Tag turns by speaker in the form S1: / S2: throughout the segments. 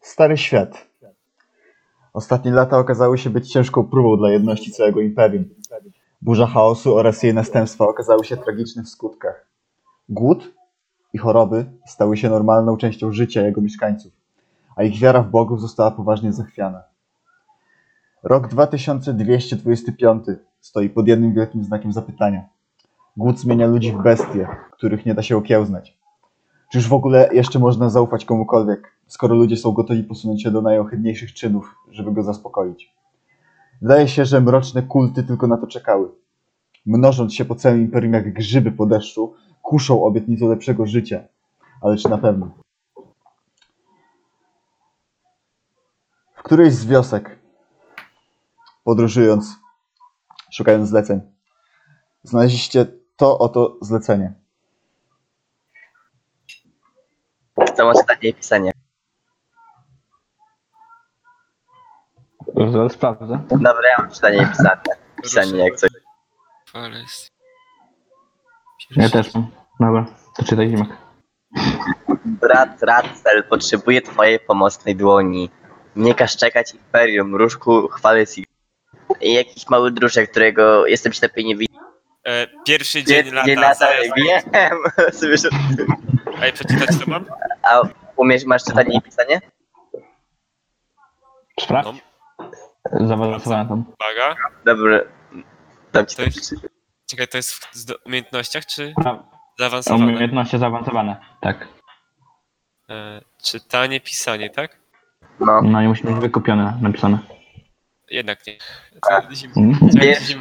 S1: Stary świat. Ostatnie lata okazały się być ciężką próbą dla jedności całego imperium. Burza chaosu oraz jej następstwa okazały się tragiczne w skutkach. Głód i choroby stały się normalną częścią życia jego mieszkańców, a ich wiara w bogów została poważnie zachwiana. Rok 2225 stoi pod jednym wielkim znakiem zapytania. Głód zmienia ludzi w bestie, których nie da się okiełznać. Czyż w ogóle jeszcze można zaufać komukolwiek, skoro ludzie są gotowi posunąć się do najohydniejszych czynów, żeby go zaspokoić? Wydaje się, że mroczne kulty tylko na to czekały. Mnożąc się po całym imperium jak grzyby po deszczu, kuszą obietnicą lepszego życia. Ale czy na pewno? W którejś z wiosek, podróżując, szukając zleceń, znaleźliście to oto zlecenie.
S2: Są ostatnie pisanie.
S3: Zaraz sprawdzę.
S2: Dobra, ja mam czytanie i pisanie. Pisanie jak coś.
S4: Forest.
S3: Ja też mam. Dobra, to czytaj Zimek.
S2: Brat Ratzel potrzebuje twojej pomocnej dłoni. Nie każ czekać Imperium, różku chwały Sig. I jakiś mały druszek, którego jestem ślepy i nie widzę.
S4: E, pierwszy dzień, lata.
S2: Dzień lata,
S4: Zaraz-
S2: wiem. Słyszę.
S4: Ej, przeczytać to mam?
S2: A umiesz, masz czytanie i pisanie?
S3: Sprawdź. Zawalowałem tam.
S4: Uwaga.
S2: Dobra. Dam ci to
S4: To jest- Czekaj, to jest w z do- umiejętnościach czy
S3: Pra-
S4: zaawansowane?
S3: Umiejętności zaawansowane. Tak.
S4: E, czytanie, pisanie, tak?
S2: No.
S3: No i musi być wykupione, napisane.
S4: Jednak nie. To, zim,
S3: Mm.
S4: chciałem, ci
S2: Pierwszy,
S4: zim,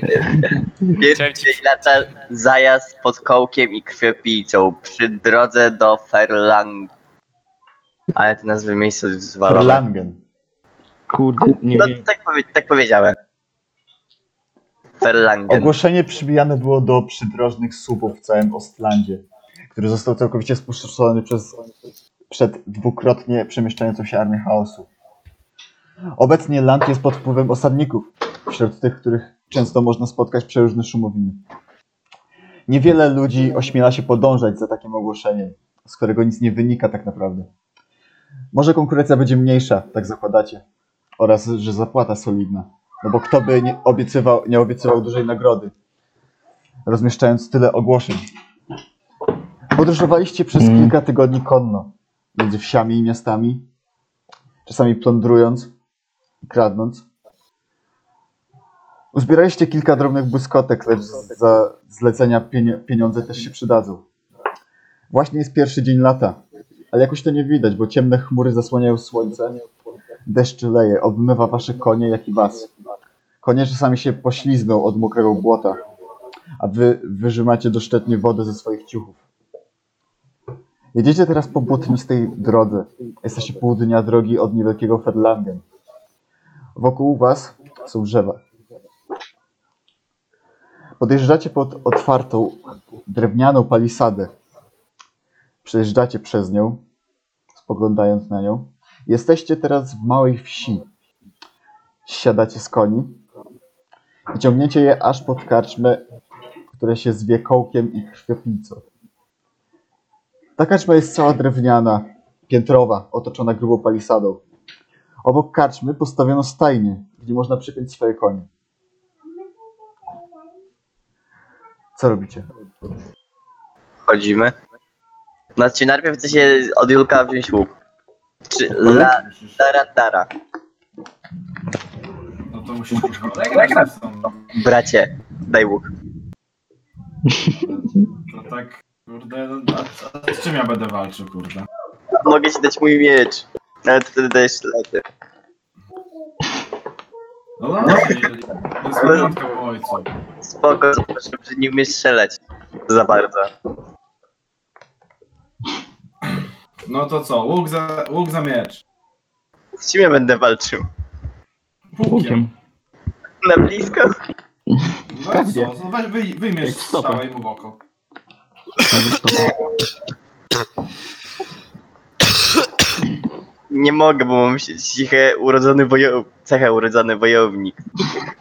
S2: pierwszy dzień lata zajazd pod kołkiem i krwiopijcą przy drodze do Ferlang. Ale te nazwy miejsc są zwalone.
S1: Erlangen.
S3: Kurde, nie
S2: No,
S3: wiem.
S2: tak, powie, tak powiedziałem. Ferlangen.
S1: Ogłoszenie przybijane było do przydrożnych słupów w całym Ostlandzie, który został całkowicie spustoszony przez, przed dwukrotnie przemieszczającą się armię chaosu. Obecnie land jest pod wpływem osadników, wśród tych, których często można spotkać przeróżne szumowiny. Niewiele ludzi ośmiela się podążać za takim ogłoszeniem, z którego nic nie wynika tak naprawdę. Może konkurencja będzie mniejsza, tak zakładacie, oraz że zapłata solidna. No bo kto by nie obiecywał, nie obiecywał dużej nagrody, rozmieszczając tyle ogłoszeń. Podróżowaliście przez
S3: Mm.
S1: kilka tygodni konno, między wsiami i miastami, czasami plądrując i kradnąc. Uzbieraliście kilka drobnych błyskotek, lecz za zlecenia pienie- pieniądze też się przydadzą. Właśnie jest pierwszy dzień lata, ale jakoś to nie widać, bo ciemne chmury zasłaniają słońce, deszcz leje, obmywa wasze konie, jak i was. Konie czasami się poślizgną od mokrego błota, a wy wyrzymacie doszczętnie wodę ze swoich ciuchów. Jedziecie teraz po błotnistej drodze. Jesteście pół dnia drogi od niewielkiego Ferlangen. Wokół was są drzewa. Podjeżdżacie pod otwartą, drewnianą palisadę. Przejeżdżacie przez nią, spoglądając na nią. Jesteście teraz w małej wsi. Siadacie z koni i ciągniecie je aż pod karczmę, które się zwie kołkiem i krwiopnicą. Ta karczma jest cała drewniana, piętrowa, otoczona grubą palisadą. Obok karczmy postawiono stajnie, gdzie można przypiąć swoje konie. Co robicie?
S2: Chodzimy. No czy najpierw chce się od Julka wziąć łuk. Czy
S1: Mhm.
S2: la, dara, dara.
S5: No to musisz kurwa odegrać ze sobą.
S2: Bracie, daj łuk.
S5: To tak, kurde, no, a, a z czym ja będę walczył, kurde?
S2: Mogę ci dać mój miecz. Ale to wtedy dajesz lety.
S5: No no, no to jest wyjątką ojcu.
S2: Spoko, zobaczę, że nie umiesz strzelać. Za bardzo.
S5: No to co, łuk za, łuk za miecz.
S2: Z czym ja będę walczył?
S3: Łukiem.
S2: Na blisko?
S5: No i co, no weź wyj, wyjmiesz
S3: Jak stopę.
S5: stałej mu w oko.
S2: Nie mogę, bo mam si- ciche urodzony wojownik. Cecha urodzony wojownik.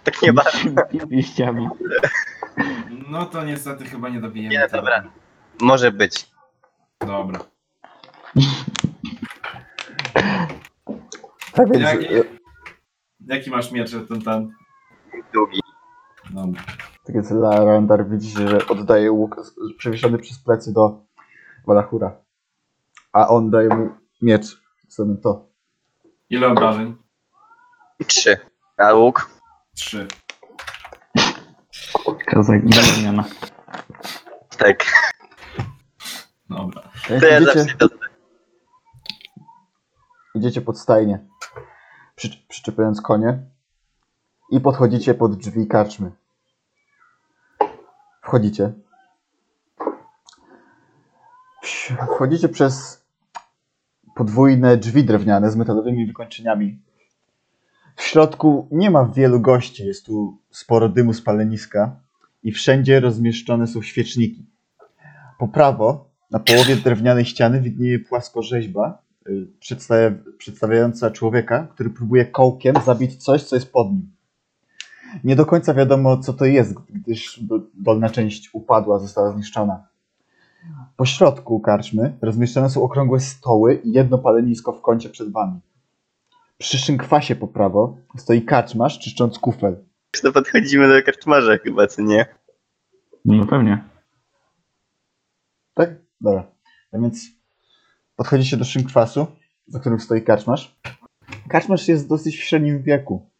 S2: Tak nie bardzo.
S3: Liściami.
S5: No to niestety chyba nie dobijemy.
S2: Nie, no
S5: tego.
S2: dobra. Może być.
S5: Dobra.
S1: Tak więc,
S5: Jak-
S1: e,
S5: Jaki masz miecz ten ten?
S2: Długi.
S5: Dobra.
S1: tak więc Larandar widzi, że oddaje łuk z- przewieszony przez plecy do Balachura. A on daje mu miecz. Zatem to.
S5: Ile obrażeń?
S2: Trzy. A łuk?
S5: Trzy.
S3: Kazak zamiana.
S2: Tak.
S5: Dobra.
S2: To ja
S1: Widzicie?
S2: zawsze to
S1: Idziecie pod stajnię, przy, przyczepiając konie i podchodzicie pod drzwi karczmy. Wchodzicie. Wś- Wchodzicie przez podwójne drzwi drewniane z metalowymi wykończeniami. W środku nie ma wielu gości, jest tu sporo dymu z paleniska i wszędzie rozmieszczone są świeczniki. Po prawo, na połowie drewnianej ściany widnieje płaskorzeźba, y, przedstawia, przedstawiająca człowieka, który próbuje kołkiem zabić coś, co jest pod nim. Nie do końca wiadomo, co to jest, gdyż do- dolna część upadła, została zniszczona. Po środku karczmy rozmieszczone są okrągłe stoły i jedno palenisko w kącie przed wami. Przy szynkwasie po prawo stoi kaczmarz czyszcząc kufel.
S2: to podchodzimy do karczmarza chyba, co nie?
S3: No pewnie.
S1: Tak? Dobra. A więc podchodzicie do szynkwasu, za którym stoi kaczmarz. Kaczmarz jest dosyć w średnim wieku.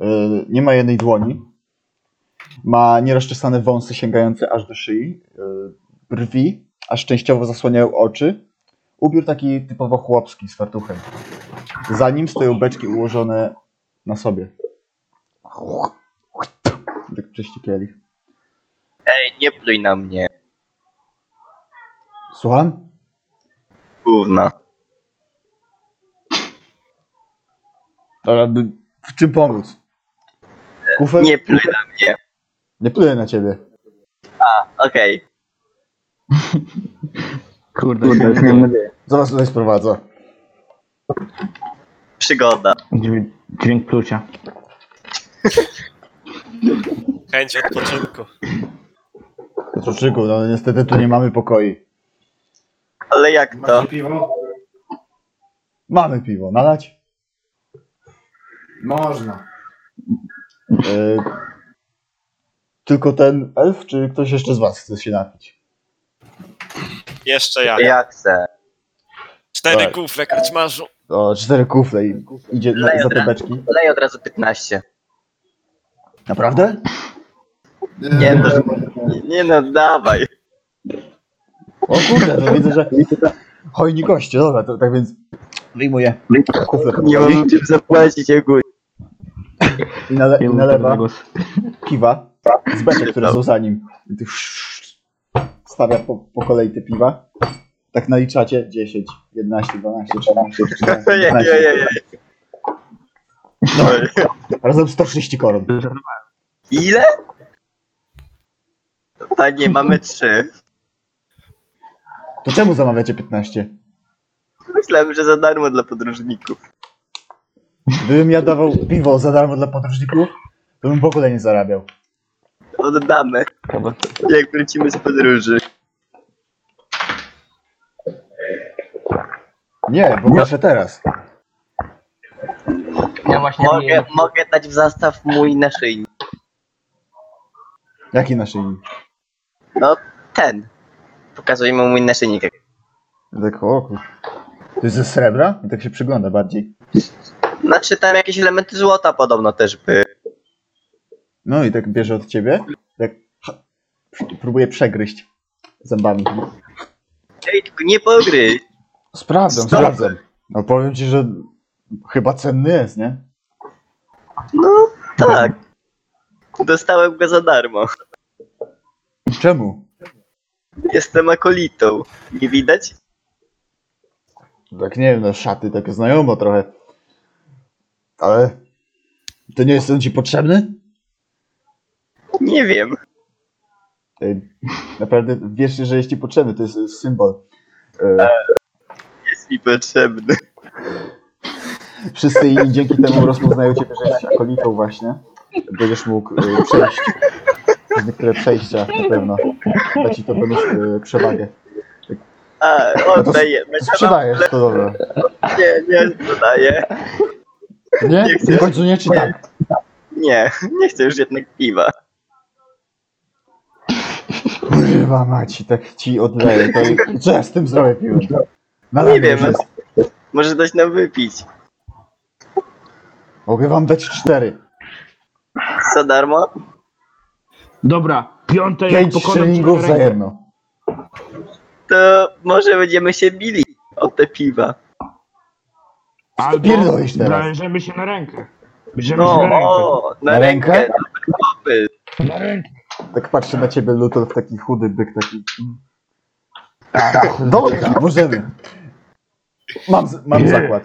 S1: Yy, nie ma jednej dłoni. Ma nierozczesane wąsy sięgające aż do szyi. Yy, brwi, aż częściowo zasłaniają oczy. Ubiór taki typowo chłopski z fartuchem. Za nim stoją beczki ułożone na sobie. Tak czyści kielich.
S2: Ej, nie pluj na mnie.
S1: Słucham?
S2: Gówno.
S1: Dobra, by- w czym pomóc? Kufel?
S2: Nie pluj na...
S1: Nie pluję na ciebie.
S2: Okej.
S3: Kurde, Kurde nie
S1: Co was tutaj sprowadza?
S2: Przygoda.
S3: Dźwięk, dźwięk plucia.
S4: Chęć od początku.
S1: Piotrczyku, no niestety tu nie mamy pokoi.
S2: Ale jak to?
S5: Macie piwo?
S1: Mamy piwo, nalać?
S5: Można.
S1: Yy, tylko ten elf, czy ktoś jeszcze z was chce się napić?
S4: Jeszcze ja.
S2: Ja chcę.
S4: Cztery
S1: Dawaj.
S4: kufle karczmarzu.
S1: O, cztery kufle i idzie na, za te beczki.
S2: Lej od razu 15.
S1: Naprawdę?
S2: Nie, no, nie, nie no, dawaj.
S1: O kurde, to widzę, że hojni goście, dobra, to tak więc wyjmuję kufle
S2: Nie
S1: powoli
S2: mam czym zapłacić ogólnie.
S1: i, nale, i
S3: Wielu
S1: nalewa
S3: głos.
S1: piwa z beczek, które są za nim. I ty Stawia po, po kolei te piwa. Tak naliczacie 10, 11, 12, 13, 14,
S2: Ojej,
S1: 15.
S2: ojej, ojej.
S1: No, razem 130 koron.
S2: Ile? Panie, mamy trzy.
S1: To czemu zamawiacie 15?
S2: Myślałem, że za darmo dla podróżników.
S1: Gdybym ja dawał piwo za darmo dla podróżników, to bym w ogóle nie zarabiał.
S2: Oddamy,
S3: Kawa.
S2: jak wrócimy z podróży.
S1: Nie, bo jeszcze teraz.
S3: Ja właśnie
S2: No, Mogę, mogę dać w zastaw mój naszyjnik.
S1: Jaki nasz imię?
S2: No, Ten. Pokazuję mu mój naszyjnik.
S1: Ja Tak, o kur... To jest ze srebra? I tak się przygląda bardziej.
S2: Znaczy tam jakieś elementy złota podobno też były.
S1: No i tak bierze od ciebie. Tak ha, próbuje przegryźć zębami.
S2: Ej, tylko nie pogryź.
S1: Sprawdzam, sprawdzam. No powiem ci, że chyba cenny jest, nie?
S2: No tak. Dostałem go za darmo.
S1: Czemu?
S2: Jestem akolitą. Nie widać?
S1: Tak nie wiem, no szaty tak znajomo trochę. Ale... To nie jest on ci potrzebny?
S2: Nie wiem.
S1: Ej, Naprawdę wiesz, że jest ci potrzebny, to jest symbol. E,
S2: Jest mi potrzebny.
S1: Wszyscy inni dzięki temu rozpoznają ciebie, że jesteś akolitą właśnie. Będziesz mógł e, przejść przez niektóre przejścia na pewno. Da ci to pewną e, przewagę.
S2: A,
S1: to
S2: oddajemy.
S1: Sprzedajesz, to dobra.
S2: Nie, nie sprzedaję.
S1: Nie?
S2: Nie chcę.
S1: Nie bądź, że nie czy tak.
S2: Nie, nie chcę już jednak piwa.
S1: Kurwa maci, tak ci odleję. To i- co ja z tym zrobię piłem? Na
S2: Nie
S1: razie
S2: wiem,
S1: że-
S2: może- może dać nam wypić.
S1: Mogę wam dać cztery.
S2: Co darmo?
S3: Dobra, piąte jak
S1: Pięć
S3: pokonam
S1: szylingów za
S3: czwórkę.
S1: jedno.
S2: To może będziemy się bili o te piwa.
S3: Albo
S1: Pierdolisz teraz.
S3: należymy się na rękę. Bierzemy
S2: No,
S3: się na rękę.
S2: o, na
S1: Na rękę?
S2: rękę. dobry Popyt.
S3: Na rękę.
S1: Tak patrzę na ciebie, Luthor, taki chudy byk, taki... Tak. Dobra, możemy. Mam, z- mam
S3: Nie.
S1: zakład.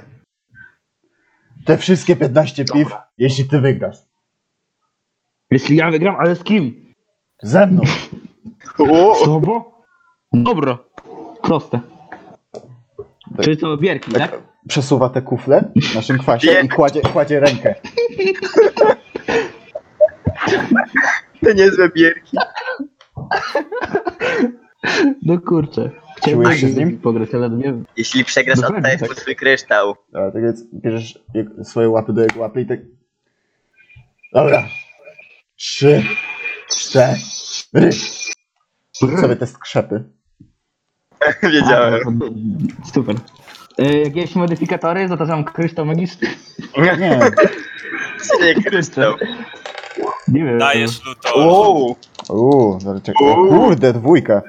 S1: Te wszystkie 15 piw, jeśli ty wygrasz.
S3: Jeśli ja wygram, ale z kim?
S1: Ze mną.
S3: Z tobą? Dobra. Proste.
S1: Tak.
S3: Czyli co, bierki, tak?
S1: Tak przesuwa te kufle w naszym kwasie i kładzie, kładzie rękę.
S2: To niezłe bierki.
S3: No kurczę. Chciałem tak
S1: Czułeś się z nim?
S3: pograć, ale nie wiem.
S2: Jeśli przegrasz,
S3: No tak,
S2: oddajesz
S3: tak.
S2: mu swój kryształ.
S1: Dobra, tak więc bierzesz jego- swoje łapy do jego łapy i tak... Dobra. Trzy, cztery. Rzuć sobie te skrzepy.
S2: Wiedziałem.
S3: no, Super. E, jakieś modyfikatory? Zapraszam kryształ magiczny.
S1: Nie,
S2: Nie kryształ.
S3: tak. Nie wiem.
S4: Dajesz luto.
S2: Wow.
S1: uuu, zaraz czekaj. O kurde, dwójka.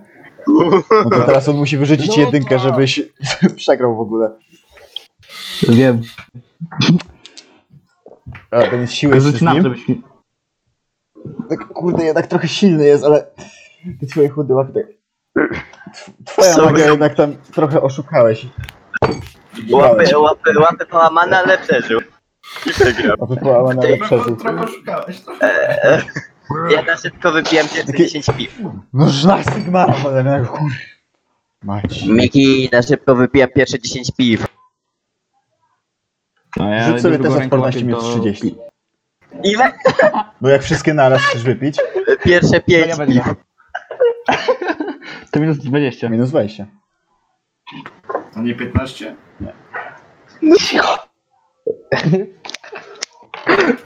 S1: No to teraz on musi wyrzucić
S3: No tak.
S1: jedynkę, żebyś przegrał w ogóle.
S3: Wiem.
S1: A, to jest siły
S3: Rzuć
S1: z
S3: nam,
S1: nim.
S3: żebyś... mi-
S1: Tak, kurde, jednak trochę silny jest, ale te twoje chude łapy tak... Tw- Twoja
S2: Sorry.
S1: magia jednak tam trochę oszukałeś.
S2: Łapy, łapy, łapy połamane, ale przeżył. I przegrał.
S1: A wypłała na
S5: Trochę,
S1: lepsze
S5: trochę szukałeś, trochę.
S2: E, Ja na szybko wypiłem pierwsze
S1: Takie-
S2: 10 piw.
S1: No żna Sigmara, cholernego kur... Mać.
S2: Miki na szybko wypija pierwsze 10 piw.
S3: A No ja
S1: Rzuć sobie
S3: drugą
S1: też
S3: ręką
S1: 14 minut
S3: łapię, to-
S1: 30.
S2: I we...
S1: Bo jak wszystkie naraz chcesz wypić,
S2: pierwsze 5
S3: ja będę
S2: piw.
S3: miał. To minus 20.
S1: minus 20.
S5: A nie 15?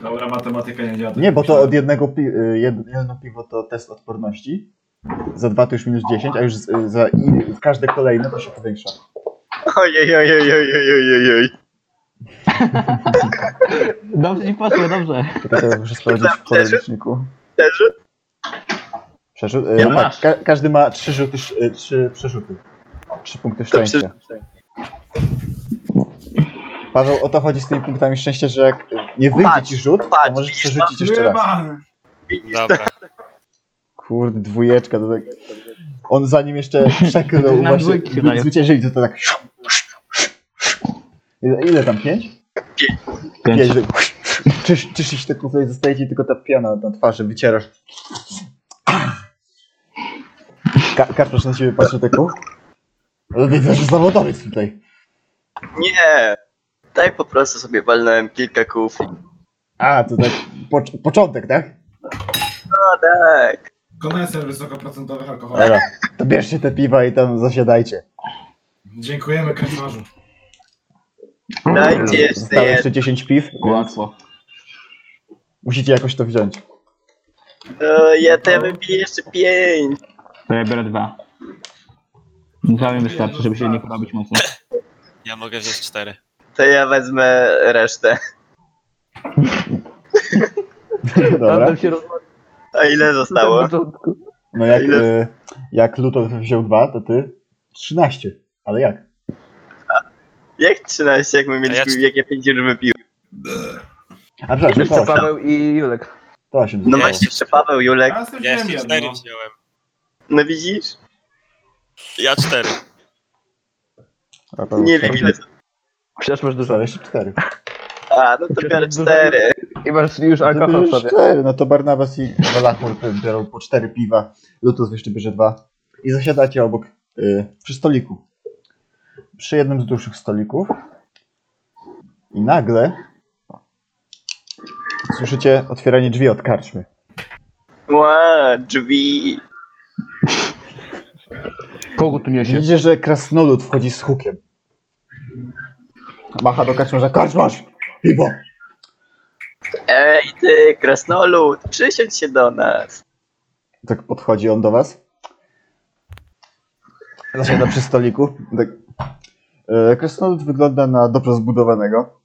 S5: Dobra, matematyka nie działa.
S1: Nie, bo to od jednego pi y, jed- jedno piwo to test odporności. Za dwa to już minus 10, a już z, y, za i w każde kolejne to się powiększa.
S2: Ojej, ojej, ojej, ojej, ojej, oj.
S3: Dobrze ci poszło, dobrze.
S1: Tylko to muszę sprawdzić w podręczniku.
S2: Przeżył?
S1: Przerzut, y,
S3: Ja
S1: tak,
S3: masz.
S1: ka każdy ma trzy rzuty, sz- y, trzy przerzuty. Trzy punkty szczęścia. Paweł, o to chodzi z tymi punktami szczęścia, że jak nie wyjdzie
S2: Patrz,
S1: ci rzut, to
S2: patrz,
S1: możesz
S2: widzisz,
S1: przerzucić jeszcze raz.
S4: Dobra.
S1: Kurde, dwójeczka, to tak... On zanim jeszcze przeklął
S3: Na
S1: właśnie
S3: dwójki daje.
S1: zwyciężyli, to, to tak... Ile, ile tam? Pięć? Pięć. Czyż, czyż się te kufle i zostaje ci tylko ta piana na twarzy, wycierasz. Ka Karpasz na ciebie patrzy taką. Ale widzę, że zawodowiec tutaj.
S2: Nie. Tak po prostu sobie walnąłem kilka kół.
S1: A, to tak pocz początek, tak?
S2: No tak.
S5: Koneser wysokoprocentowych alkoholów.
S1: Dobra, to bierzcie te piwa i tam zasiadajcie.
S5: Dziękujemy kaczmarzu.
S2: Dajcie jeszcze
S1: Zostało
S2: jedno.
S1: jeszcze 10 piw, więc
S3: Łatwo.
S1: musicie jakoś to wziąć.
S2: E, Ja te wypiję jeszcze 5.
S3: To ja biorę dwa. Dwa mi wystarczy, żeby się nie porobić mocno.
S4: Ja mogę wziąć cztery.
S2: To ja wezmę resztę.
S1: Dobra.
S3: się roz...
S2: A ile zostało?
S1: No jak,
S2: Ile?
S1: y, jak Luton wziął dwa, to ty 13. Ale jak?
S2: Jak 13, jak my mieliśmy,
S4: ja-
S2: jak ja 5 już wypiłem?
S1: A przepraszam, to 8.
S6: Paweł i Julek.
S1: To 8.
S2: No właśnie, jeszcze Paweł, Julek.
S5: Ja sobie
S4: Ja
S5: wziąłem
S4: jeszcze cztery
S5: jedno.
S4: wziąłem.
S2: No widzisz?
S4: Ja cztery.
S2: Nie wiem ile. to-
S6: Przecież masz dużo.
S1: Zostało jeszcze 4.
S2: A, no to biorę 4.
S6: I masz już alkohol w sobie.
S1: 4. No to Barnabas i Walachmur biorą po 4 piwa. Lutus jeszcze bierze dwa. I zasiadacie obok, y, przy stoliku. Przy jednym z dłuższych stolików. I nagle słyszycie otwieranie drzwi od karczmy.
S2: Ła, drzwi.
S3: Kogo tu niesie?
S1: Widzicie, że krasnolud wchodzi z hukiem. Macha do kaczmarza, kaczmarz! Piwo!
S2: Ej ty, krasnolud, przysiądź się do nas.
S1: Tak podchodzi on do was. Zasiada przy stoliku. Tak. E, Krasnolud wygląda na dobrze zbudowanego.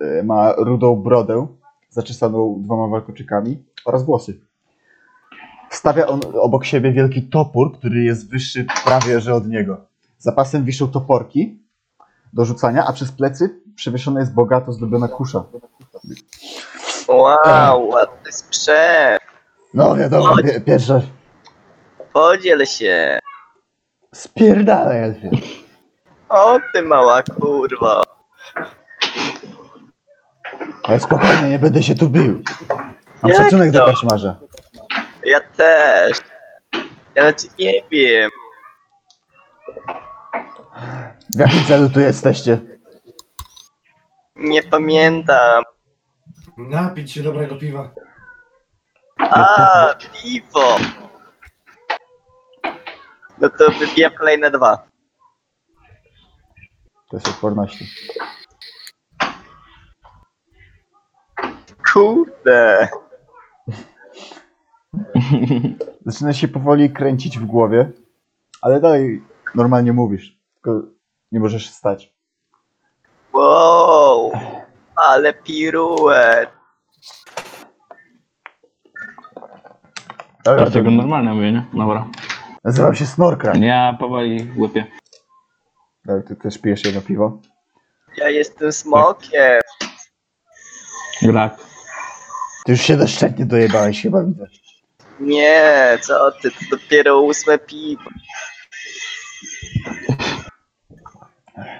S1: E, Ma rudą brodę, zaczesaną dwoma walkoczykami oraz włosy. Stawia on obok siebie wielki topór, który jest wyższy prawie że od niego. Za pasem wiszą toporki do rzucania, a przez plecy przewieszona jest bogato zdobiona kusza.
S2: Wow, ładny sprzęt.
S1: No wiadomo, pie- pierwsza.
S2: Podziel się.
S1: Spierdalaj, Elfie.
S2: O ty mała kurwa.
S1: Ale spokojnie, nie będę się tu bił. Mam
S2: Jak
S1: szacunek do
S2: to?
S1: koszmarza.
S2: Ja też. Ja nawet nie wiem.
S1: W jakim celu tu jesteście?
S2: Nie pamiętam.
S5: Napić się dobrego piwa.
S2: A, piwo. No to wypijam kolejne dwa.
S1: To jest odporności.
S2: Kurde.
S1: Zaczyna się powoli kręcić w głowie, ale dalej normalnie mówisz, tylko nie możesz stać.
S2: Wow. Ale piruet.
S1: Dobra,
S3: Dlatego normalnie mówię, nie? Dobra.
S1: Nazywam się Snorkra.
S3: Ja powoli łypię.
S1: Dalej, ty też pijesz jedno piwo.
S2: Ja jestem smokiem.
S3: Grak.
S1: Ty już się doszczętnie dojebałeś, chyba widać.
S2: Nie, co ty, to dopiero ósme piwo.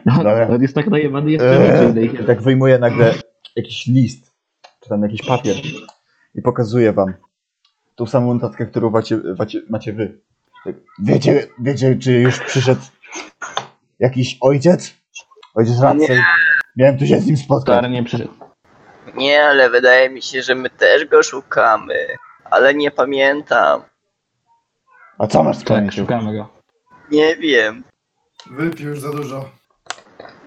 S1: Dobra.
S3: Jest tak najebany jeszcze
S1: Eee,
S3: więcej.
S1: tak wyjmuję nagle jakiś list, czy tam jakiś papier i pokazuję wam tą samą notatkę, którą macie, macie, macie wy. Tak, Wiecie, wiecie, czy już przyszedł jakiś ojciec? Ojciec Radcej. Miałem tu się z nim spotkać.
S3: Stary nie przyszedł.
S2: Nie, ale wydaje mi się, że my też go szukamy. Ale nie pamiętam.
S1: A co masz z
S3: Tak,
S1: pamięcią?
S3: szukamy go.
S2: Nie wiem.
S5: Wypił już za dużo.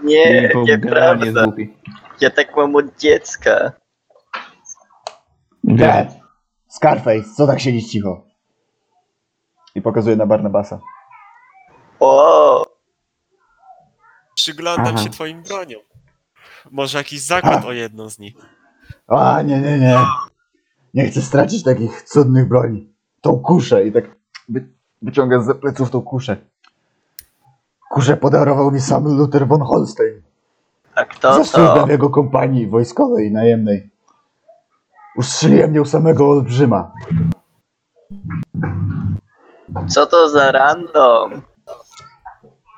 S2: Nie,
S3: bo generalnie jest
S2: nieprawda.
S3: głupi.
S2: Ja tak mam od dziecka.
S1: Brad, Scarface, co tak siedzisz cicho? I pokazuje na Barnabasa.
S2: O,
S4: Przyglądam
S3: Aha.
S4: się twoim broniom. Może jakiś zakład
S1: Ha.
S4: o jedną z nich.
S1: A, nie, nie, nie. Nie chcę stracić takich cudnych broni. Tą kuszę i tak wy, wyciąga z pleców tą kuszę. Kuszę podarował mi sam Luther von Holstein.
S2: a
S1: Za
S2: kto
S1: służbę
S2: to?
S1: w jego kompanii wojskowej i najemnej. Ustrzeliłem mnie u samego olbrzyma.
S2: Co to za random?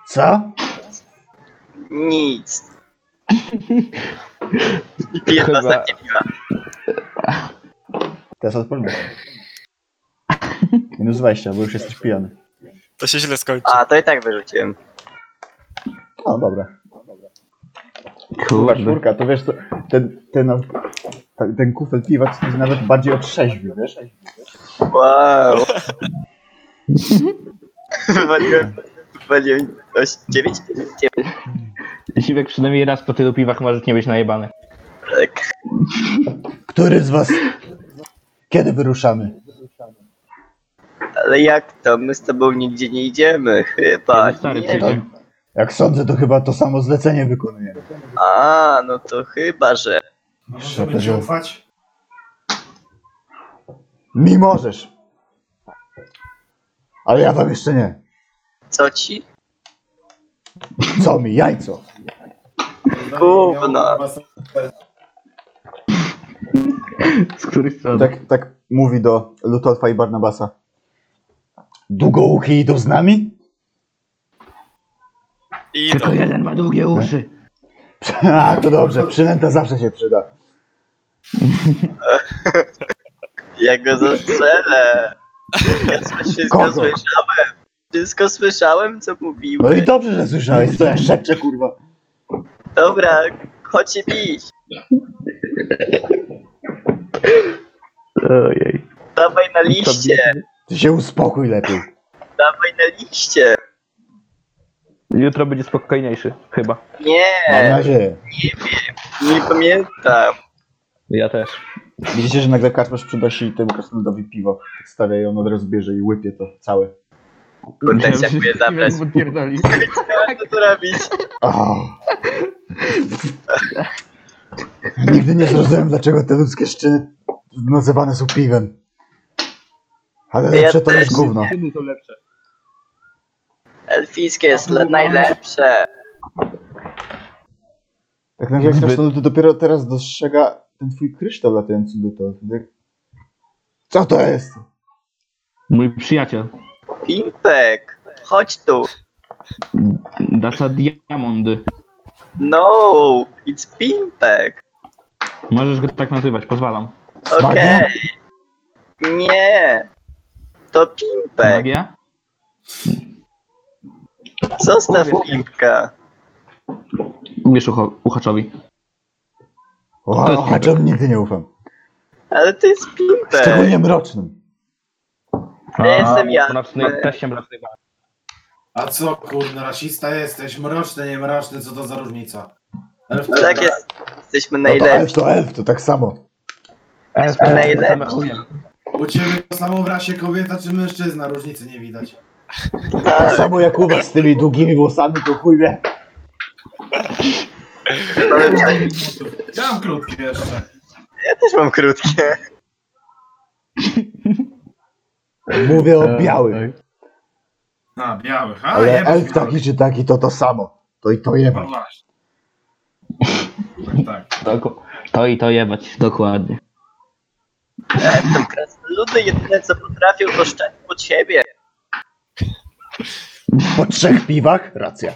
S1: Co?
S2: Nic. I piję
S6: Chyba-
S2: ostatnie piwa.
S1: To jest odporność. Minus 20, bo już jesteś pijany.
S4: To się źle skończy.
S2: A, to i tak wyrzuciłem.
S1: No dobra. Chyba
S3: Kurde.
S1: czwórka, to wiesz, co, ten, ten, ten, ten kufel piwa to jest nawet bardziej otrzeźwił, wiesz?
S2: Wow. Wywaliłem, wywaliłem oś- dziewięć? Dziewięć,
S6: Siwek przynajmniej raz po tylu piwach możesz nie być najebany.
S2: tak.
S1: Który z was... Kiedy wyruszamy?
S2: Ale jak to? My z tobą nigdzie nie idziemy, chyba.
S3: Jeden stary
S2: Nie.
S3: przyjdzie.
S1: Jak sądzę, to chyba to samo zlecenie wykonujemy.
S2: A, no to chyba, że.
S5: Możemy ci ufać?
S1: Mi możesz. Ale ja wam jeszcze nie.
S2: Co ci?
S1: Co mi, jajco?
S2: Gówno.
S3: Z której strony?
S1: Tak, tak mówi do Lutolfa i Barnabasa. Długouchy idą z nami?
S4: I
S3: Tylko
S4: idą.
S3: jeden ma długie uszy.
S1: A, to dobrze, przynęta zawsze się przyda.
S2: Ja go zastrzelę. Ja coś wszystko
S1: Kogo?
S2: słyszałem. Wszystko słyszałem, co mówił.
S1: No i dobrze, że słyszałeś, co ja szepczę, kurwa.
S2: Dobra, chodź się bić.
S6: Ojej.
S2: Dawaj na liście,
S1: Ty się uspokój lepiej.
S2: dawaj na liście.
S6: Jutro będzie spokojniejszy, chyba.
S1: Mam
S2: Nie,
S1: nadzieję.
S2: nie pamiętam.
S6: Ja też.
S1: Widzicie, że nagle Karpasz przynosi temu krasnoludowi piwo. Stawia ją od razu bierze i łypie to całe.
S2: Kurde, dziękuję za
S6: Myślałem,
S2: prezent.
S6: że odpierdoli.
S2: Co tu robić?
S1: O! Nigdy nie zrozumiałem, dlaczego te ludzkie szczyny nazywane są piwem. Ale
S2: Ja
S1: lepsze to
S2: też
S1: niż gówno.
S6: Jedno to lepsze.
S2: Elfijskie jest le- najlepsze.
S1: Tak nagle
S6: Zbyt-
S1: krasnolud dopiero teraz dostrzega ten twój kryształ latający do to. Co to jest?
S6: Mój przyjaciel.
S2: Pimpek, chodź tu.
S6: Dasza Diamondy.
S2: No, it's Pimpek.
S6: Możesz go tak nazywać, pozwalam.
S1: Magia?
S2: Okej. Nie. To Pimpek.
S6: Magia?
S2: Zostaw Pimpka.
S6: Uwierz ucho- uchaczowi.
S1: O,
S6: To jest
S1: Haczom nigdy nie ufam.
S2: Ale to jest Pimpek.
S1: Szczególnie mrocznym.
S2: Ja jestem ja.
S6: Mroczny, teściem mrocznej walki.
S5: A co, kurde, rasista jesteś? Mroczny, nie mroczny, co to za różnica? Elf
S2: No tak jest. Jesteśmy
S1: No to
S2: najlepsi.
S1: elf to elf, to tak samo.
S2: Najlepsi.
S5: U ciebie to samo w rasie kobieta czy mężczyzna, różnicy nie widać.
S1: Tak samo jak u was z tymi długimi włosami, to chuj wie.
S2: Mamy przynajmniej-
S5: Ja mam krótkie jeszcze.
S2: No, Ja też mam krótkie.
S1: Mówię o białych.
S5: A, białych. A,
S1: Ale
S5: jebać
S1: elf
S5: białych.
S1: taki czy taki, to to samo. To i to jeba.
S5: No właśnie. Tak.
S6: To, to i to jebać, dokładnie.
S2: Ludy jedyne co potrafią to szczać pod siebie.
S1: Po trzech piwach? Racja.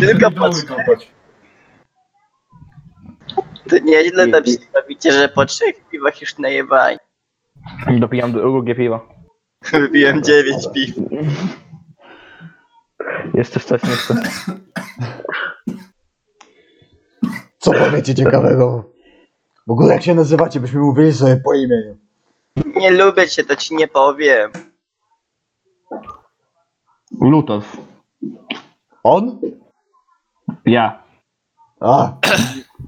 S2: Tylko pod
S5: Doły kopać.
S2: To nieźle tam się bawicie, że po trzech piwach już najebani.
S6: Dopijam drugie piwo.
S2: Wybiłem dziewięć piw.
S6: Jeszcze wcześniej.
S1: Co powiecie ciekawego? W ogóle jak się nazywacie, byśmy mówili sobie po imieniu.
S2: Nie lubię cię, to ci nie powiem.
S6: Lutos.
S1: On?
S6: Ja.
S1: A,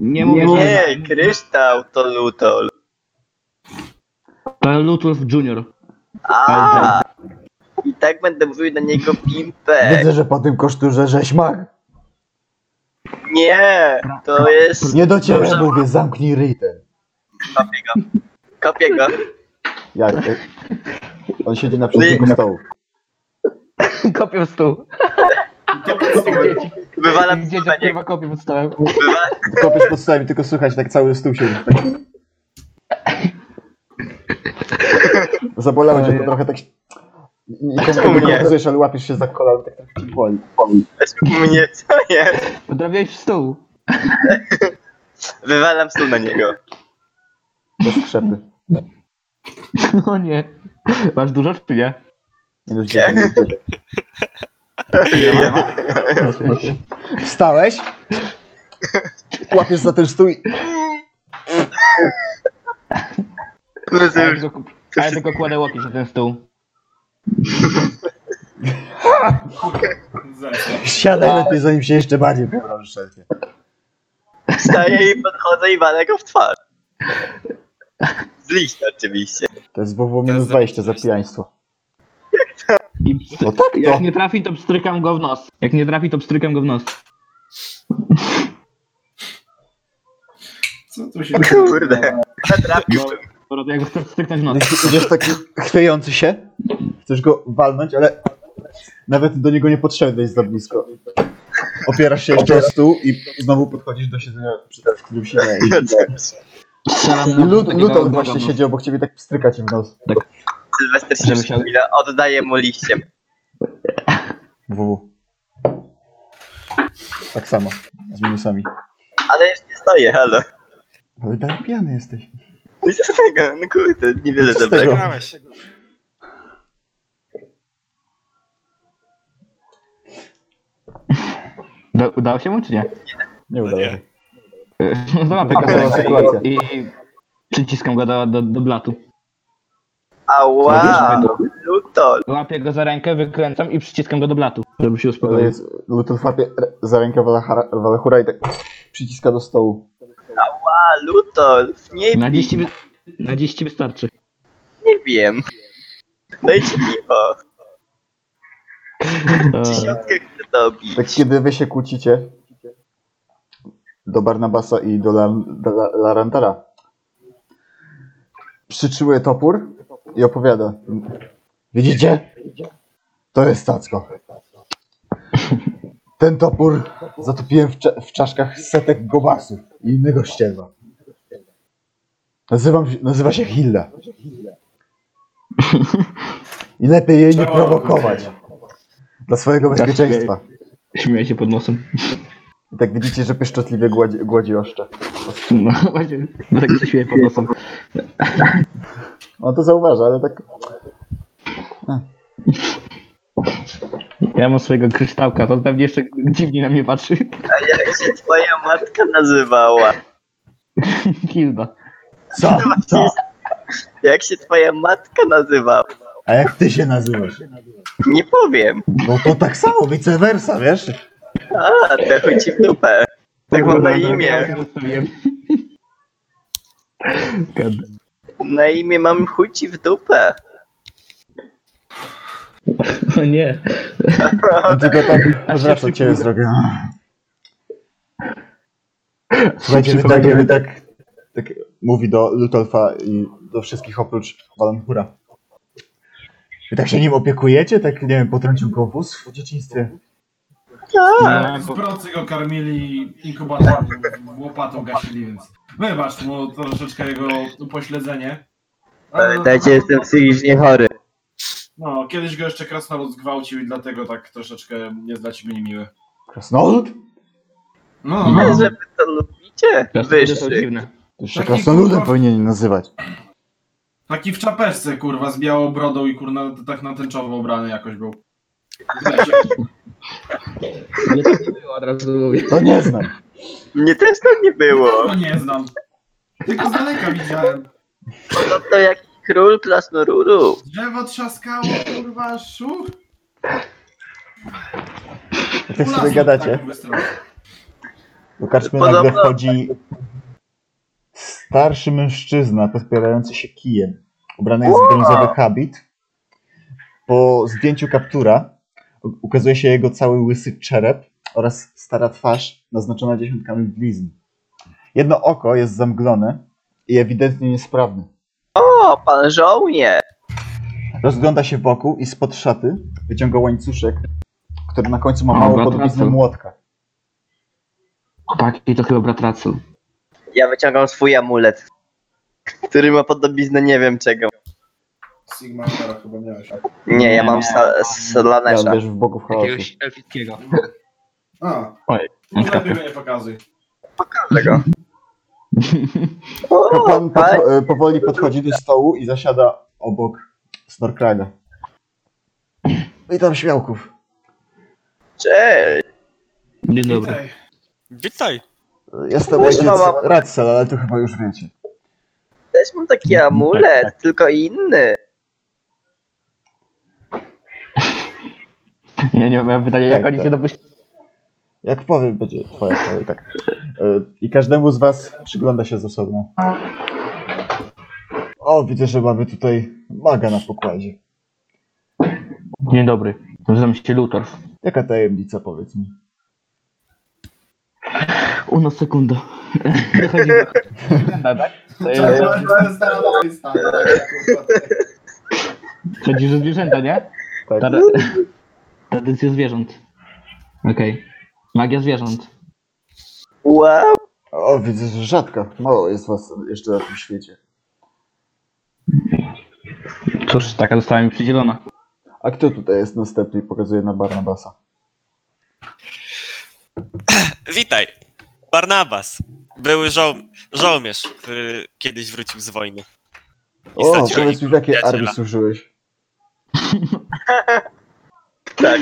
S6: Nie mówię, że
S2: Nie, kryształ to lutol.
S6: to Lutos Junior.
S2: A i tak będę mówił na niego pimpek.
S1: widzę, że po tym koszturze żeś mag.
S2: Nie, to jest...
S1: Nie do ciebie
S2: Dobrze.
S1: mówię, zamknij ryj ten.
S2: Kopię go. Kopię go.
S1: Jak? e, On siedzi na przedniku
S2: Nie.
S1: stołu.
S6: Kopię w stół.
S5: To po co?
S2: Wywalam
S6: Dzieciak
S2: stówę, nie
S6: kurwa kopie pod stołem.
S2: bywa.
S1: Kopiesz pod stołem i tylko słychać, tak cały stół siedzi. Tak. Zabolało cię to trochę tak... Nikomu
S2: Czemu
S1: tego
S2: nie?
S1: nie pokazujesz, ale łapiesz się za kolano, tak trochę ci boli.
S2: Weź mnie, co jest?
S6: Podrabiałeś w stół.
S2: Wywalam stół na niego.
S1: Bez krzepy.
S6: No nie. Masz dużo czy nie?
S1: Nie dość dziwne. Wstałeś? Łapiesz za ten stół i...
S6: A ja tylko, a ja tylko kładę łokieć na ten stół.
S5: Zresztą.
S1: Siadaj lepiej, zanim się jeszcze bardziej poproszę. szefie.
S2: Wstaję i podchodzę i walę go w twarz. Z liścia oczywiście.
S1: To jest WW minus 20 za pijaństwo.
S6: I pst-
S1: No tak to.
S6: jak nie trafi, to pstrykam go w nos. Jak nie trafi, to pstrykam go w nos.
S5: Co tu się tak
S2: Kurde. Natrafiłbym.
S6: Bo Jak go chcę pstryknąć w nos.
S1: Idziesz- Idziesz taki chwiejący się, chcesz go walnąć, ale nawet do niego nie podszedłeś za blisko. Opierasz się jeszcze o stół i znowu podchodzisz do siedzenia, przy- w którym siedziałeś.
S6: Strzelam mu
S1: Lut,
S6: takiego
S1: Luton
S6: goga w
S1: właśnie
S6: nos. Tak.
S1: siedział obok ciebie, tak pstryka cię w nos.
S2: Sylwester się
S6: Żeby się-
S2: przypomina, oddaję mu liściem.
S1: WW. Tak samo, z minusami.
S2: Ale jeszcze nie stoję, halo.
S1: Ale dalej pijany jesteś.
S2: No i co z tego? No kurde, niewiele
S1: Co z
S2: dobrego.
S1: tego?
S4: Grałeś.
S6: Da, udało się mu czy nie?
S1: Nie udało się.
S4: Nie.
S3: E,
S6: Dobra,
S1: Okej,
S6: sytuacja.
S1: sytuacja.
S6: I przyciskam go do, do, do blatu.
S2: Ała, lutol.
S6: Łapię go za rękę, wykręcam i przyciskam go do blatu, żeby się
S1: To
S6: uspokoił.
S1: jest Luton łapie za rękę Walachara- Walachura i tak przyciska do stołu.
S2: A, Lutolf, nie,
S3: Na dziś, ci wy- na dziś ci wystarczy.
S2: nie wiem. Dajcie piwo,
S3: E,
S2: dziesiątkę chcę dobić.
S1: Tak kiedy wy się kłócicie do Barnabasa i do Lan- do La- Larantara. Przyczyły topór i opowiada. Widzicie? To jest cacko. Ten topór zatopiłem w, cza- w czaszkach setek gobasów i innego ścierwa. Nazywam, się- nazywa się Hilda. I lepiej jej nie prowokować. Dla swojego bezpieczeństwa.
S3: Śmieję się pod nosem.
S1: I tak widzicie, że pieszczotliwie gładzi, gładzi oszcze.
S3: No właśnie, no tak się śmieję pod nosem.
S1: On to zauważa, ale tak...
S3: Ja mam swojego kryształka, to pewnie jeszcze dziwnie na mnie patrzy.
S2: A jak się twoja matka nazywała?
S3: Hilda.
S1: Co? Co?
S2: Jak się twoja matka nazywała?
S1: A jak ty się nazywasz?
S2: Nie powiem.
S1: No to tak samo, vice versa, wiesz?
S2: A, to chodzi w dupę. Tak mam na
S1: no
S2: imię.
S3: God.
S2: Na imię mam chuci w dupę.
S3: No nie.
S1: On tylko tak odwraca cię zrobię. Słuchajcie, wy tak, wy tak, tak mówi do Lutolfa i do wszystkich oprócz Valanhura. Wy tak się nim opiekujecie? Tak, nie wiem, potrącił go wóz w dzieciństwie?
S3: No,
S5: Z
S3: bo-
S5: procy go karmili inkubatorem, łopatą gasili, więc wybacz mu troszeczkę jego upośledzenie. Ale no,
S2: Dajcie, jestem psychicznie chory.
S5: no, kiedyś go jeszcze krasnolud zgwałcił i dlatego tak troszeczkę jest dla ciebie niemiły.
S1: Krasnolud?
S5: No,
S2: Ale
S5: no.
S2: że wy to lubicie?
S3: to są
S2: Wyższy.
S3: dziwne.
S1: To jeszcze krasnoludem powinien nazywać.
S5: Taki w czapeczce, kurwa, z białą brodą i kurna tak na tęczowo ubrany jakoś był. Weź,
S3: Nie tak nie było, od razu mówię.
S1: To nie znam.
S2: Mnie też tak nie było.
S5: Tego nie znam. Tylko z daleka widziałem.
S2: No to jaki król krasnoruru.
S5: Drzewo trzaskało, kurwa, szur.
S1: I tak sobie
S5: Lasów
S1: gadacie.
S5: tak wystraszył.
S1: Do karczmy
S2: Podobno-
S1: nagle wchodzi starszy mężczyzna podpierający się kijem. Ubrany jest w brązowy habit. Po zdjęciu kaptura u- ukazuje się jego cały łysy czerep oraz stara twarz naznaczona dziesiątkami blizn. Jedno oko jest zamglone i ewidentnie niesprawne.
S2: O, pan żołnierz.
S1: Rozgląda się wokół i spod szaty wyciąga łańcuszek, który na końcu ma
S3: O,
S1: mało
S3: gratulacje.
S1: podobiznę młotka.
S3: Chłopaki, to chyba brat Racel.
S2: Ja wyciągam swój amulet, który ma podobiznę nie wiem czego.
S5: Sigma Alpha chyba miałeś.
S2: Nie, ja
S3: Nie,
S2: mam
S3: nie.
S2: sa-
S1: Ja
S2: Slanesha.
S1: uderzy w boku w chaosu.
S3: Jakiegoś elfickiego.
S5: A.
S3: Oj,
S5: No
S3: nie
S5: lepiej go nie pokazuj.
S2: Dlaczego? O,
S1: Pan
S2: tak?
S1: podcho- e, powoli podchodzi do stołu i zasiada obok Snorkraga. Witam śmiałków.
S2: Cześć.
S3: Dzień dobry.
S5: Witaj.
S4: Witaj.
S1: Jestem
S2: Kurwa,
S1: ojciec
S2: mam-
S1: Radsel, ale tu chyba już wiecie.
S2: Też mam
S3: Tak,
S2: taki amulet, tylko inny.
S3: Ja nie mam
S1: Tak,
S3: pytania, jak oni się dopuścili.
S1: Jak powiem, będzie twoja kolej, tak. E, I każdemu z was przygląda się z osobna. O, widzę, że mamy tutaj maga na pokładzie.
S3: Dzień dobry. Nazywam się Luthor.
S1: Jaka tajemnica, powiedz mi.
S3: Una sekunda. Chodzi tak?
S5: Cześć, cześć, cześć, cześć.
S3: Chodzi, że zwierzęta, nie?
S1: Tak.
S3: Tra- Tradycja zwierząt. Okej. Magia zwierząt.
S2: Wow.
S1: O, widzę, że rzadko. Mało jest was jeszcze na tym świecie.
S3: Cóż, taka została mi przydzielona.
S1: A kto tutaj jest następny i pokazuje na Barnabasa?
S4: Witaj. Barnabas. Były żoł- żołnierz, który kiedyś wrócił z wojny. I
S1: O,
S4: stracił
S1: powiedz mi, w jakiej
S4: przyjaciela.
S1: armii służyłeś?
S2: Tak.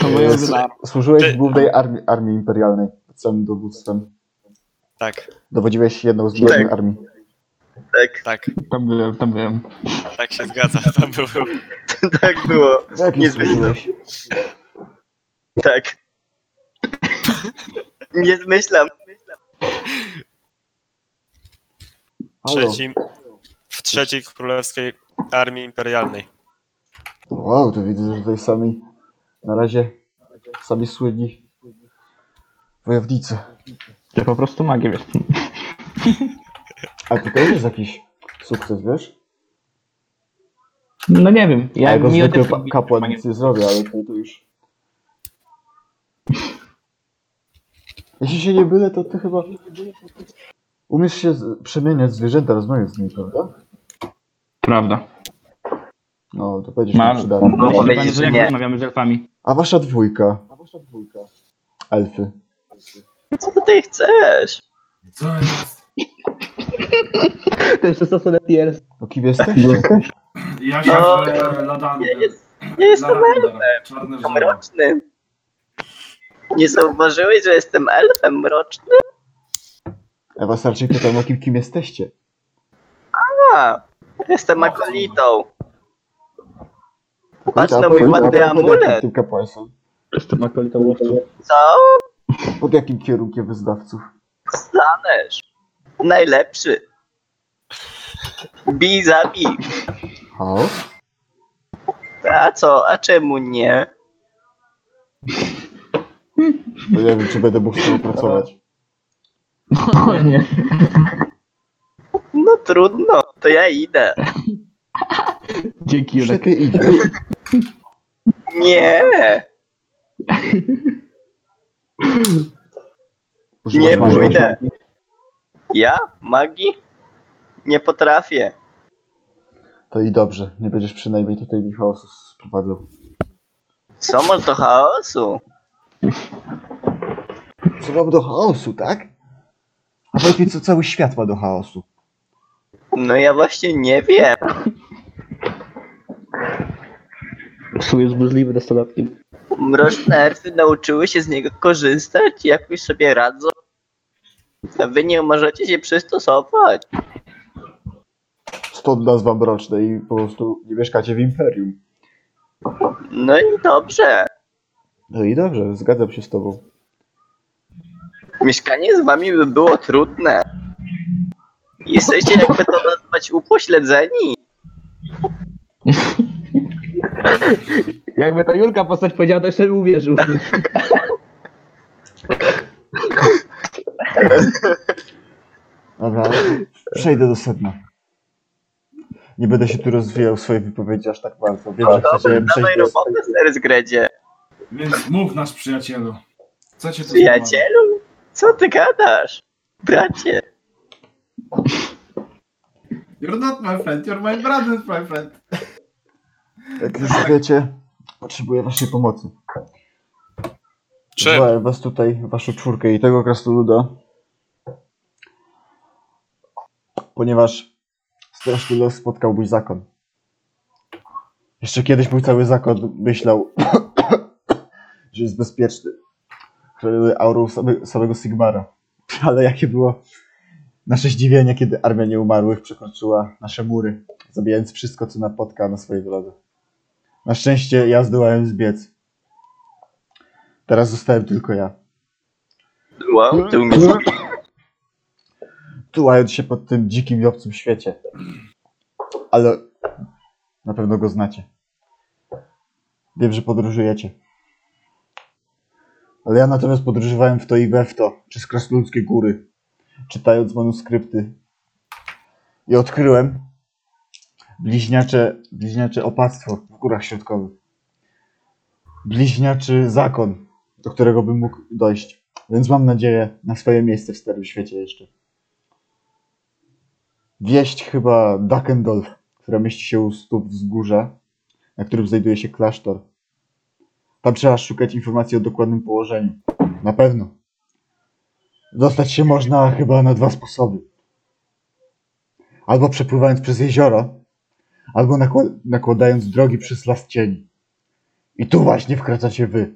S3: To moje
S1: E, Słu- Służyłeś
S4: Ty-
S1: w głównej armii, armii imperialnej pod samym dowództwem.
S4: Tak,
S1: Dowodziłeś jedną z głównych
S2: Tak.
S1: armii.
S2: Tak,
S4: tak,
S3: Tam byłem, tam byłem.
S4: tak się zgadza. Tam był.
S2: tak było.
S1: W jakiej
S2: Nie
S1: służyłeś?
S2: Tak. Nie zmyślam.
S4: trzecim, w trzeciej królewskiej armii imperialnej.
S1: Wow, to widzę, że tutaj sami na razie sami słynni wojownicy.
S6: To po prostu magia, wiesz.
S1: A tutaj jest jakiś sukces, wiesz?
S6: No nie wiem.
S1: Ja
S6: Ja
S1: jako
S6: mi o
S1: zwykły
S6: tym
S1: pa- kapłan nic nie zrobię, ale to, to już... Jeśli się nie bylę, to ty chyba... Umiesz się z- przemieniać w zwierzęta, rozmawiać z nimi, prawda?
S6: Prawda.
S1: No, to będzie się
S6: Mam.
S1: przydatne.
S2: No,
S6: Jeśli
S2: powiedzieć,
S6: pan-
S2: że
S6: jak
S2: nie.
S6: rozmawiamy z elfami?
S1: A wasza dwójka? Elfy.
S2: Co ty chcesz?
S5: Co jest?
S6: Ten 16-letni elf.
S1: No kim jesteście?
S5: Ja się
S2: No,
S5: no, ladany.
S2: Nie, nie jestem
S5: Larander, Czarny
S2: elfem
S5: wzór.
S2: mrocznym. Nie zauważyłeś, że jestem elfem mrocznym?
S1: Ewa Sarczyk pytam o kim, kim jesteście.
S2: A, jestem akolitą. Patrz
S1: A
S2: na
S1: pod-
S2: mój
S1: a
S2: ładny
S1: pod jakim
S2: amulet.
S1: Tym kapłaństwem.
S6: Jestem akolitą łowców.
S2: Co?
S1: Pod jakim kierunkiem wyznawców?
S2: Stanesz. Najlepszy. Bij, zabij.
S1: Chaos?
S2: A co? A czemu nie?
S1: No nie wiem, czy będę mógł z tobą pracować.
S6: O nie.
S2: No trudno, to ja idę.
S6: Dzięki,
S1: Czy
S6: Jurek.
S1: ty idziesz?
S2: Nie, nie
S1: Używasz magii?
S2: pójdę. Ja? Magii? Nie potrafię.
S1: To i dobrze, nie będziesz przynajmniej tutaj mi chaosu sprowadzał.
S2: Co masz do chaosu?
S1: Co mam do chaosu, tak? A powiedz mi, co cały świat ma do chaosu.
S2: No ja właśnie nie wiem.
S6: Psuje zburzliwy nastolatki.
S2: Mroczne elfy nauczyły się z niego korzystać i jakoś sobie radzą. A wy nie możecie się przystosować.
S1: Stąd nazwa mroczna i po prostu nie mieszkacie w imperium.
S2: No i dobrze.
S1: No i dobrze, zgadzam się z tobą.
S2: Mieszkanie z wami by było trudne. Jesteście jakby to nazwać upośledzeni.
S6: Jakby ta Julka postać powiedziała, to jeszcze bym uwierzył.
S1: Dobra, przejdę do sedna. Nie będę się tu rozwijał swojej wypowiedzi aż tak bardzo. Wiem, że chcecie
S2: No Dawaj
S1: przejść do
S2: robotę, stary zgredzie.
S5: Więc mów nasz przyjacielu. Co cię to
S2: Przyjacielu, co ty gadasz? Bracie,
S5: You're not my friend, you're my brother, my friend.
S1: Jak już wiecie, potrzebuję waszej pomocy.
S4: Czym?
S1: Wywołałem was tutaj, waszą czwórkę i tego krasnoluda. Ponieważ straszny los spotkał mój zakon. Jeszcze kiedyś mój cały zakon myślał, że jest bezpieczny. Chroniony aurą same- samego Sigmara. Ale jakie było nasze zdziwienie, kiedy armia nieumarłych przekroczyła nasze mury, zabijając wszystko, co napotka na swojej drodze. Na szczęście ja zdołałem zbiec. Teraz zostałem tylko ja.
S2: wow, ty umiesz
S1: No. Tułając się pod tym dzikim i obcym świecie. Ale na pewno go znacie. Wiem, że podróżujecie. Ale ja natomiast podróżowałem w to i we w to, przez krasnoludzkie góry, czytając manuskrypty. I odkryłem bliźniacze, bliźniacze opactwo w górach środkowych. Bliźniaczy zakon, do którego bym mógł dojść. Więc mam nadzieję na swoje miejsce w Starym Świecie jeszcze. Wieść chyba Dakendol, która mieści się u stóp wzgórza, na którym znajduje się klasztor. Tam trzeba szukać informacji o dokładnym położeniu. Na pewno. Dostać się można chyba na dwa sposoby. Albo przepływając przez jezioro, albo nakła- nakładając drogi przez las cieni. I tu właśnie wkraczacie wy.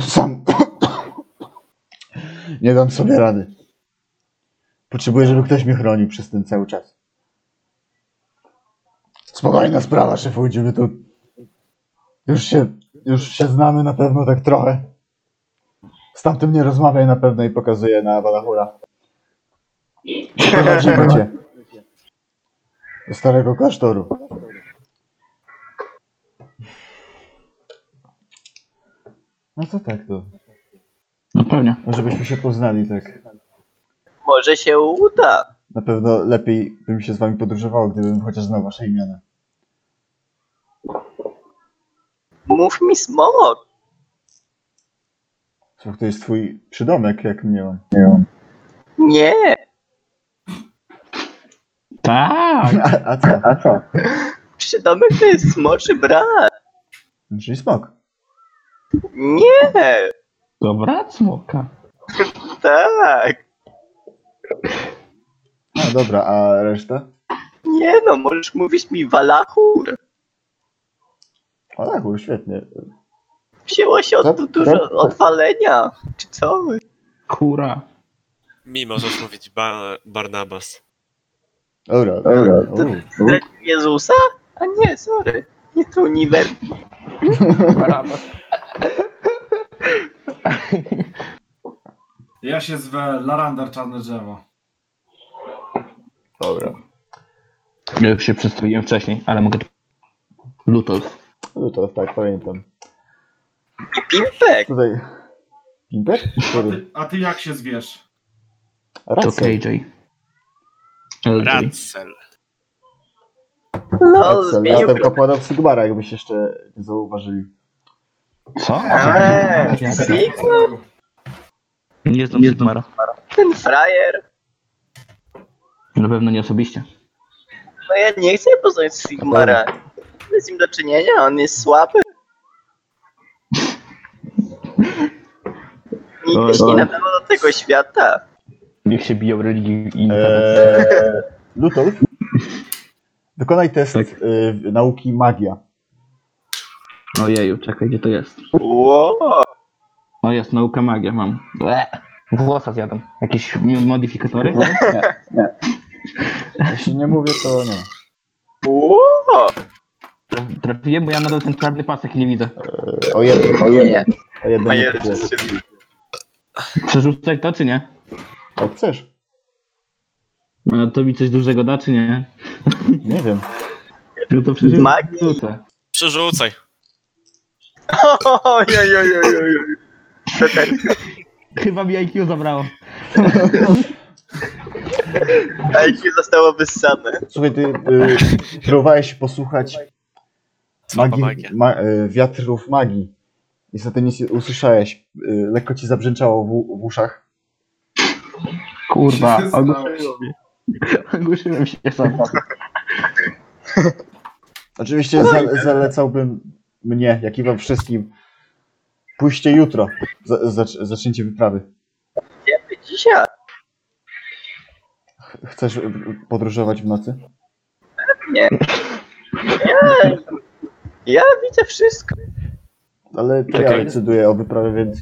S1: Sam. Nie dam sobie rady. Potrzebuję, żeby ktoś mnie chronił przez ten cały czas. Spokojna sprawa, szefu, idziemy tu. Już się, już się znamy na pewno tak trochę. Z tamtym nie rozmawiaj na pewno i pokazuję na Balahura. Prowadzimy cię. Do starego klasztoru. No to tak to.
S3: No pewnie.
S1: Może byśmy się poznali tak.
S2: Może się uda.
S1: Na pewno lepiej bym się z wami podróżowało, gdybym chociaż znał wasze imiona.
S2: Mów mi smok.
S1: Słuch, to jest twój przydomek, jak nie mam.
S2: Nie.
S3: Tak!
S1: A, a co? A co?
S2: Przydomek to jest smoczy brat.
S1: Czyli smok.
S2: Nie.
S3: Dobra, smoka.
S2: Tak.
S1: No dobra, a reszta?
S2: Nie no, możesz mówić mi walachur.
S1: O tak, było świetnie.
S2: Wzięło się od tu dużo odwalenia. Czy co?
S3: Kura.
S4: Mi możesz mówić ba- Barnabas.
S1: Dobra, dobra. U.
S2: Tak, Jezusa? A nie, sorry. Nie to uniwersum.
S5: Ja się zwę Larandar Czarne Drzewo.
S6: Ja już się przedstawiłem wcześniej, ale mogę... Lutolf.
S1: No to tak, pamiętam.
S2: Pimpek.
S1: Tutaj... Pimpek?
S5: A ty, a ty jak się zwiesz?
S6: To
S1: Racja.
S6: KJ. LJ.
S4: Ratzel.
S2: No,
S1: Racja. Ja
S2: zmienił
S1: jestem kapłanem Sigmara, jakbyś jeszcze nie zauważyli.
S6: Co?
S2: Eee, Sigma,
S6: Nie znam Sigmara.
S2: ten frajer.
S6: Na pewno nie osobiście.
S2: No ja nie chcę poznać Sigmara. Mamy z nim do czynienia, on jest słaby. Nigdy się nie nadawał do tego świata.
S6: Niech się biją religii i internet.
S1: Eee, Lutolf? Wykonaj test y, nauki magia.
S6: Ojeju, czekaj, gdzie to jest?
S2: Wow.
S6: No jest, nauka magia mam. Ble. Włosa zjadam. Jakieś m- modyfikatory?
S1: Jeśli nie mówię, to nie.
S2: Wow.
S6: Traf- Trafiłem, bo ja nadal ten czarny pasek nie widzę.
S1: E, O jeden, o jeden. O jeden.
S2: A
S1: nie
S2: ja
S1: kupię.
S6: Przerzucać to czy nie?
S1: Jak chcesz.
S6: A to mi coś dużego da czy nie?
S1: Nie wiem.
S6: No to przerzucę.
S2: Magii.
S4: Przerzucaj.
S2: Ojojojojojoj. To tak
S6: Chyba mi IQ zabrało.
S2: IQ zostało wyssane.
S1: Słuchaj, ty y, próbowałeś posłuchać
S4: Słaba
S1: magii,
S4: magia.
S1: ma, y, wiatrów magii. Niestety nic nie usłyszałeś. Y, lekko ci zabrzęczało w, w uszach.
S6: Kurwa,
S5: Się
S6: ogłuszyłem się. Ogłuszyłem się sam.
S1: Oczywiście za, zalecałbym mnie, jak i wam wszystkim, pójście jutro. Za, zacz- zacznięcie wyprawy.
S2: Dzisiaj.
S1: Ch- Chcesz y, y, podróżować w nocy?
S2: Ja, ja widzę wszystko.
S1: Ale to ja
S6: Czekaj.
S1: decyduję o wyprawie, więc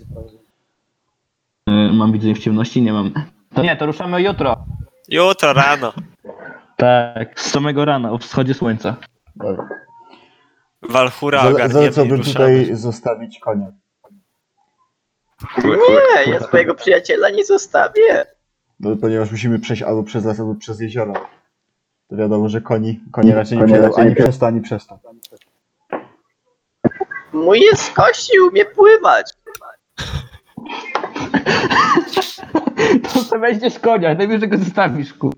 S6: Y, Mam widzenie w ciemności? Nie mam. To nie, to ruszamy jutro.
S4: Jutro rano.
S6: Tak, z samego rana, o wschodzie słońca.
S1: dobra.
S4: Walchura
S1: Zale,
S4: ogarniemy i
S1: zalecałbym
S4: ruszamy.
S1: tutaj zostawić konia.
S2: Nie, ja swojego przyjaciela nie zostawię.
S1: No, ponieważ musimy przejść albo przez las, albo przez jezioro. To wiadomo, że koni, konie raczej nie
S7: konie
S1: przejdą
S7: raczej
S1: ani
S7: nie
S1: przez to, ani przez to.
S2: Mój jest z kości, umie pływać.
S6: To se weźmiesz konia, najwyżej go zostawisz, kur...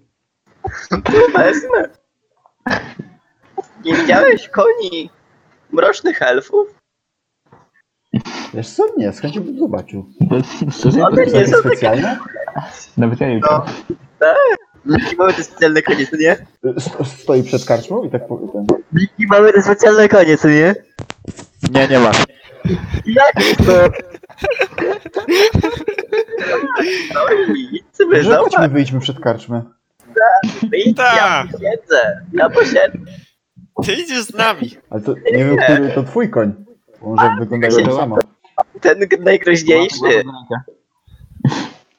S2: Wezmę. Nie widziałeś koni mrocznych elfów?
S1: Wiesz co? Nie, z chęcią bym zobaczył.
S6: Szczerze,
S2: Ale
S1: To
S2: No nie
S1: jest
S2: są takie...
S1: specjalne?
S6: nawet ja nie wiem.
S2: No. Miki mamy te specjalne konie, co nie?
S1: Y, sto- Stoi przed karczmą i tak powiem. ten-
S2: Miki mamy te specjalne konie, co nie?
S7: Nie, nie ma.
S2: Jak to? No i co my
S1: Że chodźmy,
S2: zobacz,
S1: wyjdźmy przed karczmę.
S2: ja
S4: Tak.
S2: posiedzę, ja posiedzę.
S4: Ty idziesz z nami.
S1: Ale to nie wiem, który to twój koń. Może wygląda
S6: Tak.
S1: jak to samo.
S2: Ten najgroźniejszy.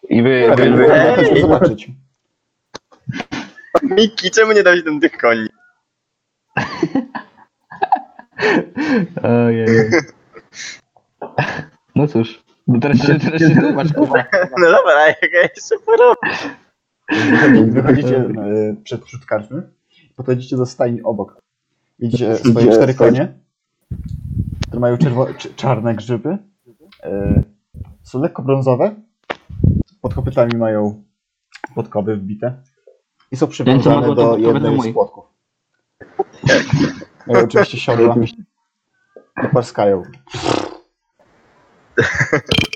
S6: I wy...
S1: Ej,
S6: wy...
S2: Ej.
S1: Chodźmy zobaczyć.
S2: Miki, czemu nie dałeś nam tych koni?
S6: Ojej. No cóż. Bo teraz się, teraz się tłumacz, kurwa.
S2: No dobra, jak ja jeszcze porobię.
S1: Wychodzicie e, przed przód karczmy, podchodzicie do stajni obok. Widzicie swoje cztery konie, które mają czerwo- cz- czarne grzyby. E, Są lekko brązowe. Pod kopytami mają podkowy wbite. I są
S6: Ten, co ma
S1: przywiązane
S6: go, to
S1: do
S6: podkowy, to
S1: jednej z
S6: mój.
S1: płotków. E, Mają oczywiście siodła. Poparskają.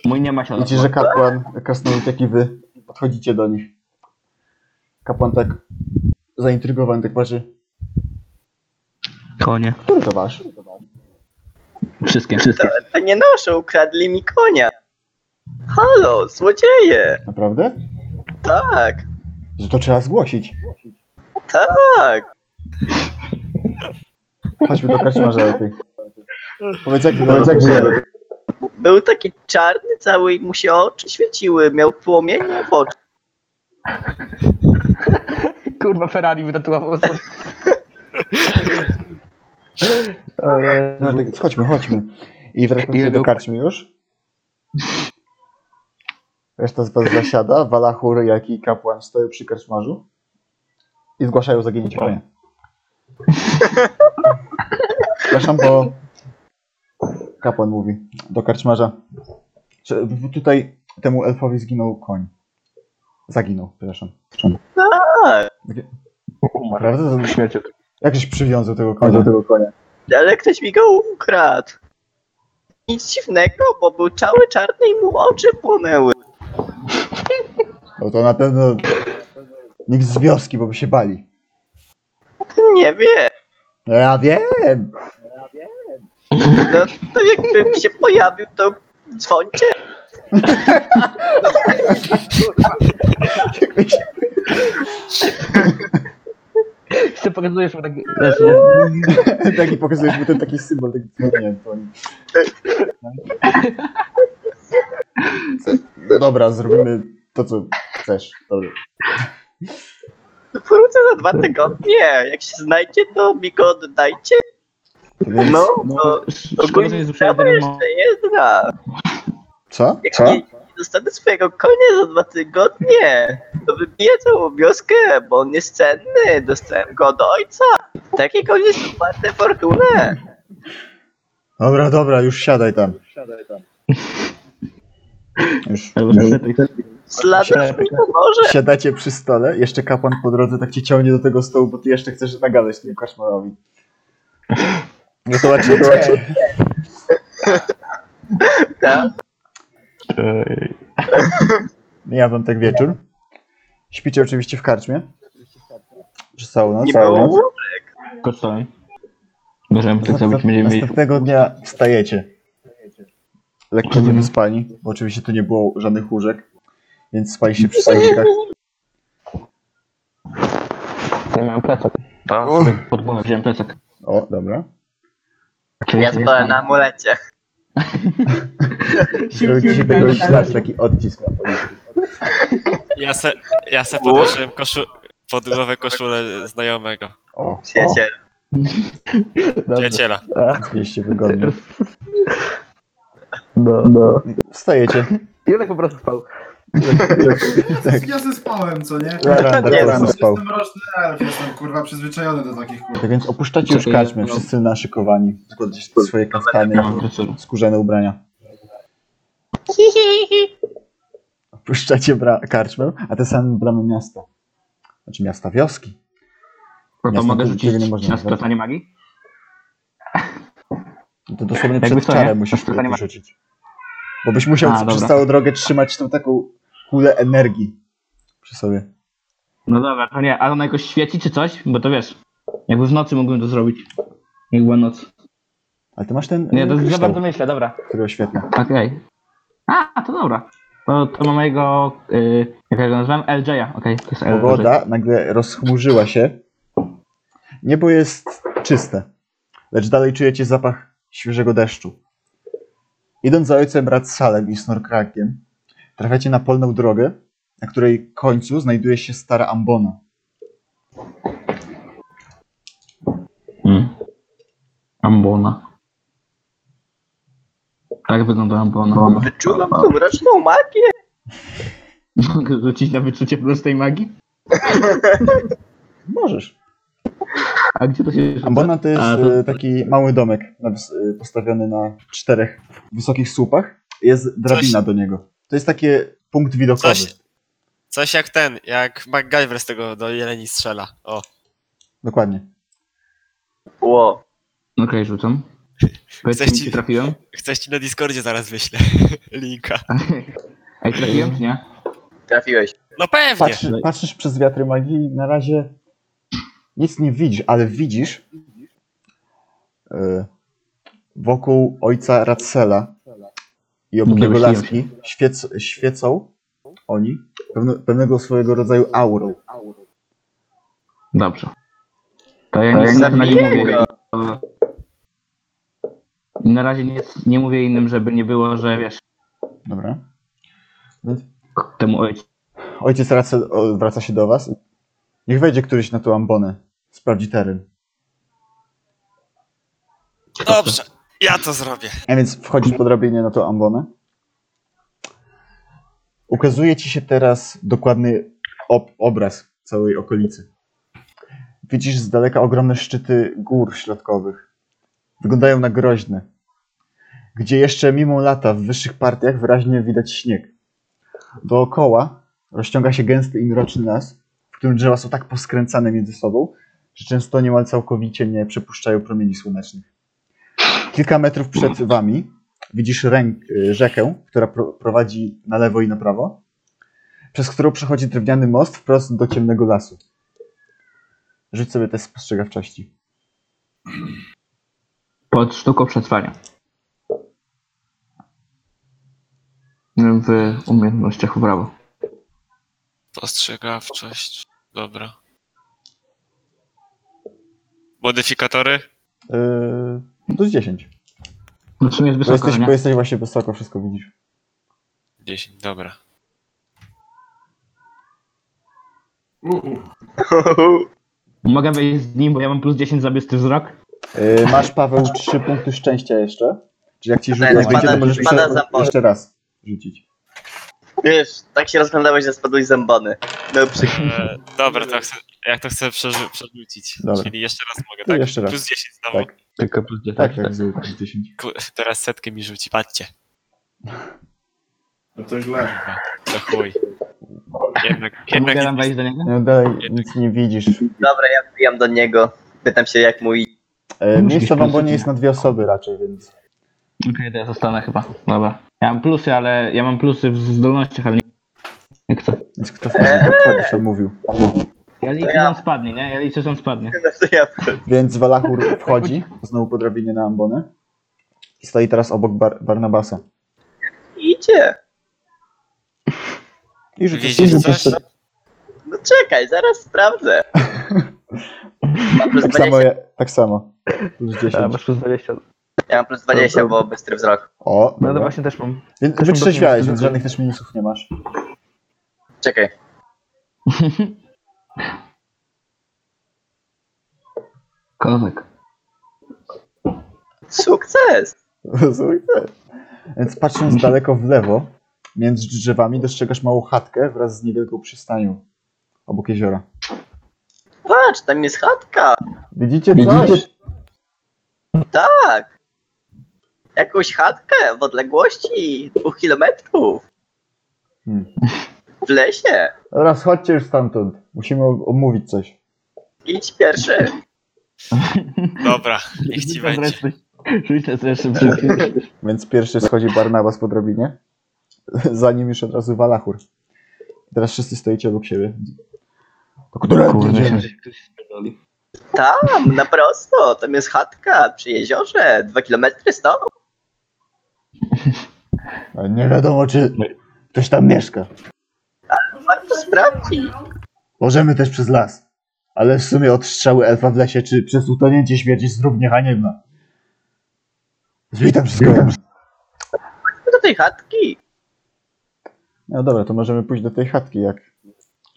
S6: Mój nie ma siodła.
S1: Widzicie, że kapłan, krasnolud jak i wy podchodzicie do nich. Kapłan tak zaintrygowany, tak patrzy.
S6: Konie.
S1: Który to wasz?
S6: Wszystkie, wszystkie.
S2: To nie noszę, ukradli mi konia. Halo, złodzieje!
S1: Naprawdę?
S2: Tak,
S1: Że to trzeba zgłosić.
S2: tak.
S1: Chodźmy do kaczmarza lepiej. Powiedz No, jak powiedz jak wygląda.
S2: Był taki czarny cały i mu się oczy świeciły, miał płomienie w oczy.
S6: Kurwa, Ferrari wytatuował.
S1: No, tak, Chodźmy, chodźmy. I wracamy do karczmy już. Reszta z was zasiada, Walachur, jak i kapłan stoją przy karczmarzu i zgłaszają zaginięcie konia. Przepraszam, bo kapłan mówi do karczmarza. Czy tutaj temu elfowi zginął koń. Zaginął, przepraszam.
S2: Tak,
S1: Naprawdę?
S6: Śmieciu.
S1: Jakżeś przywiązał tego konia? Do tego konia.
S2: ale ktoś mi go ukradł. Nic dziwnego, bo był cały czarny i mu oczy płonęły.
S1: No to na pewno nikt z wioski, bo by się bali.
S2: Nie wiem.
S1: No ja wiem!
S2: No to jakbym się pojawił, to dzwońcie.
S8: Este
S6: Ty pokazujesz mu tak...
S1: Taki pokazujesz mu ten taki symbol, taki dzwonię. No dobra, zrobimy to, co chcesz. Dobra.
S2: Wrócę No za dwa tygodnie. Jak się znajdzie, to mi go oddajcie.
S1: Więc,
S2: No, to
S6: Szkoda, że nie
S2: ogólnie
S6: słyszałem
S2: sprawa
S6: tego
S2: jeszcze jedna.
S1: co?
S2: Jak nie, nie dostanę swojego konia za dwa tygodnie, to wybiję całą wioskę, bo on jest cenny. Dostałem go od ojca. Takie konie są warte fortunę.
S1: Dobra, dobra, już siadaj tam. Już.
S6: Albo
S1: już.
S6: setek.
S2: Sladosz mi pomoże.
S1: Siadacie przy stole, jeszcze kapłan po drodze tak cię ciągnie do tego stołu, bo ty jeszcze chcesz nagadać temu kaszmarowi. No zobaczcie, zobaczcie.
S2: Tak.
S1: Ja wam tak wieczór. Śpicie oczywiście w karczmie. Przez całą noc.
S2: Nie było.
S6: Kosztołem. Możemy tak zrobić, będziemy mieli...
S1: Następnego dnia wstajecie. Lekko nie wyspani, bo oczywiście tu nie było żadnych łóżek, więc spali się przy sojnikach.
S6: Ja miałem plecak. Tak,
S1: O,
S6: Pod głowę wziąłem plecak.
S1: o, dobra.
S2: Ja spałem na amulecie.
S1: Zrobił się tego znać tak. taki odcisk na policzku.
S4: Ja se, ja se podłożyłem koszu, podróżowe koszulę znajomego,
S1: O,
S2: Przyjaciel.
S4: przyjaciela.
S1: oczywiście wygodnie.
S6: No, no.
S1: Wstajecie.
S6: I on tak po prostu spał.
S1: Tak.
S5: Ja ze spałem, co nie?
S1: Laran,
S2: Nie,
S1: Laran spał.
S5: Jestem roczny elf, jestem kurwa przyzwyczajony do takich kurwa.
S1: Tak więc opuszczacie już
S6: Czekaj,
S1: karczmę,
S6: no.
S1: wszyscy naszykowani. Składacie swoje kaftany
S6: Ja mam koszulę.
S1: i skórzane ubrania. Opuszczacie bra- karczmę, a te same bramy miasta. Znaczy miasta wioski.
S6: No to
S1: Jasne,
S6: mogę
S1: tu tego nie
S6: rzucić
S1: można
S6: na
S1: nazwać.
S6: skracanie magii?
S1: To dosłownie
S6: Jakby
S1: przed
S6: co, nie?
S1: czarem musisz
S6: To nie ma-
S1: rzucić. Bo byś musiał
S6: A,
S1: przez
S6: dobra.
S1: całą drogę trzymać tą taką kulę energii przy sobie.
S6: No dobra, to nie, ale ona jakoś świeci czy coś? Bo to wiesz, jakby w nocy mógłbym to zrobić. Jak była noc.
S1: Ale ty masz ten y,
S6: Nie, to
S1: kryształ,
S6: za bardzo myślę, dobra.
S1: Mm, który oświetla.
S6: Okej. A, to dobra. To, to ma mojego, yy, jak ja go nazywam? LJ-a, okej, to jest LJ.
S1: Pogoda nagle rozchmurzyła się. Niebo jest czyste, lecz dalej czujecie zapach świeżego deszczu. Idąc za ojcem Radsalem i Snorkrakiem, trafiacie na polną drogę, na której końcu znajduje się stara ambona.
S6: Mm. Ambona. Tak wyglądała
S4: No,
S6: bona.
S2: Wyczulam tą mroczną magię.
S6: Mogę rzucić na wyczucie prostej magii?
S1: Możesz.
S6: A gdzie to się rzuca?
S1: Ambona to jest
S6: A, to-
S1: e, taki mały domek na, wys- e, postawiony na czterech wysokich słupach. Jest drabina do niego. To jest taki punkt widokowy.
S4: Coś, coś jak ten, jak MacGyver z tego do jeleni strzela. O,
S1: Dokładnie.
S2: Ło,
S6: Okej, rzucam. Powiedz
S4: Chcesz
S6: mi,
S4: ci-
S6: czy trafiłem?
S4: chcesz ci na Discordzie zaraz wyślę linka.
S6: Ej, trafiłem czy nie?
S2: trafiłeś.
S4: No pewnie.
S1: Patrzy, patrzysz przez wiatry magii i na razie nic nie widzisz, ale widzisz e, wokół ojca Radsela i obok
S6: Nie
S1: jego
S6: domyśliłem
S1: laski świec, świecą oni pewne, pewnego swojego rodzaju aurą.
S6: Dobrze. To ja nic na razie nie mówię. Na razie nic nie mówię innym, żeby nie było, że wiesz,
S1: Dobra.
S6: temu ojcu.
S1: Ojciec Radsel odwraca się do was. Niech wejdzie któryś na tą ambonę. Sprawdzi teren.
S4: Dobrze, ja to zrobię.
S1: A więc wchodzisz po drabinie na tą ambonę. Ukazuje ci się teraz dokładny ob obraz całej okolicy. Widzisz z daleka ogromne szczyty gór środkowych. Wyglądają na groźne. Gdzie jeszcze mimo lata w wyższych partiach wyraźnie widać śnieg. Dookoła rozciąga się gęsty i mroczny las, w którym drzewa są tak poskręcane między sobą, że często niemal całkowicie nie przepuszczają promieni słonecznych. Kilka metrów przed wami widzisz ręk, y, rzekę, która pro, prowadzi na lewo i na prawo, przez którą przechodzi drewniany most wprost do ciemnego lasu. Rzuć sobie test spostrzegawczości.
S6: Pod sztuką przetrwania. W umiejętnościach w prawo.
S4: Postrzegawczość. Dobra. Modyfikatory?
S1: Yy, plus 10.
S6: No w sumie jest
S1: Bo
S6: wysoko,
S1: jesteś,
S6: nie?
S1: bo jesteś właśnie wysoko, wszystko widzisz.
S4: 10, dobra.
S5: Uhu.
S6: Mogę wejść z nim, bo ja mam plus 10 za bystry wzrok.
S1: Yy, masz, Paweł, 3 punkty szczęścia jeszcze. Czyli jak ci rzut
S2: Teraz
S1: raz wyjdzie, to
S2: pada-
S1: możesz
S2: pada
S1: prze,
S2: za pole.
S1: jeszcze raz rzucić.
S2: Wiesz, tak się rozglądałeś, że spadłeś zębany. No przykro.
S4: E, dobra, to chcę, jak to chcę przeży- przerzucić.
S1: Dobra.
S4: Czyli jeszcze raz mogę,
S1: To
S4: tak?
S1: jeszcze raz.
S4: Plus 10 znowu.
S1: Tak.
S6: Tylko plus 10.
S1: Tak, tak, zwykle 10.
S4: Ku- Teraz setkę mi rzuci, patrzcie.
S5: No to źle.
S4: Kurwa, To chuj. Jednak,
S6: Czy mogę
S4: jednak
S6: tam wejść do niego?
S1: No dalej nic nie widzisz.
S2: Dobra, ja wbijam do niego. Pytam się, jak mój.
S1: Yy, miejsce w
S6: plus
S1: ambonie
S6: jeden.
S1: jest na dwie osoby raczej, więc...
S6: Okej, to ja zostanę chyba. Dobra. Ja mam plusy, ale ja mam plusy w zdolnościach, ale nie. Jak co?
S1: Więc
S2: E,
S1: kto wchodzi, kto wchodzi, co mówił.
S6: Ja liczę, że on spadnie, nie? Ja liczę, że on spadnie.
S2: No to ja.
S1: Więc Walachur wchodzi, znowu po drabinie na ambonę i stoi teraz obok Bar- Barnabasa.
S2: Idzie.
S1: I
S4: widzisz coś?
S2: No czekaj, zaraz sprawdzę. Mam plus
S1: Tak samo,
S2: 20.
S1: ja, tak samo. Plus 10.
S6: plus 20.
S2: Ja mam plus 20, bo bystry wzrok.
S1: O,
S6: No to
S1: dobra.
S6: właśnie też mam.
S1: Więc
S6: też
S1: wytrzeźwiałeś,
S6: obecnie-
S1: więc żadnych też minusów nie masz.
S2: Czekaj.
S6: Kozak.
S2: Sukces!
S1: Słuchaj. Więc patrząc daleko w lewo, między drzewami dostrzegasz małą chatkę wraz z niewielką przystanią obok jeziora.
S2: Patrz, tam jest chatka.
S1: Widzicie coś?
S2: Tak. Jakąś chatkę w odległości dwóch kilometrów.
S1: Hmm.
S2: W lesie.
S1: Dobra, schodźcie już stamtąd. Musimy o- omówić coś.
S2: Idź pierwszy.
S4: Dobra, niech ci będzie.
S6: Rzucę zresztą wszystkim.
S1: Więc pierwszy schodzi Barnabas po drobinie, za nim już od razu Walachur. Teraz wszyscy stoicie obok siebie. Tak To którędy idziemy?
S2: Tam, na prosto. Tam jest chatka przy jeziorze. Dwa kilometry stąd.
S1: Ale Nie wiadomo, czy ktoś tam mieszka.
S2: Warto sprawdzić.
S1: Możemy też przez las. Ale w sumie od strzały elfa w lesie, czy przez utonięcie śmierć jest równie haniebna. Zwitam wszystko.
S2: Do tej chatki.
S1: No dobra, to możemy pójść do tej chatki, jak...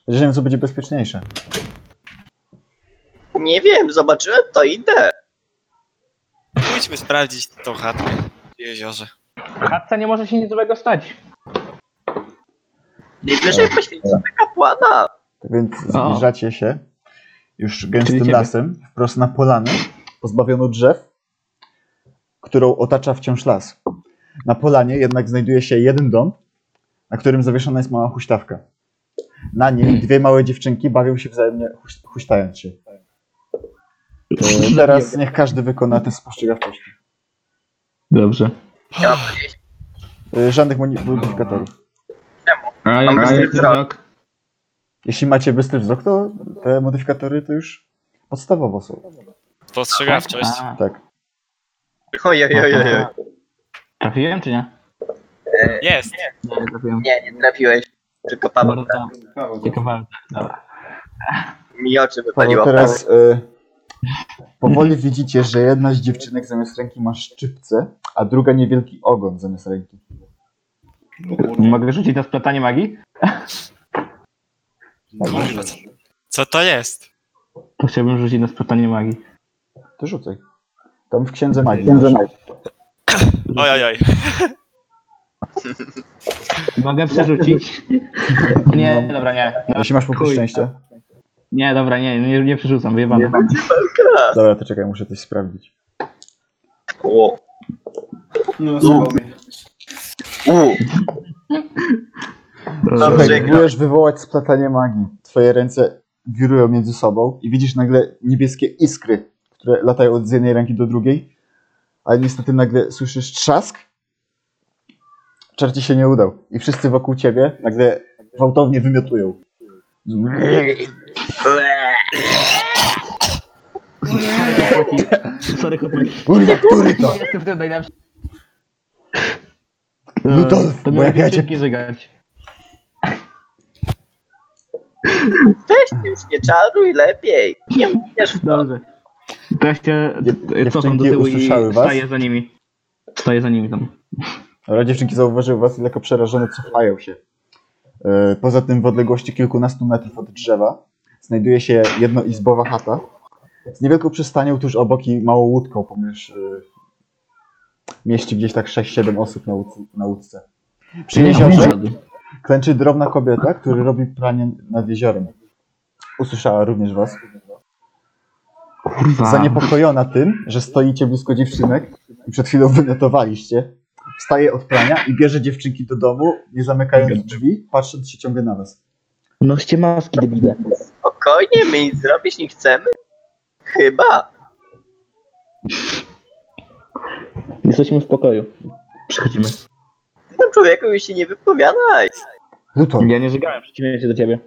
S1: Chociaż nie wiem, co będzie bezpieczniejsze.
S2: Nie wiem, zobaczyłem to idę.
S4: Pójdźmy sprawdzić tą chatkę w jeziorze.
S6: Matce nie może się nic złego stać.
S2: Najwyżej
S6: E.
S2: poświęcimy kapłana.
S1: Więc
S6: O.
S1: zbliżacie się już
S6: Czyli
S1: gęstym
S6: ciebie.
S1: lasem, wprost na polanę, pozbawioną drzew, którą otacza wciąż las. Na polanie jednak znajduje się jeden dom, na którym zawieszona jest mała huśtawka. Na
S6: Hmm.
S1: nim dwie małe dziewczynki bawią się wzajemnie huś- huśtając się.
S6: Tak.
S1: E, Teraz niech każdy wykona test spostrzegawczości.
S6: Dobrze.
S2: Ja mam powiedzieć,
S1: E, Żadnych moni- modyfikatorów.
S6: A jak
S2: bystry
S6: jest
S2: wzrok.
S6: rok?
S1: Jeśli macie bystry wzrok, to te modyfikatory to już podstawowo są.
S4: Postrzegawczość.
S6: A,
S1: Tak.
S2: Oj, oj, oj, oj, oj.
S6: Trafiłem czy nie?
S4: Jest.
S6: Nie, nie trafiłem.
S2: Nie, nie trafiłeś. Tylko Paweł
S6: Dobra,
S5: Paweł,
S6: tylko walka. Dobra.
S2: mi oczy wypaliło.
S1: Paweł, teraz y, powoli widzicie, że jedna z dziewczynek zamiast ręki ma szczypce, a druga niewielki ogon zamiast ręki.
S6: Mogę rzucić na splatanie magii?
S1: Tak.
S4: Kurwa, co- Co to jest?
S6: To chciałbym rzucić na splatanie magii.
S1: To rzucaj. Tam w księdze magii.
S4: Oj, oj, oj.
S6: Mogę przerzucić? Nie, dobra, nie. No,
S1: Jeśli masz punkt
S6: Chuj.
S1: szczęścia.
S6: Nie, dobra, nie, nie, nie przerzucam, wyjebane.
S1: Dobra, to czekaj, muszę coś sprawdzić.
S2: O,
S5: No, spokojnie.
S2: u,
S1: Słuchaj,
S6: Dobra.
S2: Dobrze.
S1: próbujesz wywołać splatanie magii. Twoje ręce wirują między sobą i widzisz nagle niebieskie iskry, które latają od z jednej ręki do drugiej, ale niestety nagle słyszysz trzask. Czar ci się nie udał i wszyscy wokół ciebie nagle gwałtownie wymiotują.
S2: le.
S6: Sorry, chłopaki.
S1: Kurde, który to?
S6: Jestem w tym najlepszy.
S1: Ludolf,
S6: No to
S1: bo jak
S6: miałem
S1: ja cię...
S6: szybki żygać.
S2: Weź już nie czaruj lepiej. Nie umiesz w to.
S6: Dobrze. To ja się
S1: Dziew-
S6: cofam
S1: dziewczynki
S6: do tyłu i
S1: usłyszały was?
S6: staję za nimi. Staję za nimi tam.
S1: Dobra, dziewczynki zauważyły was i lekko przerażone cofają się. E, Poza tym w odległości kilkunastu metrów od drzewa znajduje się jednoizbowa chata z niewielką przystanią tuż obok i małą łódką, ponieważ e, mieści gdzieś tak 6-7 osób na, łódce- na łódce. Przy jeziorze klęczy drobna kobieta, która robi pranie nad jeziorem. Usłyszała również was.
S6: Kurwa.
S1: Zaniepokojona tym, że stoicie blisko dziewczynek i przed chwilą wymiotowaliście, wstaje od prania i bierze dziewczynki do domu, nie zamykając drzwi, patrząc się ciągle na was.
S6: Noście maski, debile.
S2: Spokojnie, my nic zrobić nie chcemy. Chyba.
S6: Jesteśmy w pokoju. Przechodzimy.
S2: Tym człowieku już się nie wypowiadaj.
S1: Luton,
S6: Ja nie żygałem, przeciwnie się do ciebie.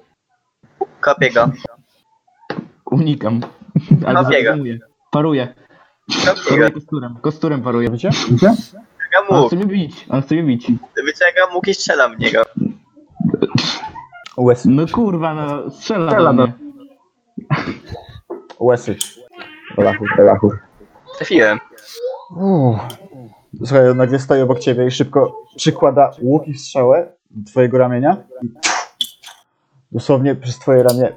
S2: Kopię go.
S6: Unikam.
S2: Kopię go.
S6: Ale zajmuję. Paruję.
S2: Kopię go.
S6: Paruję kosturem. Kosturem paruję.
S1: wiecie?
S2: Wyciągam
S6: On
S2: łuk.
S6: chce mnie bić. On chce mnie bić.
S2: Wyciągam łuk i strzelam w niego.
S1: Łesy.
S6: No kurwa, no strzela,
S1: Strzela
S6: do
S1: do-
S6: mnie.
S1: Łesy. Polaków, Polaków.
S2: Trafiłem.
S1: Uuu. Słuchaj, on nagle stoi obok ciebie i szybko przykłada łuk i strzałę do twojego ramienia. I dosłownie przez twoje ramię.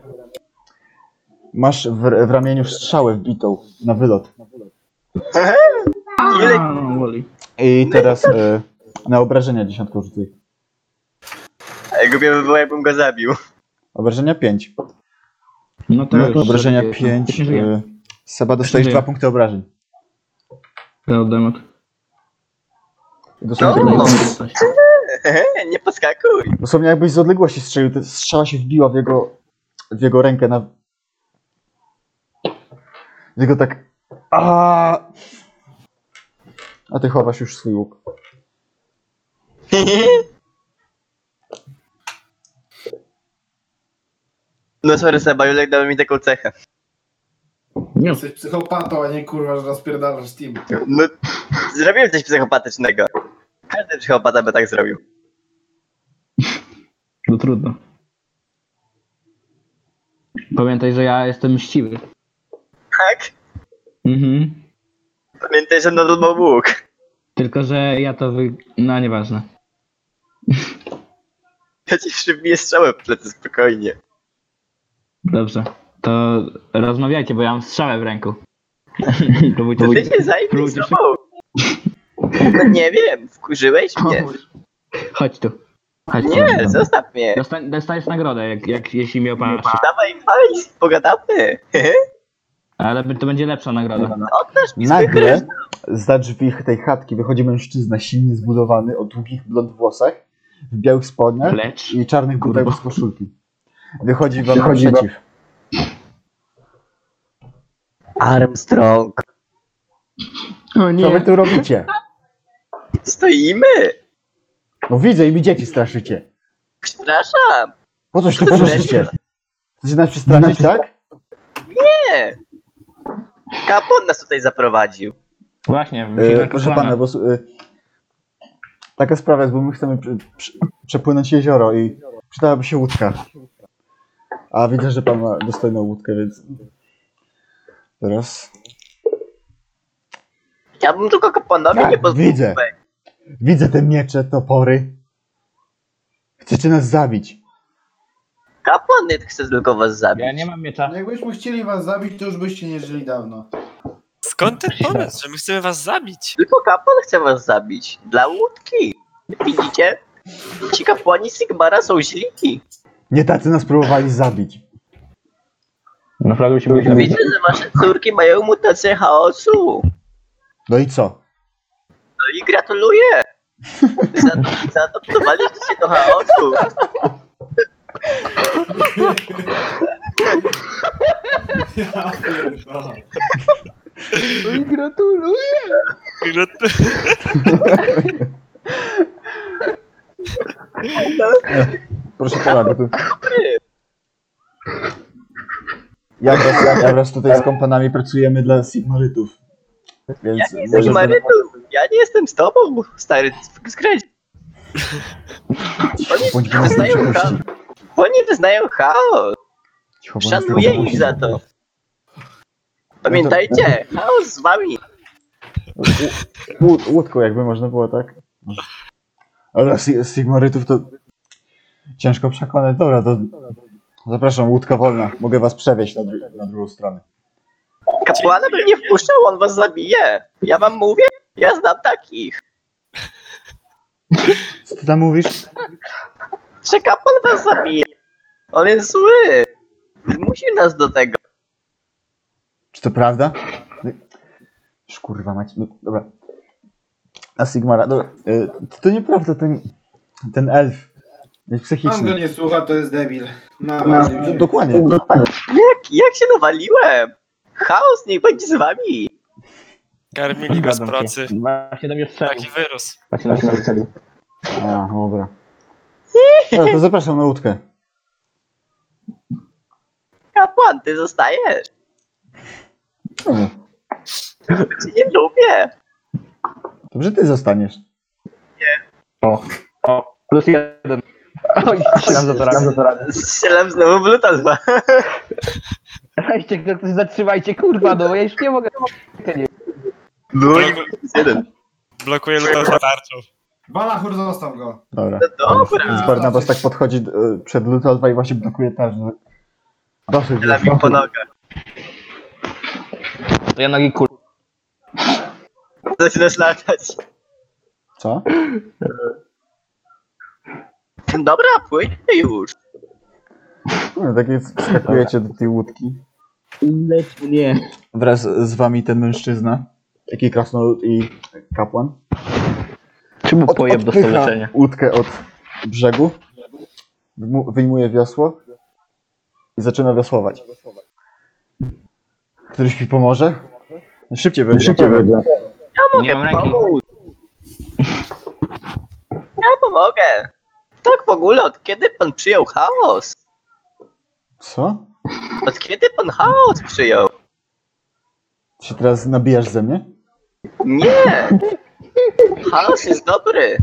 S1: Masz w, w ramieniu strzałę wbitą na wylot.
S2: Ile
S6: A, no, woli.
S1: I teraz y, na obrażenia dziesiątką rzucaj.
S2: głupio by było, jakbym go zabił.
S1: Obrażenia 5.
S6: No to już.
S1: Obrażenia
S6: Żyję.
S1: 5.
S6: Nie żyję.
S1: Seba, dostajesz
S6: Żyję.
S1: 2 punkty obrażeń.
S6: Ja oddam od-
S1: Dosłownie,
S2: No.
S6: Coś.
S2: nie podskakuj.
S1: dosłownie jakbyś z odległości strzelił, ta strzała się wbiła w jego, w jego rękę na... Jego tak... A... A ty chowasz już swój łuk.
S2: No sorry, Seba, Julek dał mi taką cechę.
S6: Nie,
S5: Jesteś psychopatą, a nie kurwa, że rozpierdalasz team.
S2: No, zrobiłem coś psychopatycznego. Każdy psychopata by tak zrobił.
S6: to no trudno. Pamiętaj, że ja jestem mściwy.
S2: Tak?
S6: Mhm.
S2: Pamiętaj, że nadal ma łuk.
S6: Tylko, że ja to wy... No, nieważne.
S2: Ja ci przybiję strzałę w plecy, spokojnie.
S6: Dobrze. To rozmawiajcie, bo ja mam strzałę w ręku. to
S2: To
S6: wójcie,
S2: ty się zajmij
S6: próbujcie
S2: sobą. No nie wiem, wkurzyłeś mnie.
S6: Chodź tu. Chodź
S2: Nie,
S6: tu.
S2: zostaw mnie.
S6: Dostań, dostajesz nagrodę, jak, jak, jeśli mnie opalasz.
S2: Dawaj, fajnie, pogadamy.
S6: Ale to będzie lepsza nagroda.
S2: No, Oddasz mi swój
S1: Nagle za drzwi tej chatki wychodzi mężczyzna silnie zbudowany o długich blond włosach, w białych spodniach
S6: Lecz.
S1: i czarnych
S6: Kurwa.
S1: butach z koszulki. Wychodzi wam
S2: Wychodzi wam-
S1: naprzeciw.
S2: Armstrong.
S6: O
S1: Co wy tu robicie?
S2: Stoimy.
S1: No widzę i mi dzieci straszycie.
S2: Przepraszam.
S1: Po coś tu
S2: Lecie.
S1: przyszliście? Chcecie nas przestraszyć, tak?
S2: Nie. Kapon nas tutaj zaprowadził.
S6: Właśnie,
S1: E,
S6: musimy
S1: proszę
S6: kolana.
S1: pana, bo s- e, taka sprawa jest, bo my chcemy przy, przy, przepłynąć jezioro i przydałaby się łódka. A widzę, że pan ma dostojną łódkę, więc teraz
S2: Ja bym tylko kaponowi
S1: Tak,
S2: nie pozwolił.
S1: widzę. widzę te miecze, topory. Chcecie nas zabić.
S2: Kapon chce tylko was zabić.
S6: Ja nie mam miecza.
S7: Jakbyśmy chcieli was zabić, to już byście nie żyli dawno.
S4: Skąd ten pomysł, że my chcemy was zabić?
S2: Tylko kapłan chce was zabić. Dla łódki. Widzicie? Ci kapłani Sigmara są źli.
S1: Nie tacy nas próbowali zabić.
S6: Naprawdę się boję.
S2: Wiecie, że wasze córki mają mutację chaosu.
S1: No i co?
S2: No i gratuluję. Zado- Zaadoptowaliście się do chaosu.
S5: Ja pierdolę.
S1: Proszę pana, bo tu... Ja wraz, ja wraz tutaj z kompanami pracujemy dla Sigmarytów. Więc
S2: Jesteś
S1: może-
S2: Marytu. Ja nie jestem z tobą, stary. Skręć.
S1: Bądź nas nie
S2: Znają
S1: przepuści.
S2: chaos. Oni wyznają chaos.
S1: Cicho, bo nas nie
S2: Szanuję
S1: przepuści.
S2: ich za to. Pamiętajcie,
S1: No
S2: chaos z wami.
S1: Łód, łódką jakby można było, tak? Ale si- Sigmarytów to ciężko przekonać. Dobra, to zapraszam, łódka wolna. Mogę was przewieźć na, dru- na drugą stronę.
S2: Kapłana bym nie wpuszczał, on was zabije. Ja wam mówię, ja znam takich.
S1: Co ty tam mówisz?
S2: Że kapłan was zabije. On jest zły. Musi nas do tego.
S1: Czy to prawda? Szkurwa macie. No, dobra. A Sigmara, dobra. y, To, to nieprawda, ten, ten elf jest
S7: Pan go
S1: psychiczny.
S7: nie słucha, to jest debil. No,
S1: No, Dokładnie.
S2: Jak, jak się nawaliłem? Chaos niech będzie z wami.
S4: Karmili go z pracy.
S6: Właśnie do mnie strzelił.
S4: Taki wyrósł.
S6: Właśnie do mnie strzelił.
S1: A, dobra. Dobra, to zapraszam na łódkę.
S2: Kapłan, ty zostajesz.
S1: Czemu?
S2: Cię nie lubię.
S1: Dobrze ty zostaniesz.
S6: O, plus jeden. Oj, strzelam za to raz.
S2: Strzelam znowu w Lutalwa.
S6: Weźcie, go ktoś zatrzymajcie, kurwa, no ja już nie mogę.
S2: No i jeden.
S4: Blokuje Lutosza tarczą.
S7: Balachur zostaw go.
S1: Dobra.
S2: No
S1: Więc
S2: dobra.
S1: Barnabas tak podchodzi e, przed Lutolwa i właśnie blokuje tarczę. Dosyć.
S2: Dla mi po nogach.
S6: To ja nogi kurwa.
S2: Zaczynasz latać.
S1: Co?
S2: Dobra, płynie już.
S1: No, tak jest, skakujecie do tej łódki.
S6: Lecz mnie.
S1: Wraz z wami ten mężczyzna, taki krasnolud i kapłan,
S6: Czemu
S1: od,
S6: pojeb do
S1: odpycha
S6: stowarzyszenia?
S1: łódkę od brzegu, wymu- wyjmuje wiosło i zaczyna wiosłować. Któryś mi pomoże? No, Szybciej będzie. Szybciej będzie.
S6: Nie mam ręki.
S2: Pomóż. Ja pomogę. Tak w ogóle, od kiedy pan przyjął chaos?
S1: Co?
S2: Od kiedy pan chaos przyjął?
S1: Ty się teraz nabijasz ze mnie?
S2: Nie. Chaos jest dobry.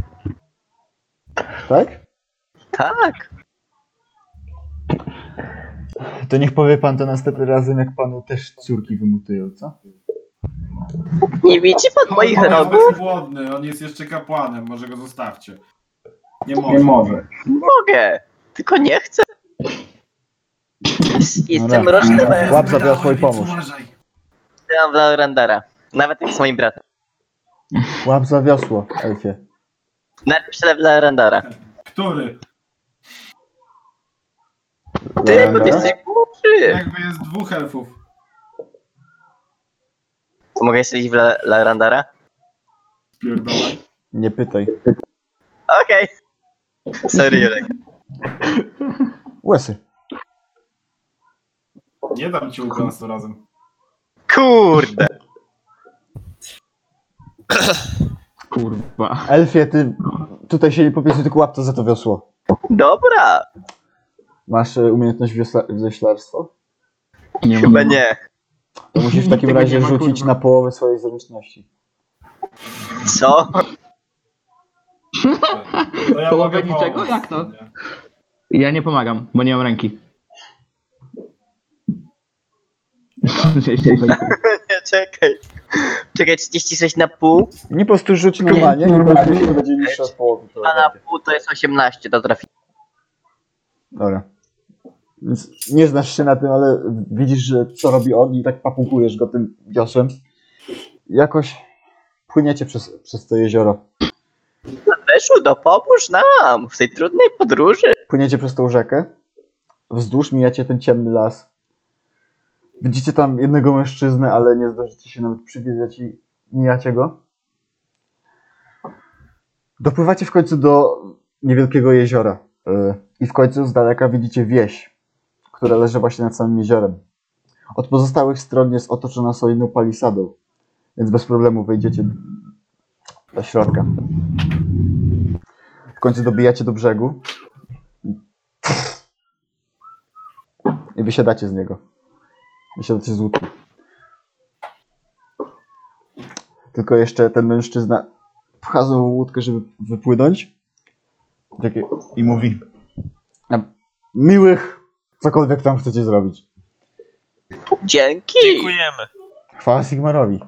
S1: Tak?
S2: Tak.
S1: To niech powie pan to następnym razem, jak panu też córki wymutują, co?
S2: Nie widzi pan moich
S5: on
S2: rogów?
S5: jest bezwładny, on jest jeszcze kapłanem, może go zostawcie. Nie może.
S2: Mogę, tylko nie chcę. Jestem
S5: No
S1: Dobra.
S2: roczny
S1: Łap za Tak. wiosło i pomóż.
S5: Uważaj.
S2: na Randara. Nawet jak z moim bratem.
S1: Łap za wiosło, elfie.
S2: Najpierw się dla Randara.
S5: Który?
S2: Ty, bo ty jesteś głupi.
S5: Jakby jest dwóch elfów.
S2: To mogę strzelić w La- La Randara?
S5: Pierdolę.
S1: Nie pytaj.
S2: Okej. tak. Sorry, Jurek.
S1: Łysy.
S5: Nie dam ci ukłon tym razem.
S2: Kurde.
S6: Kurwa.
S1: Elfie, ty tutaj się nie popisuj, tylko łap to za to wiosło.
S2: Dobra.
S1: Masz e, umiejętność wiosla- wioślarstwa?
S6: Nie
S2: Chyba
S6: mam.
S2: nie.
S1: To musisz w takim
S6: Tego nie
S1: razie
S6: ma,
S1: rzucić
S6: kurwa.
S1: na połowę swojej zręczności.
S2: Co?
S5: To ja
S6: Połowę
S5: mogę
S6: niczego?
S5: pomóc.
S6: Jak to? Ja nie pomagam, bo nie mam ręki.
S2: Nie, czekaj. Czekaj, 36 na pół,
S1: Nie po prostu rzuć normalnie, nie będzie, będzie niższa od połowy. to
S2: a na
S1: będzie.
S2: pół to jest 18, to trafi.
S1: Dobra. Więc nie znasz się na tym, ale widzisz, że co robi on i tak papukujesz go tym wiosłem. Jakoś płyniecie przez, przez to jezioro.
S2: Weszło do no pomóż nam w tej trudnej podróży.
S1: płyniecie przez tą rzekę, wzdłuż mijacie ten ciemny las. Widzicie tam jednego mężczyznę, ale nie zdążycie się nawet przywiedzać i mijacie go. Dopływacie w końcu do niewielkiego jeziora y, i w końcu z daleka widzicie wieś, która leży właśnie nad samym jeziorem. Od pozostałych stron jest otoczona solidną palisadą, więc bez problemu wejdziecie do środka. W końcu dobijacie do brzegu. I wysiadacie z niego. Wysiadacie z łódki. Tylko jeszcze ten mężczyzna pcha znowu łódkę, żeby wypłynąć. Takie, I mówi. "Na Miłych, cokolwiek tam chcecie zrobić.
S2: Dzięki.
S4: Dziękujemy.
S1: Chwała Sigmarowi.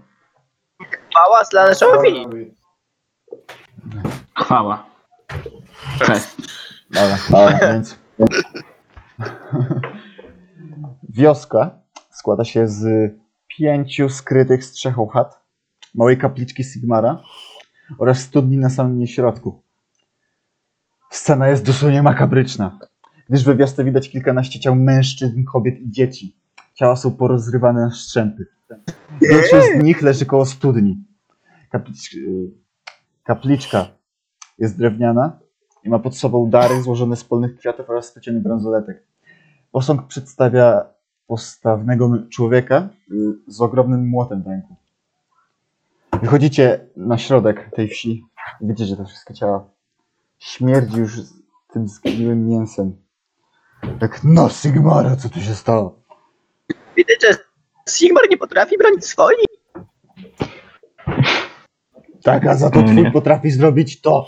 S2: Chwała Slaneszowi.
S6: Chwała. Cześć.
S1: Dobra, dobra, więc. Wioska składa się z pięciu skrytych strzechą chat, małej kapliczki Sigmara oraz studni na samym jej środku. Scena jest dosłownie makabryczna, gdyż we wiosce widać kilkanaście ciał mężczyzn, kobiet i dzieci. Ciała są porozrywane na strzępy. Większość z nich leży koło studni. Kaplicz... y, Kapliczka jest drewniana, i ma pod sobą dary złożone z polnych kwiatów oraz splecionych bransoletek. Posąg przedstawia postawnego m- człowieka y, z ogromnym młotem w ręku. Wychodzicie na środek tej wsi. Widzicie te wszystkie ciała. Śmierdzi już z- tym zgniłym mięsem. Jak no Sigmara, co tu się stało?
S2: Widać, że Sigmar nie potrafi bronić swoich.
S1: Tak, a za to
S6: Nie.
S1: twój potrafi zrobić to.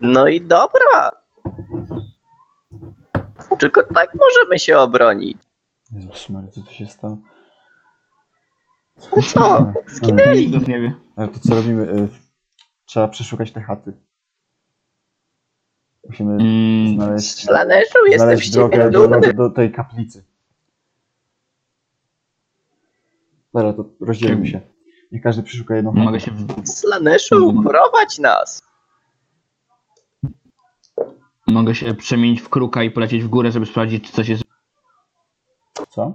S2: No i dobra. Tylko tak możemy się obronić.
S1: Jezus Mary, co tu się stało?
S2: Co? Zginęli.
S6: Nikt nie wie.
S1: Ale to co robimy? Y, Trzeba przeszukać te chaty. Musimy
S6: Mm,
S1: znaleźć,
S2: Slaneszu, jestem z
S1: znaleźć
S2: ciebie
S1: drogę, drogę
S6: no.
S2: dumny.
S1: do tej kaplicy. Dobra, to rozdzielmy się. Niech każdy przeszuka jedną chatę.
S6: mogę się... w-
S2: Slaneszu, prowadź nas.
S6: Mogę się przemienić w kruka i polecieć w górę, żeby sprawdzić, czy coś jest...
S1: Co?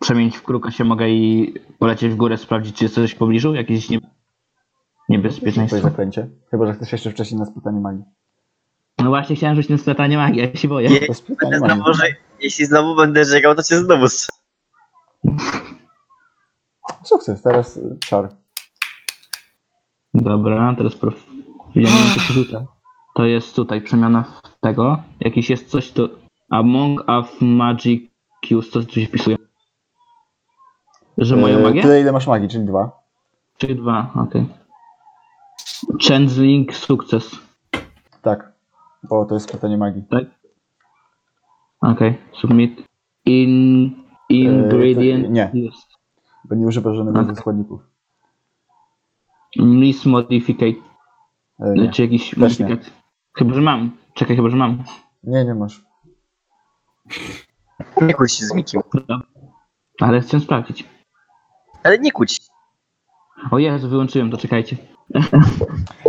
S6: Przemienić w kruka się mogę i polecieć w górę, sprawdzić, czy jest coś w pobliżu? Jakieś nie...
S1: To jest
S6: niebezpieczeństwo.
S1: zaklęcie. Chyba, że chcesz jeszcze wcześniej na spytanie magii.
S6: No właśnie, chciałem rzucić na splatanie magii, ja się boję.
S2: Je-
S1: To jest
S2: Będę
S1: pytanie magii.
S2: znowu, że No jeśli znowu będę żegał, to cię znowu strzelę.
S1: Sukces, teraz y, czar.
S6: Dobra, teraz prof. Widziałem, że to się rzuca. To jest tutaj przemiana w tego. Jakiś jest coś to. Among of Magic Use, co tu się wpisuje? Że moją
S1: Y,
S6: magię?
S1: Tyle, ile masz magii, czyli dwa.
S6: Czy dwa, okej. Changeling sukces. Tak.
S1: Tak, bo to jest pytanie magii.
S6: Okej, submit. In,
S1: E,
S6: ingredient Tak.
S1: nie.
S6: used.
S1: Bo nie używasz żadnego ze
S6: Okej.
S1: składników.
S6: Miss modificate.
S1: Y, Nie.
S6: Czy jakiś
S1: nie.
S6: modyfikat. Chyba, że mam. Czekaj, chyba, że mam.
S1: nie, nie masz.
S2: Nie kłóć się z Mikim.
S6: Ale chcę sprawdzić.
S2: Ale nie kłóć się.
S6: O Jezu, wyłączyłem to, czekajcie.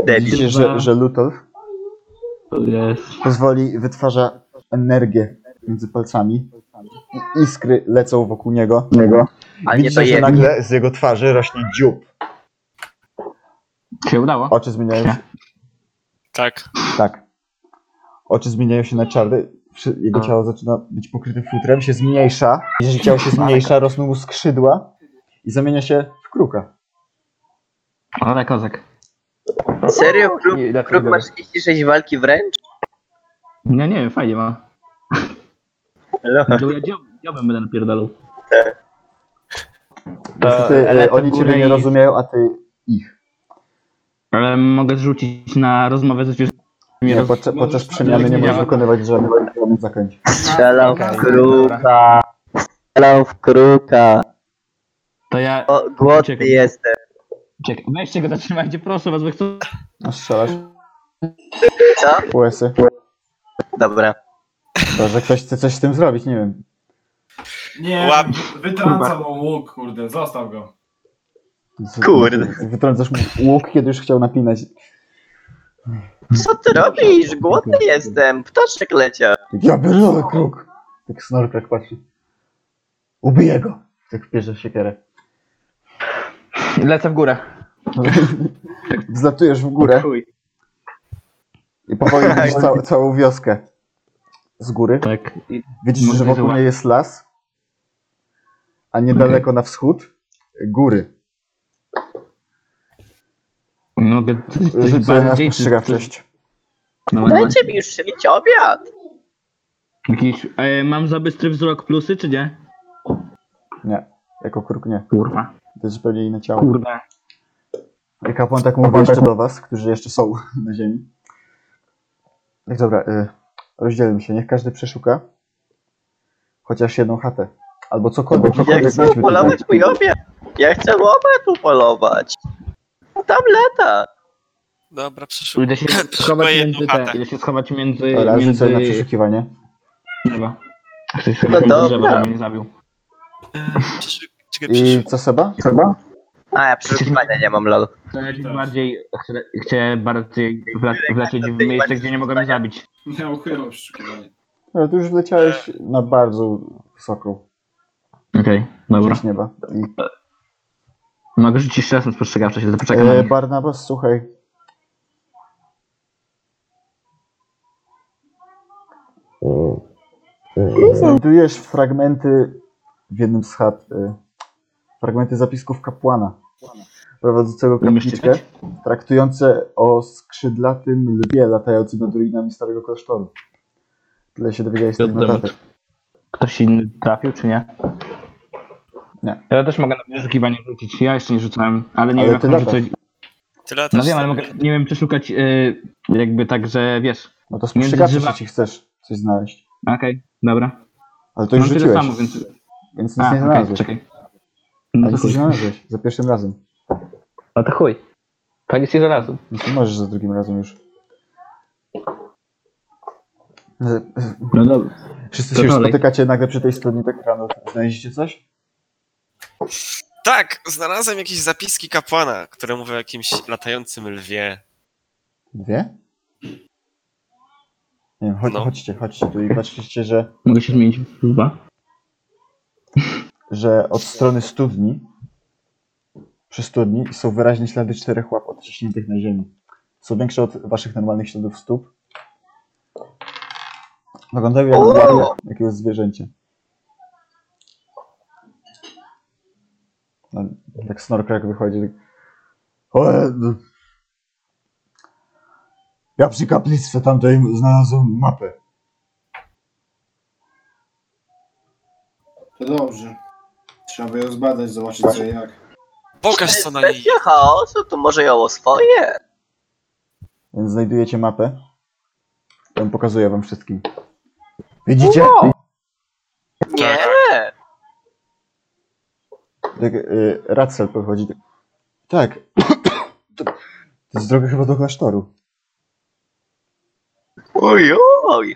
S2: Debil.
S1: Widzicie, że, że Lutolf
S6: To jest...
S1: pozwoli, wytwarza energię między palcami. I Iskry lecą wokół niego.
S2: A nie to
S1: Widzicie, że
S2: jedno.
S1: nagle z jego twarzy rośnie dziób.
S6: Się udało?
S1: Oczy zmieniają się,
S4: Tak.
S1: tak. Oczy zmieniają się na czarne. Wszy- Jego ciało zaczyna być pokryte futrem, się zmniejsza. Jeżeli ciało się zmniejsza, rosną mu skrzydła i zamienia się w kruka.
S6: Ale tak, kozak.
S2: Serio? Kruk,
S9: Nie, dlaczego?
S2: kruk ma 36 walki wręcz?
S6: Ja nie wiem, fajnie ma.
S2: Hello.
S6: To ja dziob, dziobem będę napierdalał.
S1: Niestety, e,
S6: lecę
S1: oni
S6: w
S1: ciebie
S6: górę
S1: nie
S6: i-
S1: rozumieją, a ty ich.
S6: Ale mogę zrzucić na rozmowę ze zwierzętami.
S1: Nie,
S6: roz-
S1: podczas, podczas przemiany nie
S5: zmieniamy.
S1: możesz wykonywać żadnych żadnych zakręć.
S2: Strzelał w
S7: Dobra.
S2: kruka. Strzelał w kruka.
S6: To ja...
S2: O, głodny
S6: Uciekam.
S2: jestem.
S6: Czekaj, weźcie go, zatrzymajcie, proszę was, bo chcę...
S1: A No, strzelasz
S2: Co?
S1: w łysy.
S2: Dobra.
S1: To, że ktoś chce coś z tym zrobić, nie wiem.
S5: Nie,
S4: Łap.
S5: wytrącam mu łuk, kurde, zostaw go.
S1: Z-
S2: Kurde.
S1: Wytrącasz mu łuk, kiedy już chciał napinać.
S2: Co ty robisz? Głodny jestem. Ptaszek leciał.
S1: Ja biorę kruk! Tak snorkrak patrzy. Ubiję go! Tak bierze siekierę.
S9: Lecę w górę.
S1: Zlatujesz w górę
S6: Chuj.
S1: i powoli widzisz cał, całą wioskę. Z góry.
S6: Tak.
S1: Widzisz, że
S6: Może
S1: wokół
S6: zła-
S1: niej jest las, a niedaleko na wschód góry.
S6: Mogę...
S1: Rzuć sobie na spostrzegawczość.
S6: No, no.
S2: Dajcie mi już szylić obiad.
S6: Jakiś, e, mam za bystry wzrok plusy, czy nie?
S1: Nie, jako kruk nie.
S6: Kurwa.
S1: To jest zupełnie inne ciało.
S6: Kurwa.
S1: I kapłan tak mówi jeszcze do was, którzy jeszcze są na ziemi. Tak dobra, y, rozdzielmy się, niech każdy przeszuka chociaż jedną chatę. Albo cokolwiek,
S2: Ja
S1: cokolwiek
S2: chcę
S1: weźmy tutaj.
S2: upolować mój obiad. Ja chcę obiad upolować. Tam lata.
S4: Dobra, przeszukam.
S6: Idę się
S4: Przeszukuję
S6: schować
S4: jedną
S6: między te,
S4: chatę.
S6: idę się schować między,
S1: Dobra, rzuć sobie na
S6: między
S1: przeszukiwanie.
S6: drzewa. Chcę się schować między
S2: No dobra.
S6: drzewa, żeby mnie nie zabił.
S4: Przeszu- Czekaj,
S1: I
S4: przeszu-
S1: co Seba?
S2: A ja przeszukiwania nie mam lol.
S6: To ja gdzieś
S5: Tak.
S6: bardziej, chcę, chcę bardziej wla- wlecieć w miejsce, gdzie nie mogę mnie zabić.
S5: Nie uchylam przeszukiwanie.
S1: No, ty już wleciałeś na bardzo wysoką
S6: Okej, dobra.
S1: część nieba. I,
S6: Mogę rzucić jeszcze raz na spostrzegawcze, się poczekam na
S1: e,
S6: nich.
S1: Barnabas, słuchaj. Znajdujesz fragmenty w jednym z chat. Y, fragmenty zapisków kapłana prowadzącego
S6: Umiesz
S1: kapliczkę,
S6: czytać?
S1: traktujące o skrzydlatym lwie latającym nad ruinami starego klasztoru. Tyle się dowiedziałeś z tych
S6: Dobra.
S1: notatek.
S6: Ktoś inny trafił, czy nie?
S1: Nie.
S6: Ja też mogę na przeszukiwanie rzucić. Ja jeszcze nie rzucałem, ale nie
S1: Ale
S6: wiem,
S1: ty
S6: jak mam
S1: latasz.
S6: rzucać.
S4: Ty latasz.
S6: No wiem, ale mogę, nie wiem przeszukać y, jakby tak, że wiesz.
S1: No to
S6: Między
S1: spostrzegawczy,
S6: drzewami.
S1: jeśli chcesz coś znaleźć.
S6: Okej, dobra.
S1: Ale No to już
S6: Mam tyle
S1: rzuciłeś,
S6: samo, więc...
S1: więc nic
S6: A,
S1: nie
S6: okej,
S1: znalazłeś.
S6: czekaj. No
S1: Ale
S6: to
S1: nic nie
S6: chuj.
S1: znalazłeś za pierwszym razem.
S9: No to chuj. Koniec i żelazu.
S1: Więc nie No możesz za drugim razem już. Z-
S6: No dobra.
S1: Wszyscy
S6: To
S1: się już
S6: dalej.
S1: spotykacie nagle przy tej stronie ekranu. Znaleźliście coś?
S4: Tak, znalazłem jakieś zapiski kapłana, które mówią o jakimś latającym lwie.
S1: Dwie? Nie wiem, chodź,
S4: No.
S1: chodźcie, chodźcie tu i patrzycie, że,
S6: Mogę się zmienić w dwa?
S1: że od strony studni przy studni są wyraźnie ślady czterech łap odciśniętych na ziemi. Są większe od waszych normalnych śladów stóp. Wyglądają jak łapy jakiegoś zwierzęcia. No, tak snorka jak wychodzi. Tak... O, no. Ja przy kaplicy tamtej znalazłem mapę.
S7: To dobrze. Trzeba by ją zbadać, zobaczyć co i jak.
S4: Pokaż co na niej.
S2: Kwestia chaosu, to może ją oswoję.
S1: Więc znajdujecie mapę. Ją pokazuję wam wszystkim. Widzicie?
S2: Nie.
S1: Tak, y, Ratzel podchodzi. tak. Tak. To, to jest droga chyba do klasztoru.
S2: Oj, oj.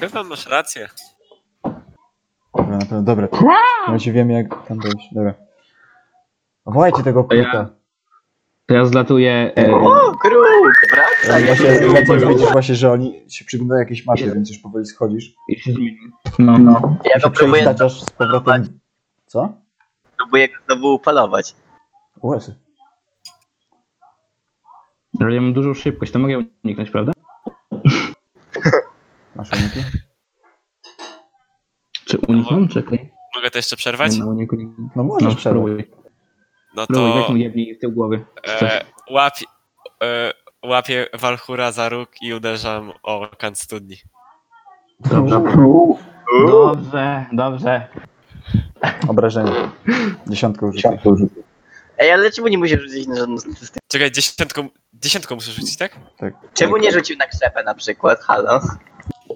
S4: Chyba masz rację.
S1: Dobra, na pewno. Dobra. Ja się wiem jak tam dojść. Dobra. Wołajcie tego
S6: A ja-
S1: kruka.
S6: Teraz zlatuje. E,
S2: O, kruk,
S1: e,
S2: wracaj.
S1: Właśnie,
S2: kruk.
S1: Maciej, widzisz właśnie, że oni się przyglądają jakieś mapy, więc już powoli schodzisz.
S6: i się zmieni. No, no.
S2: Ja
S1: Się
S2: go próbuję,
S1: przeistaczać z powrotem. Co?
S2: próbuję go znowu upolować.
S1: Łezy.
S6: Ale ja mam dużą szybkość, to mogę uniknąć, prawda?
S1: Masz uniki?
S6: Czy uniknąłem? Czekaj.
S4: Mogę to jeszcze przerwać?
S6: No, nie, nie.
S1: No
S6: no
S1: możesz przerwać.
S6: spróbuj.
S4: No
S6: Spróbuj,
S4: to
S6: weź mu jebnij w tył głowy.
S4: e, łapię, e, łapię Walchura za róg i uderzam o kant studni.
S6: Dobrze. Dobrze, dobrze.
S1: Obrażenie. Dziesiątkę użytych.
S2: Ej, ale czemu nie musisz rzucić na żadną statystykę?
S4: Czekaj, dziesiątką, dziesiątką muszę rzucić, tak?
S2: Czemu nie rzucił na krzepę na przykład, halo?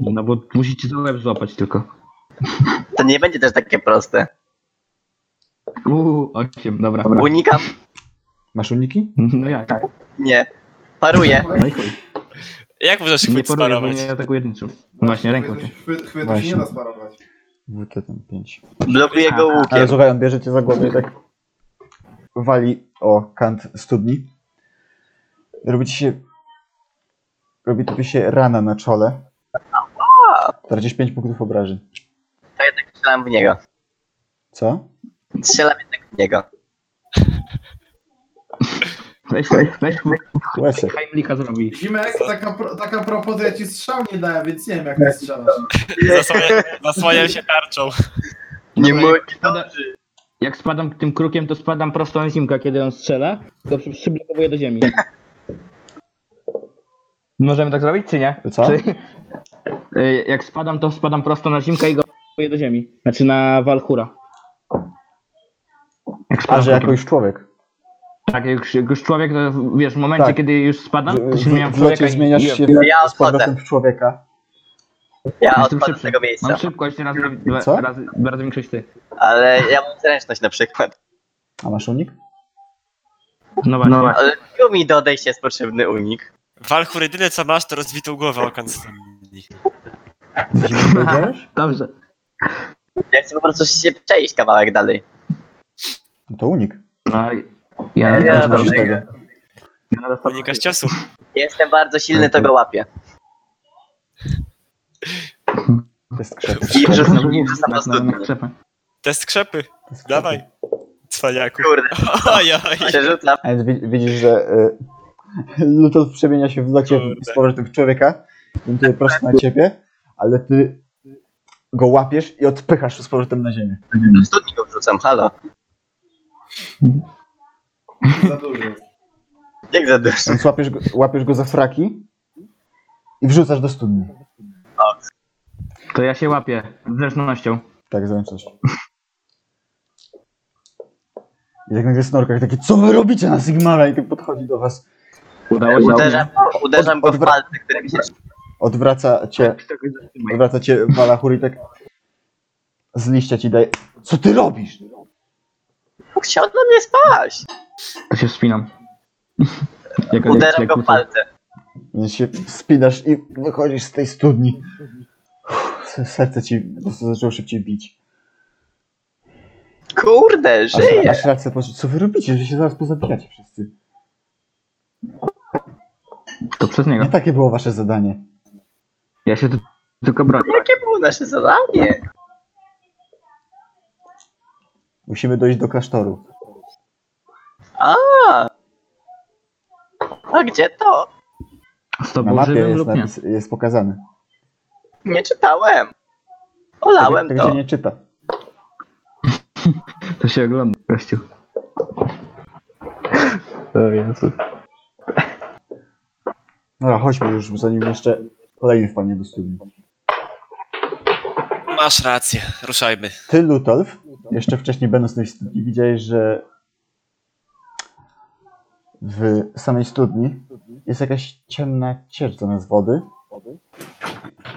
S6: No bo musicie za łeb złapać tylko.
S2: To nie będzie też takie proste.
S6: Uuu, osiem, dobra.
S2: Unikam?
S1: Masz uniki?
S6: No jak?
S2: Nie. Paruję.
S6: No i chuj.
S4: Jak możesz
S6: Nie
S4: chwyt
S6: poruję, bo
S4: sparować?
S6: nie atakuję niczym. Właśnie, ręką cię.
S7: Chwyt, chwyt się
S1: Właśnie.
S7: nie da sparować.
S1: WT tam 5.
S2: Blokuję
S6: Tak.
S2: go
S1: Ale
S2: łukiem.
S1: słuchaj, on bierze cię za głowę i tak wali o kant studni. Robi ci się... Robi tobie się rana na czole. Tracisz 5 punktów obrażeń.
S2: To jednak strzelam w niego.
S1: Co?
S2: Strzelam jednak w niego.
S6: Weź, weź, weź.
S1: Łezy.
S6: Heimlicha zrobi.
S7: Zimek, taka, Tak, pro, taka propozycja ja ci strzał nie dałem, więc nie wiem jak
S6: Tak.
S7: ty strzelasz.
S4: Zasłania, zasłaniam się tarczą.
S2: Nie
S6: Dobra,
S2: mój.
S6: jak spada- Jak spadam tym krukiem, to spadam prosto na Zimka, kiedy on strzela, to przy- przyblokowuję do ziemi. Możemy tak zrobić, czy nie?
S1: Co?
S6: Czy, Y, jak spadam, to spadam prosto na Zimka i go blokuję do ziemi. Znaczy na Walchura. Jak
S1: A,
S6: spadam
S1: że
S6: krukiem.
S1: jakoś człowiek.
S6: Tak, jak już, jak już człowiek, to wiesz, w momencie,
S1: Tak.
S6: kiedy już spadam, to się zmieniam
S1: W,
S6: w
S1: w locie
S6: człowieka i-
S1: zmieniasz
S6: i-
S1: się
S2: Ja
S1: w, z
S2: odchodzę.
S1: powrotem w człowieka.
S2: Ja
S6: Jestem
S2: odchodzę z
S6: szybszy.
S2: tego
S6: Mam
S2: miejsca.
S6: szybkość, razy, dwa-
S1: Co?
S6: razy, razy większość ty.
S2: Ale ja mam zręczność na przykład.
S1: A masz unik?
S6: No właśnie.
S2: Ale tylko mi do odejścia jest potrzebny unik.
S4: Walchur, jedyne co masz, to rozbitą głowę o kant studni.
S1: Zimno powiedziałeś?
S6: Dobrze.
S2: Ja chcę po prostu się przejść kawałek dalej.
S1: No to unik.
S6: No, ja,
S2: Ja
S6: ja,
S2: dobrze.
S4: Unikasz ciosu.
S2: Jestem bardzo silny, to go łapię.
S1: To jest krzep.
S2: I
S6: Znowu
S2: wrzucam
S6: mówię,
S2: wrzucam do
S6: tak, na- na
S2: studni.
S6: krzepę.
S4: Test krzepy.
S1: To jest krzep.
S4: Dawaj. Cwaniaku.
S2: Kurde,
S4: Ojoj.
S2: przerzucam.
S1: A więc wi- widzisz, że y, Lutos przemienia się w locie
S4: Kurde.
S1: z powrotem w człowieka, ląduje prosto na ciebie, ale ty go łapiesz i odpychasz z powrotem na ziemię.
S2: Do studni go wrzucam, halo.
S7: Za dużo.
S2: Jak za dużo.
S1: Więc łapiesz go, łapiesz go za fraki i wrzucasz do studni.
S6: To ja się łapię zręcznością.
S1: Tak, zręczasz. I tak nagle snorkach taki, co wy robicie na Sigmara? I tak podchodzi do was.
S6: Udało się.
S2: Uderzam, uderzam go w
S1: Odwra-
S2: palce, które mi się
S1: Odwraca cię, odwraca cię Balachur i tak z liścia ci daje, co ty robisz?
S2: No Chciał na mnie spaść.
S6: To się wspinam. Jak,
S2: Uderzam go w palce.
S1: Więc się spinasz i wychodzisz z tej studni. Uff, serce ci po prostu zaczęło szybciej bić.
S2: Kurde,
S1: Aż,
S2: żyje.
S1: aż rację poczuł, co wy robicie, że się zaraz pozabijacie wszyscy.
S6: To przez
S1: Nie
S6: niego.
S1: takie było wasze zadanie.
S6: Ja się tu, tylko bronię.
S2: Jakie było nasze zadanie?
S1: Musimy dojść do klasztoru.
S2: A gdzie to?
S6: Z tobą
S1: Na mapie
S6: żywym
S1: jest,
S6: lub nie.
S1: napis, jest pokazane.
S2: Nie czytałem.
S1: Tak,
S2: Olałem
S1: tak się
S2: to.
S1: nie czyta.
S6: To się ogląda, gościu.
S1: Dobra, chodźmy już, zanim jeszcze kolejny wpadnie do studni.
S4: Masz rację, ruszajmy.
S1: Ty, Lutolf, jeszcze wcześniej będąc w tej studni, widziałeś, że w samej studni jest jakaś ciemna ciecz zamiast wody,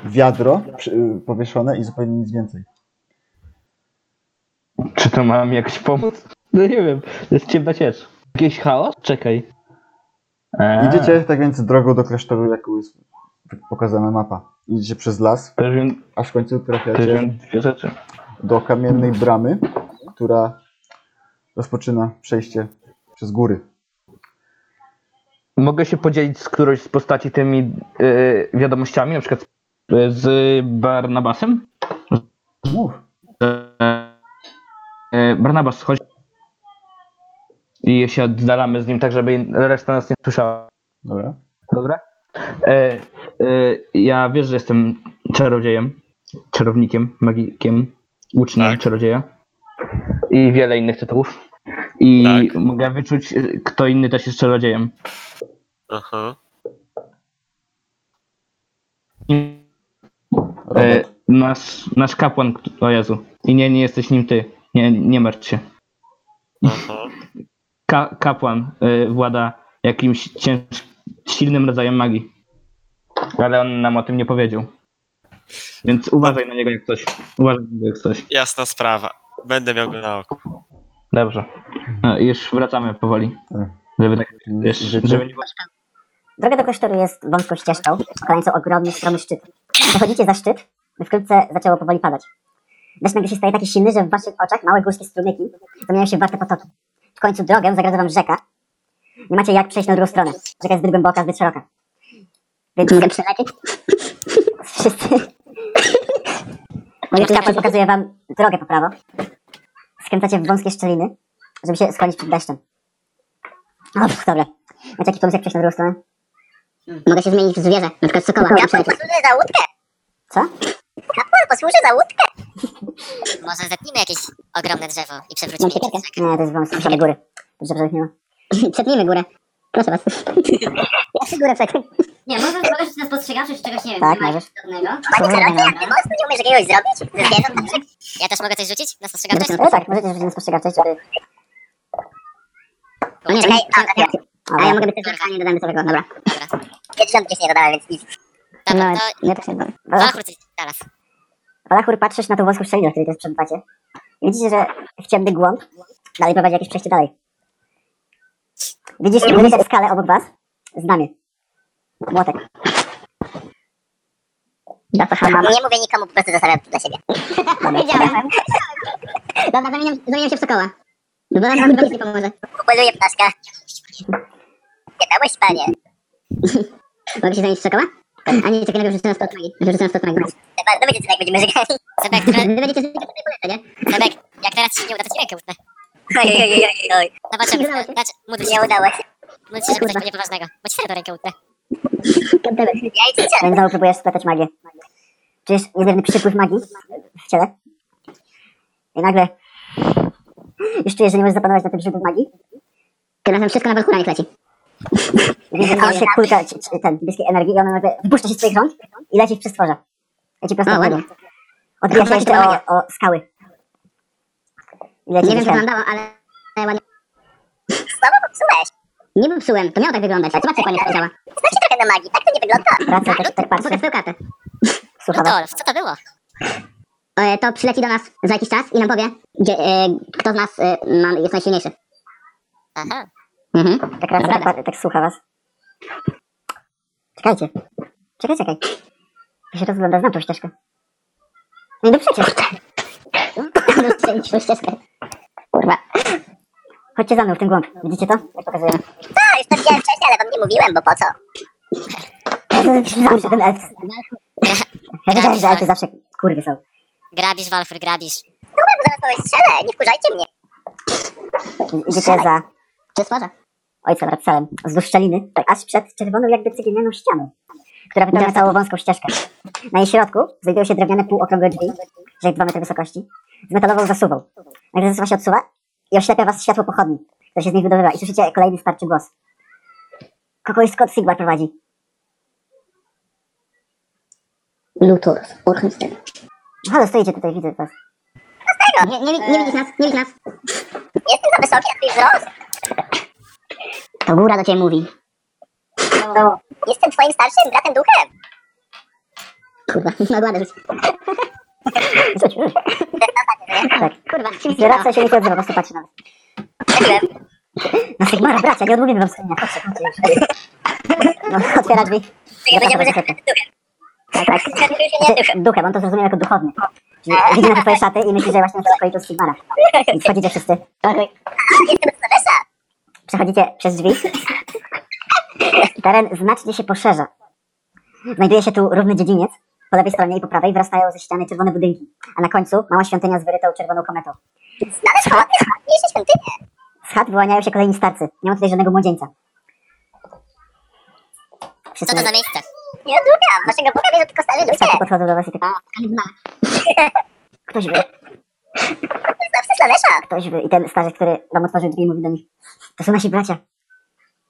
S1: wiadro przy- powieszone i zupełnie nic więcej.
S9: Czy to mam jakoś pomóc? No nie wiem, to jest ciemna ciecz. Jakiś chaos? Czekaj. Eee,
S1: Idziecie tak więc drogą do klasztoru, jaką jest pokazana mapa. Idziecie przez las,
S9: Też wiem,
S1: aż w końcu
S9: też
S1: trafiacie
S9: wiem dwie rzeczy.
S1: do kamiennej bramy, która rozpoczyna przejście przez góry.
S6: Mogę się podzielić z którąś z postaci tymi y, wiadomościami, na przykład y, z Barnabasem?
S1: Mów.
S6: Y, Barnabas, chodź. I się oddalamy z nim tak, żeby reszta nas nie słyszała.
S1: Dobra.
S6: Dobra? E, e, ja wiesz, że jestem czarodziejem, czarownikiem, magikiem, uczniem
S4: Tak.
S6: czarodzieja i wiele innych tytułów. I
S4: Tak.
S6: mogę wyczuć, e, kto inny też jest czarodziejem.
S4: Aha.
S6: E,
S1: Robert,
S6: nasz, nasz kapłan, k- o Jezu. I nie, nie jesteś nim ty. Nie, nie martw się.
S4: Aha.
S6: Ka- kapłan e, włada jakimś cięż- silnym rodzajem magii. Ale on nam o tym nie powiedział. Więc uważaj na niego jak coś. Uważaj na niego jak coś.
S4: Jasna sprawa. Będę miał go na oku.
S6: Dobrze. No, i już wracamy powoli.
S1: Tak.
S6: Żeby tak, wiesz,
S1: Życie?
S6: żeby nie było...
S8: Droga do klasztoru jest wąską ścieżką, o krańcu ogromny, stromy szczyt. Przechodzicie za szczyt, wkrótce zaczęło powoli padać. Deszcz nagle się staje taki silny, że w waszych oczach małe górskie strumyki zamieniają się w warte potoki. W końcu drogę zagradza wam rzeka. Nie macie jak przejść na drugą stronę. Rzeka jest zbyt głęboka, zbyt szeroka. Więc chcę przelecieć. Wszyscy... Mój kapłan pokazuje wam drogę po prawo. Skręcacie w wąskie szczeliny, żeby się schronić przed deszczem. O, pff, dobra. Macie jakiś pomysł, jak przejść na drugą stronę?
S10: Mogę się zmienić w zwierzę, na przykład sokoła.
S8: Kapłan
S10: na przykład.
S8: posłuży za łódkę. Co? Kapłan posłuży za łódkę.
S10: Może zetnijmy jakieś ogromne drzewo i przewrócimy
S8: Nie,
S10: je.
S8: to jest wąs, same góry. Dobrze, że ich nie ma.
S10: Przetnijmy górę. Proszę was.
S8: Ja się górę przekręcę.
S10: Nie, może zobaczyć nas postrzegawczy z czegoś, nie wiem,
S8: Tak,
S10: nie ma Tak.
S8: możesz.
S10: żadnego.
S8: Panie Czarodziej, jak ty mocno nie umiesz jakiegoś zrobić? tak. Zwierząt na przykład.
S10: Ja też mogę coś rzucić? Na spostrzegawczość?
S8: No tak, możecie rzucić na spostrzegawczość, żeby...
S10: No nie,
S8: Czekaj,
S10: czekaj.
S8: a, tak, tak.
S10: A ja mogę
S8: być...
S10: być też rzucany, dodamy sobie go, dobra. Dobra.
S8: Ja 10 nie dodałem, więc nic.
S10: Dobra, to...
S8: No, ja też nie dodałem.
S10: Walachur coś znalazł.
S8: Walachur, patrzysz na tą włoską szczelinę, w której teraz przebywacie. I widzicie, że w ciemny głąb dalej prowadzi jakieś przejście dalej. Widzisz, widzicie skalę obok was? Znamie. Młotek.
S10: Nie mówię nikomu, po prostu zostawiam to dla siebie. Wiedziałem. Dobra, zamieniam, zamieniam się w sokoła. Bo nam chyba nic nie pomoże.
S8: Upoluję ptaszka. Nie dałeś, panie.
S10: Mogę się zamienić w sokoła? A nie, czekaj, najpierw rzucę na stot magii. Rzucę na stot magii.
S8: Chyba dowiecie, tak, jak będziemy żegnali.
S10: Sebek, wy będziecie z nie? Sebek, jak teraz ci nie uda, to ci rękę utnę.
S8: Oj, oj, oj, oj, oj.
S10: Zobaczymy,
S8: Nie udało się.
S10: znaczy, módl się,
S8: Nie udało się.
S10: módl się, żeby coś było niepoważnego. Bo ci serio rękę utnę.
S8: Ja i cię. Więc znowu próbujesz splatać magię. Czujesz niezmierny przypływ magii w ciele. I nagle... Już czujesz, że nie możesz zapanować na tym źródłem magii.
S10: Tym razem wszystko na walchura niech leci.
S8: Widzisz, że się kulka, ci- ci- ten, niebieskiej energii i ona nagle wypuszcza się z twoich rąk i leci w przestworze. Leci prosto
S10: O,
S8: w
S10: ładnie.
S8: wodę. Odbija się
S10: Zobaczcie,
S8: jeszcze
S10: to
S8: o,
S10: ładnie.
S8: o skały. I leci
S10: Nie wiem,
S8: gdzieś
S10: co
S8: tam.
S10: wam dało, ale... ale ładnie. Słabo popsułeś. Nie popsułem, to miało tak wyglądać. Zobaczcie, jak ładnie to działa. Znaczy trochę na magii, tak to nie wygląda.
S8: Wraca, tak, tak patrzy,
S10: Pokaż swoją kartę.
S8: słucha was.
S10: co to było? E, to przyleci do nas za jakiś czas i nam powie, gdzie, e, kto z nas e, ma, jest najsilniejszy. Aha. Mhm.
S8: Tak wraca, tak, pat- tak słucha was. Czekajcie. Czekaj, czekaj. Ja się rozgląda, znam tą ścieżkę. No i no przecież.
S10: Rozstrzelić ścieżkę.
S8: Kurwa. Chodźcie za mną w ten głąb. Widzicie to? Jak pokazuję. Co? Już to widziałem wcześniej, ale wam nie mówiłem, bo po co? Zawsze ten elf. Ja wiedziałem, że elfy zawsze kurwy są.
S10: Grabisz, Walfur, grabisz.
S8: Zaraz kogoś strzelę, nie wkurzajcie mnie. Idziecie za
S10: Czy stwarza?
S8: ojcem Rapsalem wzdłuż szczeliny, tak aż przed czerwoną jakby cegielnianą ścianą, która wypełnia całą wąską ścieżkę. Na jej środku znajdują się drewniane półokrągłe drzwi, że 2 metry wysokości, z metalową zasuwą. Nagle zasuwa się odsuwa i oślepia was światło pochodni, które się z niej wydobywa i słyszycie kolejny starczy głos. Kogoś Scott Sigmar prowadzi.
S10: Luthor, Orchenstein. No
S8: Halo, stoicie tutaj, widzę was.
S10: Nie, nie, wi- No nie widzisz nas, nie widzisz nas.
S8: Jestem za wysoki na twój wzrost.
S10: To góra do ciebie mówi.
S8: Jestem twoim starszym bratem duchem.
S10: Kurwa, na gładę rzuć.
S8: Tak.
S10: Kurwa, się mi
S8: Wraca się nie odzywa, po prostu patrzy na was. No Sigmara, bracia, nie odmówimy wam schronienia. Chodźcie, chodźcie już. No, otwiera drzwi. Ja będziemy duchem. Tak, tak. Duchem. Duchem, on to zrozumiał jako duchowny. Czyli Widzi na te twoje szaty i myśli, że właśnie na przykład to z Sigmara. I wchodzicie wszyscy. Jestem Przechodzicie przez drzwi. Teren znacznie się poszerza. Znajduje się tu równy dziedziniec, po lewej stronie i po prawej wyrastają ze ściany czerwone budynki, a na końcu mała świątynia z wyrytą czerwoną kometą.
S10: Znane schody, jeszcze świątynie.
S8: Z chat wyłaniają się kolejni starcy. Nie ma tutaj żadnego młodzieńca.
S10: Co to za miejsce? Nie odrubiam, waszego Boga wierzą tylko stary ludzie.
S8: Starcy podchodzą do was i tak,
S10: O, kalibna.
S8: ktoś wy,
S10: Zawsze slalesza.
S8: ktoś wy. I ten starzec, który wam otworzył drzwi, mówi do nich, to są nasi bracia.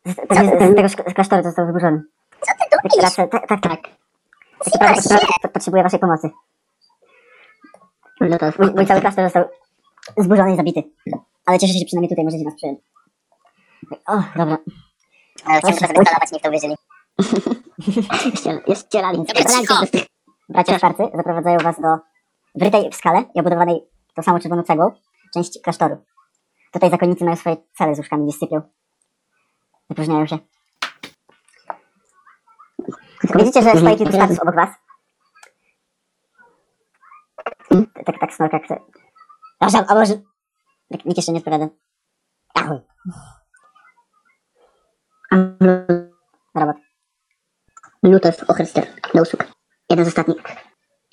S8: Z, z, z, z tego szk- z klasztoru co został wyburzony.
S10: Co ty tu
S8: Wycieracie-
S10: robisz?
S8: tak, tak, tak. Taki
S10: Zima
S8: prawda,
S10: się.
S8: pot- potrzebuje waszej pomocy.
S10: No to...
S8: Mój, mój cały klasztor został zburzony i zabity. Ale cieszę się, że przynajmniej tutaj możecie nas przyjąć. O, dobra.
S10: Ale chciałem trochę wyskalować, nie w to uwierzyli. Jeszcze ścielali. Dobra, cicho.
S8: Bracia starcy zaprowadzają was do wrytej w skale i obudowanej tą samą czerwoną cegłą części klasztoru. Tutaj zakonnicy mają swoje cele z łóżkami, nie sypią. Wypróżniają się. Widzicie, że stoi kilku status obok was? Tak, tak, snorka chce. Przepraszam, a może... Tak, Nikt jeszcze nie odpowiada. Achu. Robot.
S10: Lutos Ochrester do usług. Jeden z ostatnich.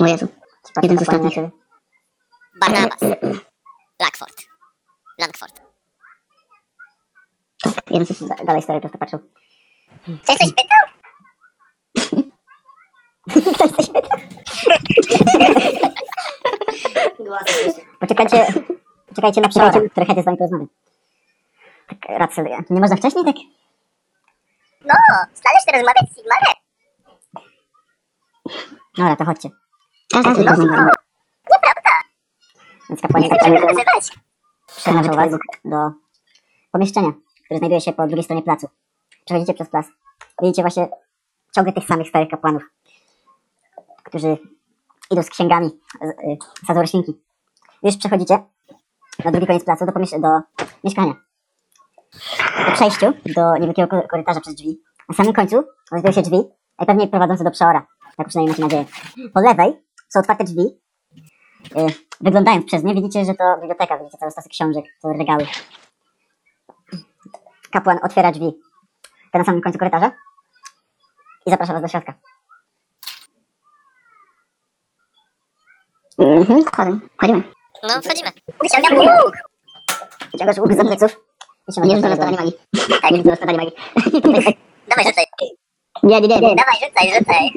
S10: O Jezu. Jeden z ostatnich. Barnabas. Lackford. Langford.
S8: Jeden z dalej stary prosto patrzył.
S10: Chcesz coś pytał?
S8: Poczekajcie, poczekajcie na przełom, który chętnie z wami porozmawia. Tak, Racel, ja- nie można wcześniej tak?
S10: No, staniesz się rozmawiać z Sigmarem.
S8: Dobra, to chodźcie.
S10: Każdy
S8: No, no.
S10: Nieprawda.
S8: Więc kapłani
S10: Nie
S8: tak
S10: możemy nazywać.
S8: przenoszą was do pomieszczenia, które znajduje się po drugiej stronie placu. Przechodzicie przez plac. Widzicie właśnie ciągle tych samych starych kapłanów, którzy idą z księgami, z- y, sadzą roślinki. Już przechodzicie na drugi koniec placu, do, pomiesz- do mieszkania. Po przejściu do niewielkiego ko- korytarza przez drzwi. Na samym końcu znajdują się drzwi, najpewniej prowadzące do przeora. Tak przynajmniej macie nadzieję. Po lewej są otwarte drzwi. Y, wyglądając przez nie, widzicie, że to biblioteka. Widzicie cały stos książek, całe regały. Kapłan otwiera drzwi. Te na samym końcu korytarza. I zaprasza was do środka.
S10: Mhm, wchodzimy. Wchodzimy. No, wchodzimy. Wyciągam łuk.
S8: Wyciągasz łuk z pleców. i się
S10: Nie rzucam
S8: nagle
S10: na
S8: dowiadujesz.
S10: stanie magii. Tak, nie rzucam na stanie magii. Dawaj, rzucaj. Nie, nie, nie, nie. Dawaj, rzucaj, rzucaj.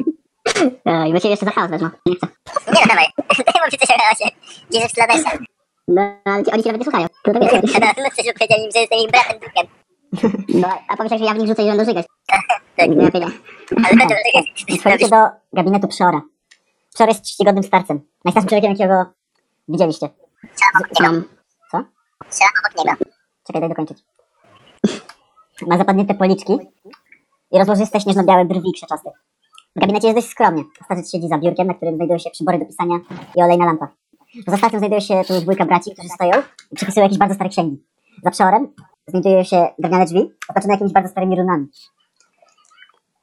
S10: Oj, bo cię jeszcze za chaos wezmą. Nie chcę. Nie no, dawaj. Daj mu ci coś o chaosie. Gdzie jest Slanesha? No, ale ci, oni cię nawet nie słuchają. To to wiesz. No, przecież powiedzieli im, że jestem ich bratem duchem. No, a pomyślałeś, że ja w nich rzucę i będą żygać. Tak, nie, nie. Ale będą żygać.
S8: Wchodzicie do gabinetu Przeora. Przeor jest czcigodnym starcem. Najstarszym człowiekiem, jakiego widzieliście.
S10: Strzelam
S8: Co?
S10: Strzelam obok niego.
S8: Czekaj, daj dokończyć. Ma zapadnięte policzki i rozłożyste śnieżno-białe brwi krzyczaste. W gabinecie jest dość skromnie. Starzec siedzi za biurkiem, na którym znajdują się przybory do pisania i olejna lampa. Poza starcem znajduje się tu dwójka braci, którzy stoją i przepisują jakieś bardzo stare księgi. Za przeorem znajdują się drewniane drzwi, otoczone jakimiś bardzo starymi runami.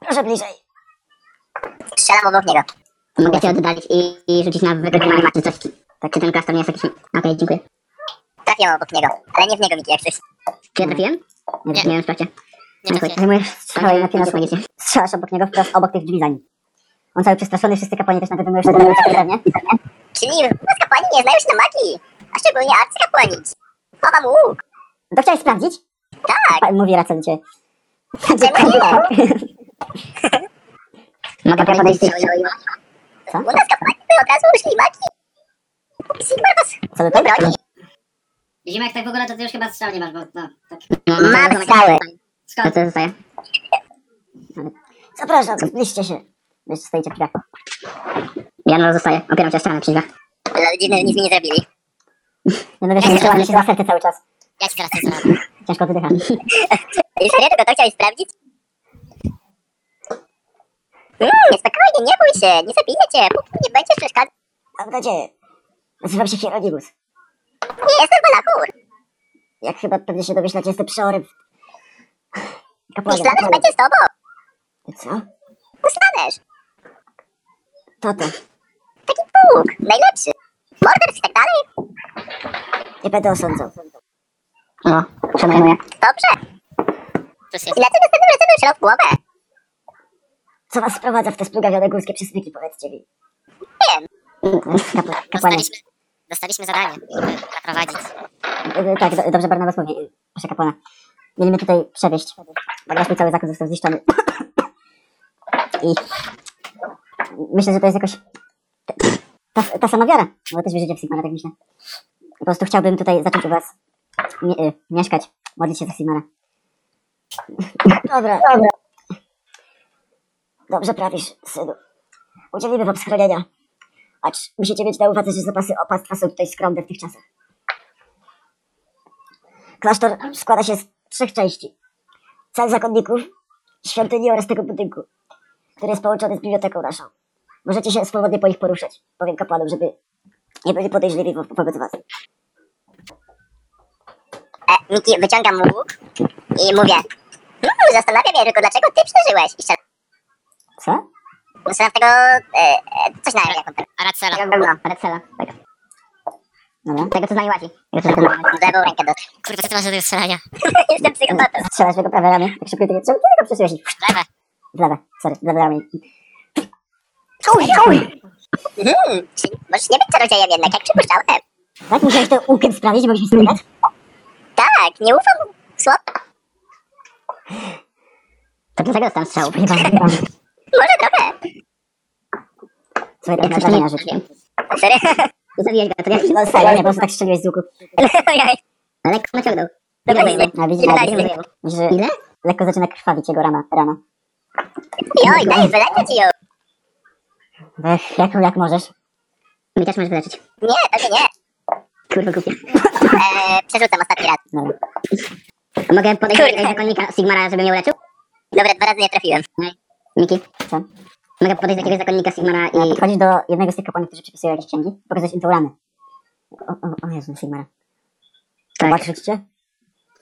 S8: Proszę bliżej.
S10: Strzelam obok niego. Mogę cię oddalić i, i rzucić na wykonywanie maczy coś. Tak, czy ten klasztor nie jest jakiś... Okej, dziękuję. Trafiłam obok niego, ale nie w niego, Miki, jak coś. Czy ja trafiłem? Nie, nie wiem, sprawdźcie. Nie trafiłem.
S8: Zajmujesz strzałę i
S10: Ale
S8: napinasz
S10: magicznie.
S8: strzelasz obok niego wprost obok tych drzwi za nim. On cały przestraszony, wszyscy kapłani też nagle wyjmują się do tak drewnie.
S10: Czyli was kapłani nie znają się na magii, a szczególnie arcykapłani. Chowam łuk.
S8: To chciałeś sprawdzić?
S10: Tak,
S8: Pa- Mówi Racel do ciebie.
S10: przemieniłam.
S8: Mogę podejść do Co?
S10: U nas kapłani by od razu użyli magii. Sigmar was
S8: Co do
S10: nie
S8: tego?
S10: broni.
S11: Widzimy jak tak w ogóle, to ty już chyba strzał nie masz, bo no, tak.
S10: Mam strzały.
S11: Skąd?
S10: co No, zostaje?
S8: Zapraszam, zbliżcie się. Jeszcze stoicie w drzwiach.
S10: Ja no zostaję, opieram się o ścianę przy drzwiach. Ale dziwne, że nic mi nie zrobili.
S8: Nie będę się wysyłał,
S10: Ja się zgadzam,
S8: nie się serce cały czas.
S10: Ja się teraz to zrobię.
S8: Ciężko oddycha.
S10: I serio tylko to chciałeś sprawdzić? Mm, spokojnie, nie bój się, nie zabiję cię, póki nie będziesz przeszkadzał.
S8: Mam nadzieję. Nazywam się Hieronimus.
S10: Nie jestem balachur.
S8: Jak chyba pewnie się domyślacie, jestem przeorym.
S10: I Slanesh będzie z tobą.
S8: Co?
S10: Slanesh,
S8: To to.
S10: taki pług, najlepszy. Morderstw i tak dalej.
S8: Nie będę osądzał.
S10: No, szanowny. Dobrze. I na tym następnym razem strzelał w głowę.
S8: Co was sprowadza w te splugawione górskie przysmyki, powiedzcie mi?
S10: Nie wiem.
S8: Kap- kapłanie.
S10: Dostaliśmy, dostaliśmy zadanie, żeby naprowadzić.
S8: E, Tak, do, dobrze Barnabas mówi, e, proszę kapłana. Mieliśmy tutaj przewieźć, ponieważ mój cały zakon został zniszczony. I myślę, że to jest jakoś ta, ta sama wiara, bo też wierzycie w Sigmara, tak myślę. Po prostu chciałbym tutaj zacząć u was mie- e, mieszkać, modlić się za Sigmara. Dobra, dobra. Dobrze prawisz, synu. Udzielimy wam schronienia. Acz musicie mieć na uwadze, że zapasy opastwa są tutaj skromne w tych czasach. Klasztor składa się z trzech części. Cel zakonników, świątyni oraz tego budynku, który jest połączony z biblioteką naszą. Możecie się swobodnie po nich poruszać. Powiem kapłanom, żeby nie byli podejrzliwi wo- wobec was.
S10: E, Miki, wyciągam mu łuk i mówię hmm, zastanawiam się tylko, dlaczego ty przeżyłeś? I strzelam.
S8: Co?
S10: No, Strzelam w tego, e, e, coś na jaką tam. Aracela. No, Aracela. Tego.
S8: No,
S10: Tego, co z nami łazi. Mam lewą rękę do... Kurwa, co ty masz do tego strzelania? Jestem psychopatą.
S8: Strzelasz w jego prawe ramię, tak szybko i tak... Czemu ty tego przesuwasz?
S10: W lewe.
S8: W lewe, sorry, w lewe ramię.
S10: Czuj, czuj! Hmm, czyli możesz nie być czarodziejem jednak, jak przypuszczałem.
S8: Tak musiałeś to łukiem sprawić, mogliśmy sobie grać?
S10: Tak, nie ufam mu. Słab.
S8: To dlatego dostałem strzał. Chyba, chyba.
S10: Może trochę.
S8: Słuchaj, tak przestawienia rzuć.
S10: Serio?
S8: Zabiłeś go, to ja No serio, nie, po prostu tak strzeliłeś z łuku.
S10: Ale lekko naciągnął.
S8: Dobra,
S10: Dobra,
S8: nie,
S10: ile?
S8: no widzisz,
S10: Ile
S8: ale
S10: dajesz mu?
S8: że
S10: Ile?
S8: lekko zaczyna krwawić jego rana. rana.
S10: Joj, daj, wyleczę ci ją.
S8: Ech, jak, jak możesz?
S10: Mi też możesz wyleczyć. Nie, tobie nie. Kurwa głupia. Eee, przerzucam ostatni raz.
S8: No.
S10: Mogę podejść do jakiegoś zakonnika Sigmara, żeby mnie uleczył? Dobra, dwa razy nie trafiłem. No Miki?
S8: Co?
S10: Mogę podejść do jakiegoś zakonnika Sigmara
S8: E,
S10: i...
S8: Podchodzisz do jednego z tych kapłanów, którzy przepisują jakieś księgi, pokazać im tą ranę. O, o, o Jezu, Sigmara.
S10: Tak.
S8: Zobaczyć cię?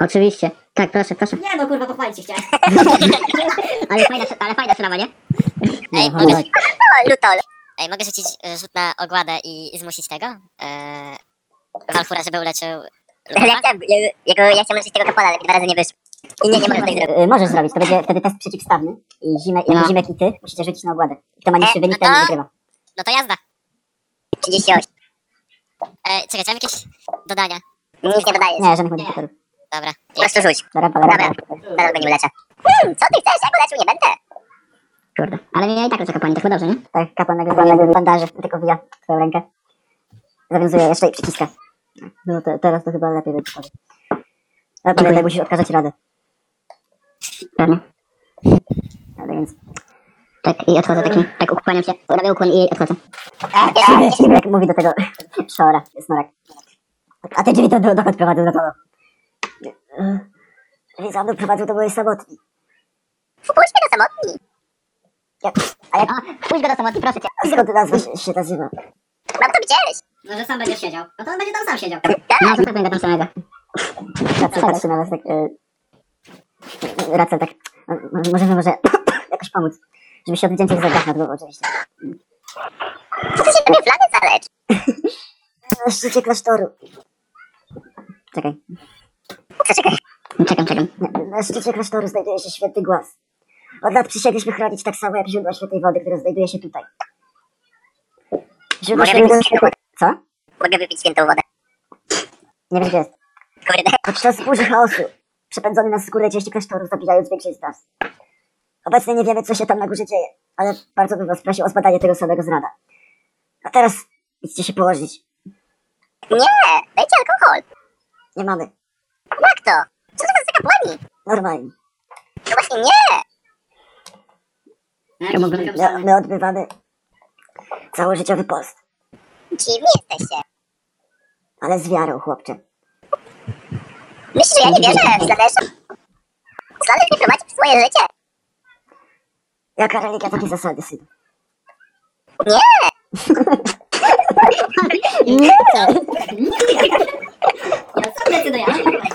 S10: Oczywiście. Tak, proszę, proszę.
S11: Nie no kurwa, pochwalić się chciałem.
S10: Ale fajna, ale fajna sprawa, nie?
S8: Nie,
S10: Ej,
S8: no,
S10: mogę...
S8: tak.
S10: O, lutol.
S12: Ej, mogę rzucić y, rzut na ogładę i zmusić tego? Eee, Walfura, żeby uleczył...
S10: Ja chciałem, ja, jako, ja chciałem użyć tego kapłana, ale mi dwa razy nie wyszło. I nie, nie mogę tego zrobić.
S8: E, Możesz zrobić, to będzie wtedy test przeciwstawny. I zime,
S10: No.
S8: jak Zimek i ty musicie rzucić na ogładę. Kto ma niższy
S12: E,
S8: wynik,
S12: no
S8: ten
S12: to-
S8: wygrywa.
S12: No to jazda.
S10: 38.
S12: Ej, czekaj, czy mam jakieś dodania?
S10: No Nic nie dodajesz.
S8: Nie, żadnych modyfikatorów.
S12: Dobra.
S10: Po prostu rzuć.
S8: Dobra, dobra,
S10: Dobra,
S8: dobra.
S10: zaraz go nie uleczę. Hmm, co ty chcesz? Ja go leczył nie będę.
S8: Kurde. Ale ja i tak leczę kapłanie, to chyba dobrze, nie? Tak, kapłan nagle bandaże, tylko wija twoją rękę. Zawiązuje jeszcze i przyciska. No te, teraz to chyba lepiej będzie. Ale pamiętaj, musisz odkazać radę.
S10: Pewnie.
S8: Ale więc...
S10: Tak, i odchodzę takim, tak ukłaniam się, robię ukłon i odchodzę.
S8: Jak mówi do tego szora, snorek. Tak, A te drzwi to do, dokąd prowadzą do tobą? Drzwi za mną prowadzą do mojej samotni.
S10: Pójdź mnie do samotni.
S8: Jak,
S10: A jak... Pójdź go do samotni, proszę cię.
S8: a skąd ta nazwa się, się nazywa?
S10: Mam to gdzieś.
S11: No, że sam będziesz siedział. No to on będzie tam sam siedział.
S10: Tak, no, będę tam samego.
S8: Racel patrzy na was tak... E, Racel tak... e, Możemy może jakoś pomóc. Żeby się odwdzięczyć za dach nad głową oczywiście.
S10: Co ty się do mnie flany zalecz?
S8: Na szczycie klasztoru. Czekaj. No,
S10: Co czekaj? Czekam, czekam.
S8: Na, na szczycie klasztoru znajduje się święty głaz. Od lat przysiedliśmy chronić tak samo jak źródła świętej wody, które znajduje się tutaj. Źródło
S10: Możemy
S8: świętej
S10: wypić wodę.
S8: Co?
S10: Mogę wypić świętą wodę.
S8: Nie wiem gdzie jest.
S10: Kurde.
S8: Podczas burzy chaosu przepędzony nas z górnej części klasztoru, zabijając większość z nas. Obecnie nie wiemy, co się tam na górze dzieje, ale bardzo bym was prosił o zbadanie tego samego z rana. A teraz idźcie się położyć.
S10: Nie, dajcie alkohol.
S8: Nie mamy.
S10: Jak to? Co to za kapłani?
S8: Normalnie.
S10: No właśnie nie.
S11: Ja mogę...
S8: My, my odbywamy całożyciowy post.
S10: Dziwni jesteście.
S8: Ale z wiarą, chłopcze.
S10: Myślisz, że ja nie wierzę w Slanesha? Slanesh mi prowadzi przez moje życie.
S8: Jaka religia, takie zasady, syn.
S10: Nie.
S8: Nie!
S11: Ja sam decyduję, ale nie mogę.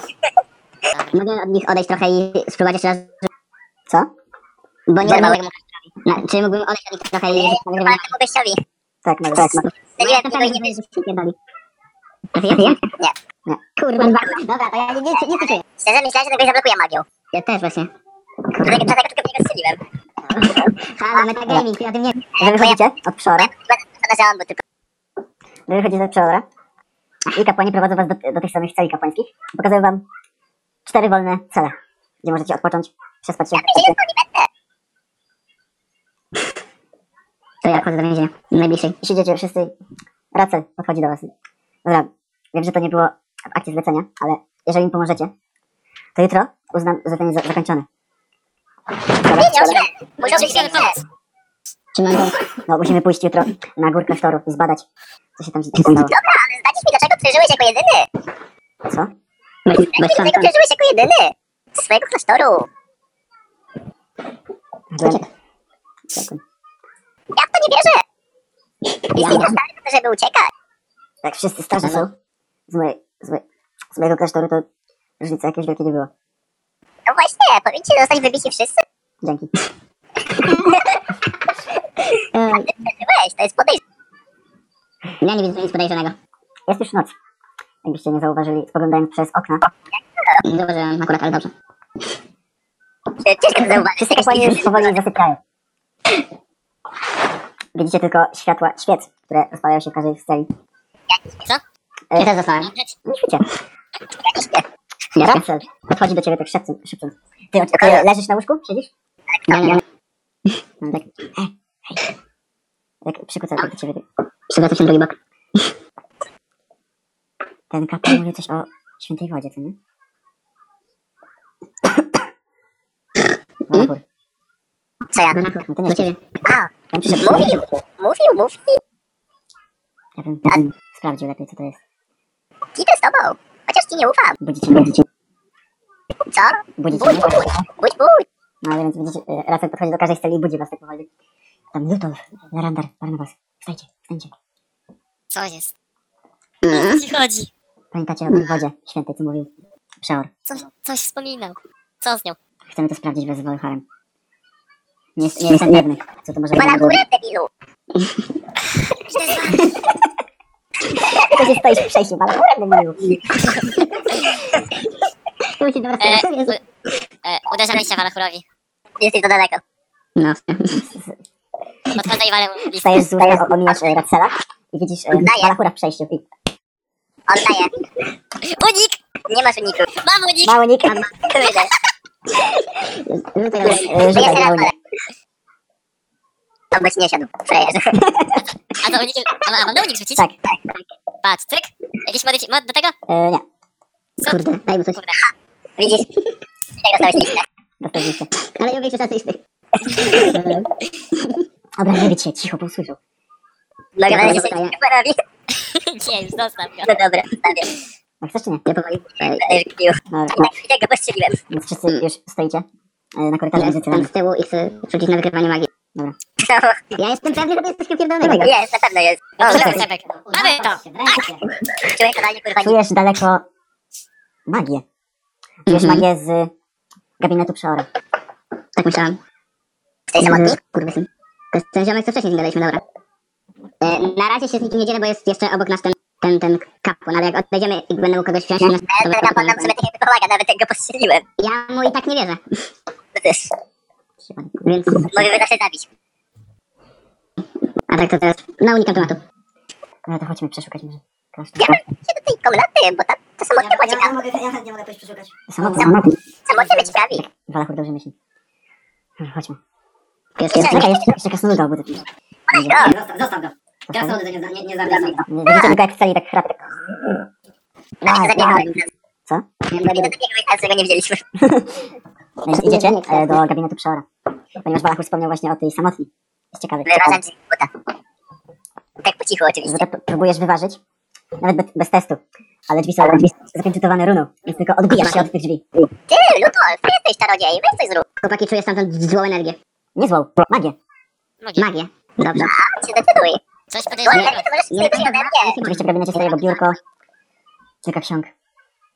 S10: Mogę od nich odejść trochę i spróbować jeszcze raz,
S8: Co?
S10: bo nie
S8: Zerwałem
S10: mogę... No, czy mógłbym odejść od nich trochę i... Zerwałem temu gościowi.
S8: Tak, mogę. Tak, mogę.
S10: Zerwałem tego i nie wiem, że się pierdoli. A ty ja? Nie.
S8: Nie.
S10: Kurwa, dwa. Dobra, to ja nie, nie, nie, nie Szczerze myślałem, że tego zablokuje magią. Ja też właśnie. Dlatego dlatego tylko mnie go strzeliłem. Halo, metagaming, ja tym nie
S8: Wy wychodzicie od przeora.
S10: Zależałam, bo tylko...
S8: Wy wychodzicie od przeora. I kapłani prowadzą was do, do tych samych celi kapłańskich. Pokazują wam cztery wolne cele, gdzie możecie odpocząć, przespać się.
S10: To ja chodzę do więzienia, najbliższej.
S8: I siedzicie wszyscy. Racel podchodzi do was. Dobra, wiem, że to nie było w akcie zlecenia, ale jeżeli mi pomożecie, to jutro uznam, że ten jest za- zakończony. Dobra,
S10: Pieniądze! Muszą być pieniądze!
S8: Czy mam No, musimy pójść jutro na górkę sztoru i zbadać, co się tam stało.
S10: Dobra, ale zdradzisz mi, dlaczego przeżyłeś jako jedyny?
S8: Co?
S10: Dlaczego przeżyłeś jako jedyny? Ze swojego klasztoru.
S8: Byłem-
S10: Ja w to nie wierzę! Jesteś za stary na to, żeby uciekać.
S8: Jak Tak, wszyscy starzy są z, mojej, z, mojej, z mojego klasztoru, to różnicy jakiejś wielkiej nie było.
S10: No właśnie, powinniście zostać wybici wszyscy.
S8: Dzięki.
S10: A ty przeżyłeś, to jest podejrzane.
S8: Ja nie widzę nic podejrzanego. Jest już noc. Jakbyście nie zauważyli, spoglądając przez okna.
S10: Nie zauważyłem akurat, ale dobrze. Ciężko to zauważyć.
S8: Wszyscy kapłani już powoli zasypiają. Widzicie tylko światła świec, które rozpalają się w każdej z celi.
S12: Co?
S10: Ja też zostałem.
S8: Nie świecie. Nie Racel podchodzi do ciebie tak szepcą. szepcą. Ty, o- ty leżysz na łóżku? Siedzisz?
S10: Nie, nie, nie.
S8: No tak. Jak przykucam do ciebie.
S10: Przywracam się drugi bok.
S8: Ten kapłan mówi coś o świętej wodzie, co nie?
S10: Hmm?
S8: Wodopór.
S10: Co ja?
S8: No to nie
S10: Do
S8: jesteś.
S10: ciebie. A,
S8: Tam przyszedł.
S10: mówił, mówił, mówił.
S8: Ja bym ja bym sprawdził lepiej, co to jest.
S10: Idę z tobą. Chociaż ci nie ufam.
S8: Budzicie mnie.
S10: Co?
S8: Budzicie
S10: Bój,
S8: mnie.
S10: bój, bój, bój.
S8: No ale więc widzicie, e, Racel podchodzi do każdej celi i budzi was tak powoli. Tam Lutolf, Larandar, Barnabas. Wstajcie, wstańcie.
S12: Co jest?
S10: Mm.
S12: O co ci chodzi?
S8: Pamiętacie o tej wodzie świętej, co mówił Przeor.
S12: Co, coś wspominał. Co z nią?
S8: Chcemy to sprawdzić wraz z Wolharem. Nie, jest, nie jestem pewny, co to może
S10: Chyba na
S8: być.
S10: górę, debilu.
S8: To się stoi w przejściu, ale naprawdę nie
S10: Tu się dobra
S12: E, u, e, uderza liścia Walchurowi.
S10: Jesteś za daleko. No.
S12: Podchodzę i walę mu liścia.
S8: Wstajesz z łóżka, o- omijasz e, Racela i widzisz e, Balachura w przejściu. I
S10: On daje.
S12: Unik!
S10: Nie masz uniku.
S12: Mam unik!
S8: mały Nik,
S10: Kurde.
S8: e,
S10: Jeszcze
S8: rzucaj
S10: raz,
S8: mały
S10: ale.
S8: Nik.
S10: Albo ci nie siadł. Frejerze.
S12: A to unikiem... A, ma- a mam na unik rzucić?
S8: Tak.
S12: Patrz, cyk. Jakiś modyfi... mod do tego?
S8: E, nie,
S12: Co? Kurde,
S10: daj mu coś.
S12: Kurde.
S10: Widzisz? Tego stałeś liścia.
S8: dostaliście.
S10: Ale ja większy szacunek.
S8: Dobra, nie wiecie, cicho, bo usłyszał.
S10: No
S8: Dobra,
S10: chyba nie
S8: zostaje.
S10: robi.
S12: Nie, już zostaw go.
S10: No dobra, stawiam.
S8: No chcesz czy nie?
S10: Ja powoli. Ej, kiu.
S8: Dobra,
S10: I tak, i tak go postrzeliłem.
S8: więc No, wszyscy już stoicie e, na korytarzu między celami.
S10: z tyłu i chcę rzucić na wykrywanie magii.
S8: Dobra.
S10: Ja jestem pewny, że to jest coś pierdolonego. Jest, na pewno jest. O,
S12: No to
S10: tak.
S12: jest Sebek. Mamy to!
S10: Człowiek totalnie kurwa nie...
S8: Czujesz daleko magię. Czujesz magię z gabinetu Przeora.
S10: Tak myślałam. W tej samotni? Kurwa syn. To jest ten ziomek, co wcześniej z nim gadaliśmy, dobra. E, na razie się z nikim nie dzielę, bo jest jeszcze obok nas ten, ten, ten kapłan, ale jak odejdziemy i będę mógł kogoś wziąć... Ja, ten kapłan nam sobie tak jakby pomaga, nawet jak go postrzeliłem. Ja mu i tak nie wierzę. To też. Więc... Możemy zawsze zabić. A tak to teraz... No unikam tematu.
S8: No to chodźmy przeszukać może klasztor.
S10: Ja bym się do tej komnaty, bo tam to
S11: Ja,
S10: samotnie
S11: ja,
S10: była ciekawa.
S11: ja, mogę, ja chętnie mogę pójść przeszukać.
S8: Samotny, samotny.
S10: Samotnie mnie ciekawi.
S8: Walachur dobrze myśli. Dobra, Chodźmy.
S10: Jest, jest,
S8: Czekaj, jeszcze, jeszcze kasnoluda obudzę.
S11: Zostaw, zostaw go. Krasnoludy nie, nie, nie zabijam.
S8: Widzicie tylko jak w celi tak chrapie. tak.
S10: Nawet się zabiegałem.
S8: Co?
S10: Nie dobiegłeś, ale sobie nie wzięliśmy.
S8: Więc idziecie e, do gabinetu Przeora. Ponieważ Balachur wspomniał właśnie o tej samotni. Jest ciekawy.
S10: Wyrażam ci buta. Tak po cichu oczywiście.
S8: Zwykle próbujesz wyważyć, nawet bez, bez testu. Ale drzwi są zapieczętowane runą, więc tylko odbijasz się od tych drzwi.
S10: Ty, Lutolf, ty jesteś czarodziej, weź coś zrób. Chłopaki, czuję stamtąd złą energię.
S8: Nie złą, magię.
S12: Nogi.
S10: Magię. Dobrze. A, się decyduj.
S12: Coś
S10: Złą
S12: podejrzanego.
S10: energię to możesz przyjąć ode mnie.
S8: Oczywiście w gabinecie stoi jego biurko, kilka ksiąg.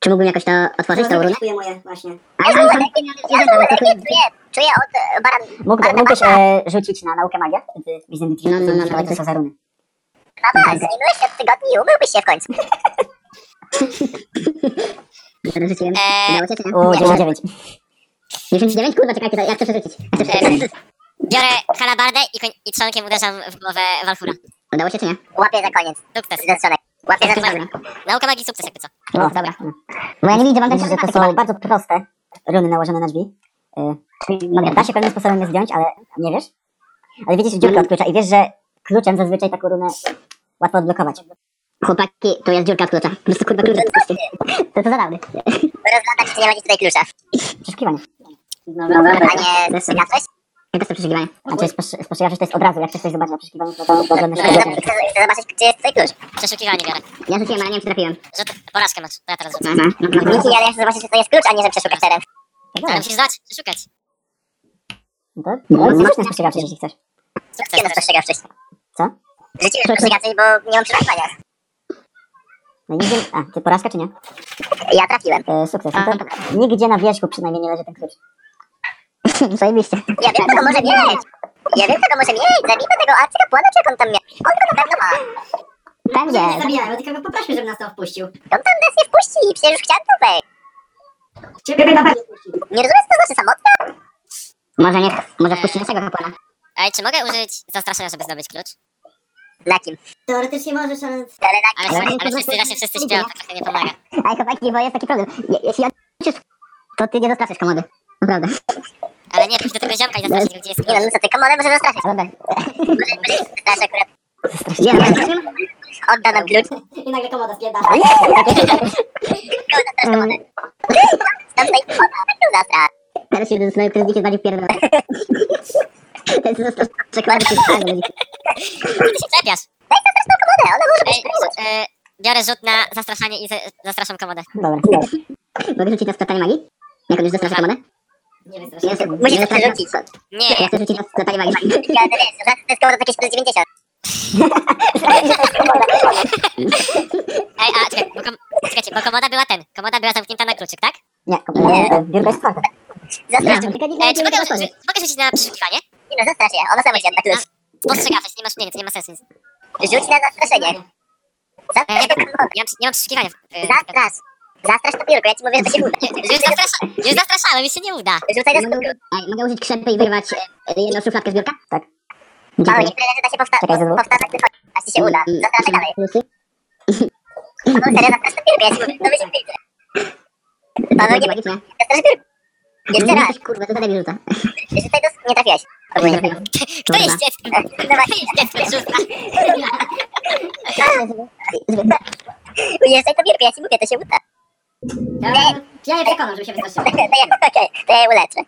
S10: Czy mógłbym jakoś to otworzyć, tą runę?
S11: Kupuję No, moje właśnie.
S10: Ja złą energię, ja złą energię czuję. Czuję od baran...
S8: Mógł, mógłbyś e, rzucić na naukę magię, gdy wizyty
S10: No, no, no, no,
S8: to są za runy.
S10: Na was, minąłeś od tygodni i umyłbyś się w końcu. Rzuciłem.
S12: Eee.
S10: Udało się, czy nie?
S8: U, 99.
S10: 99, kurwa, czekajcie, to ja chcę przerzucić. Ja chcę przerzucić.
S12: Biorę halabardę i, koń- i trzonkiem uderzam w głowę Walfura.
S10: Udało się czy nie? Łapię za koniec.
S12: Sukces.
S10: Zastrzonek. Łapię za
S12: Nauka
S10: koniec.
S12: magii- Nauka magii sukces jakby co.
S10: O, dobra.
S8: No, Bo ja nie widzę, mam
S10: Widzisz,
S8: że to są bardzo proste runy nałożone na drzwi. Y, da się pewnym sposobem je zdjąć, ale nie wiesz. Ale widzisz dziurkę od klucza i wiesz, że kluczem zazwyczaj taką runę łatwo odblokować.
S10: Chłopaki, tu jest dziurka w kluczach. Po prostu kurwa klucze. To to zabawne.
S12: Rozglądam się, czy nie ma gdzieś tutaj klucza.
S8: Przeszukiwanie.
S10: No
S12: dobra. A nie zgadłeś?
S10: Ja też chcę przeszukiwanie.
S8: A czy jest posz- spostrzegawczość to jest od razu, jak chcesz coś zobaczyć na przeszukiwaniu, to to
S12: No,
S8: oglądasz
S12: chcę,
S8: tego.
S12: chcę chcę zobaczyć, gdzie jest twój klucz. Przeszukiwanie biorę.
S10: Ja rzuciłem, ale nie wiem czy trafiłem.
S12: Że to porażkę masz, to ja teraz rzucę.
S10: No, no, no, no.
S12: Niki, ale ja chcę zobaczyć, czy to jest klucz, a nie, że przeszukać teren. Ale musisz znać, przeszukać.
S8: No to no, rzuć na spostrzegawczość, jeśli chcesz.
S12: Sukces. na przestrzegawczość.
S8: Co?
S12: Rzuciłem przestrzegawczość, bo nie mam przeszukiwania.
S8: No nigdzie... A, ty porażka czy nie?
S12: Ja trafiłem.
S8: E, sukces. No to nigdzie na wierzchu przynajmniej nie leży ten klucz. Zajebiście.
S12: Ja wiem, kto go może mieć. Ja wiem, kto go może mieć. Zabijmy tego akcja płonu, czy jak on tam miał. On go na pewno ma.
S10: Pewnie.
S11: Nie, nie zabijamy, tylko go poprośmy, żeby nas tam wpuścił.
S12: On tam nas nie wpuści, przecież już chciałem tu wejść.
S11: Ciebie na pewno nie wpuścił.
S12: Nie rozumiesz, co to znaczy samotna?
S10: Może nie, może wpuścić naszego kapłana.
S12: Ej, czy mogę użyć zastraszenia, żeby zdobyć klucz?
S10: Na kim?
S11: Teoretycznie możesz, ale...
S12: Ale, ale,
S10: Ale-
S12: ale, ale wszyscy, właśnie wszyscy śpią, to trochę nie pomaga.
S10: Ale chłopaki, bo jest taki problem. Je, jeśli odpuścisz, to ty nie zastraszysz komody. Naprawdę.
S12: Ale nie, pójdź do tego ziomka i zastraszyć go, gdzie jest klucz. Nie no, co ty, komodę może zastraszyć.
S10: Dobra.
S12: Zastrasz akurat.
S10: Nie, nie,
S12: Odda nam klucz.
S11: I nagle komoda spierdala.
S12: Tam stoi komoda, tak tu zastrasz.
S10: Teraz się zastanawiam, który z nich jest bardziej wpierdolony. Ten co został przekładany się stanie.
S12: Ty się czepiasz.
S10: Daj zastraszną komodę, ona może
S12: Ej, e, biorę rzut na zastraszanie i ze- zastraszam komodę.
S8: Dobra.
S10: Mogę rzucić na splatanie magii? Jak on już zastrasza komodę?
S11: Nie
S10: Nie,
S11: wystraszyłem.
S10: nie,
S12: Musisz
S10: nie,
S12: to rzucić. Nie,
S10: Ja chcę rzucić na splatanie magii.
S12: ja to wiesz, to jest komoda takie 190. Ej, a czekaj, bo, kom- czekajcie, bo komoda była ten, komoda była zamknięta na kluczyk, tak?
S8: Nie, kompletnie. e, Biurko jest otwarte.
S12: Zastraszam.
S10: Tylko nie
S12: E, czy mogę,
S10: wiem,
S12: czy,
S10: czy
S12: mogę rzucić na przeszukiwanie?
S10: Nie no, zastrasz je, ona sama idzie na klucz.
S12: Postrzegawczość, nie masz, nie, to nie ma sensu. Nic.
S10: Rzuć na zastraszenie.
S12: E, ja, nie, mam, nie mam przeszukiwania. E,
S10: Zastrasz. Zastrasz to piórko, ja ci mówię, że to się uda.
S12: już, zastrasza, już zastraszałem, mi się nie uda.
S10: Rzucaj na skórę. Mogę użyć krzepy i wyrwać e, jedną szufladkę z biurka? Tak.
S12: Paweł, niektóre rzeczy da się powsta-
S8: Czekaj, znowu.
S12: powtarzać, tylko aż
S10: Mm,
S12: ci się uda. Zastraszaj dalej. No serio,
S10: mm,
S12: zastrasz to piórko, ja ci mówię, to będzie widzę.
S10: Paweł, nie bądź.
S12: Zastrasz piórko. Jeszcze raz,
S10: Kurwa, to zadaj mi rzuta.
S12: że tego nie trafiłeś.
S10: Nie trafiłem.
S12: Kto jest dzieckiem?
S11: E, no
S12: Kto jest dzieckiem?
S10: Ujeżdżaj to biurko, ja ci mówię, to się uda.
S11: Ja, ja je przekonam, żeby się wystraszyła.
S10: To ja, okej, to ja je uleczę.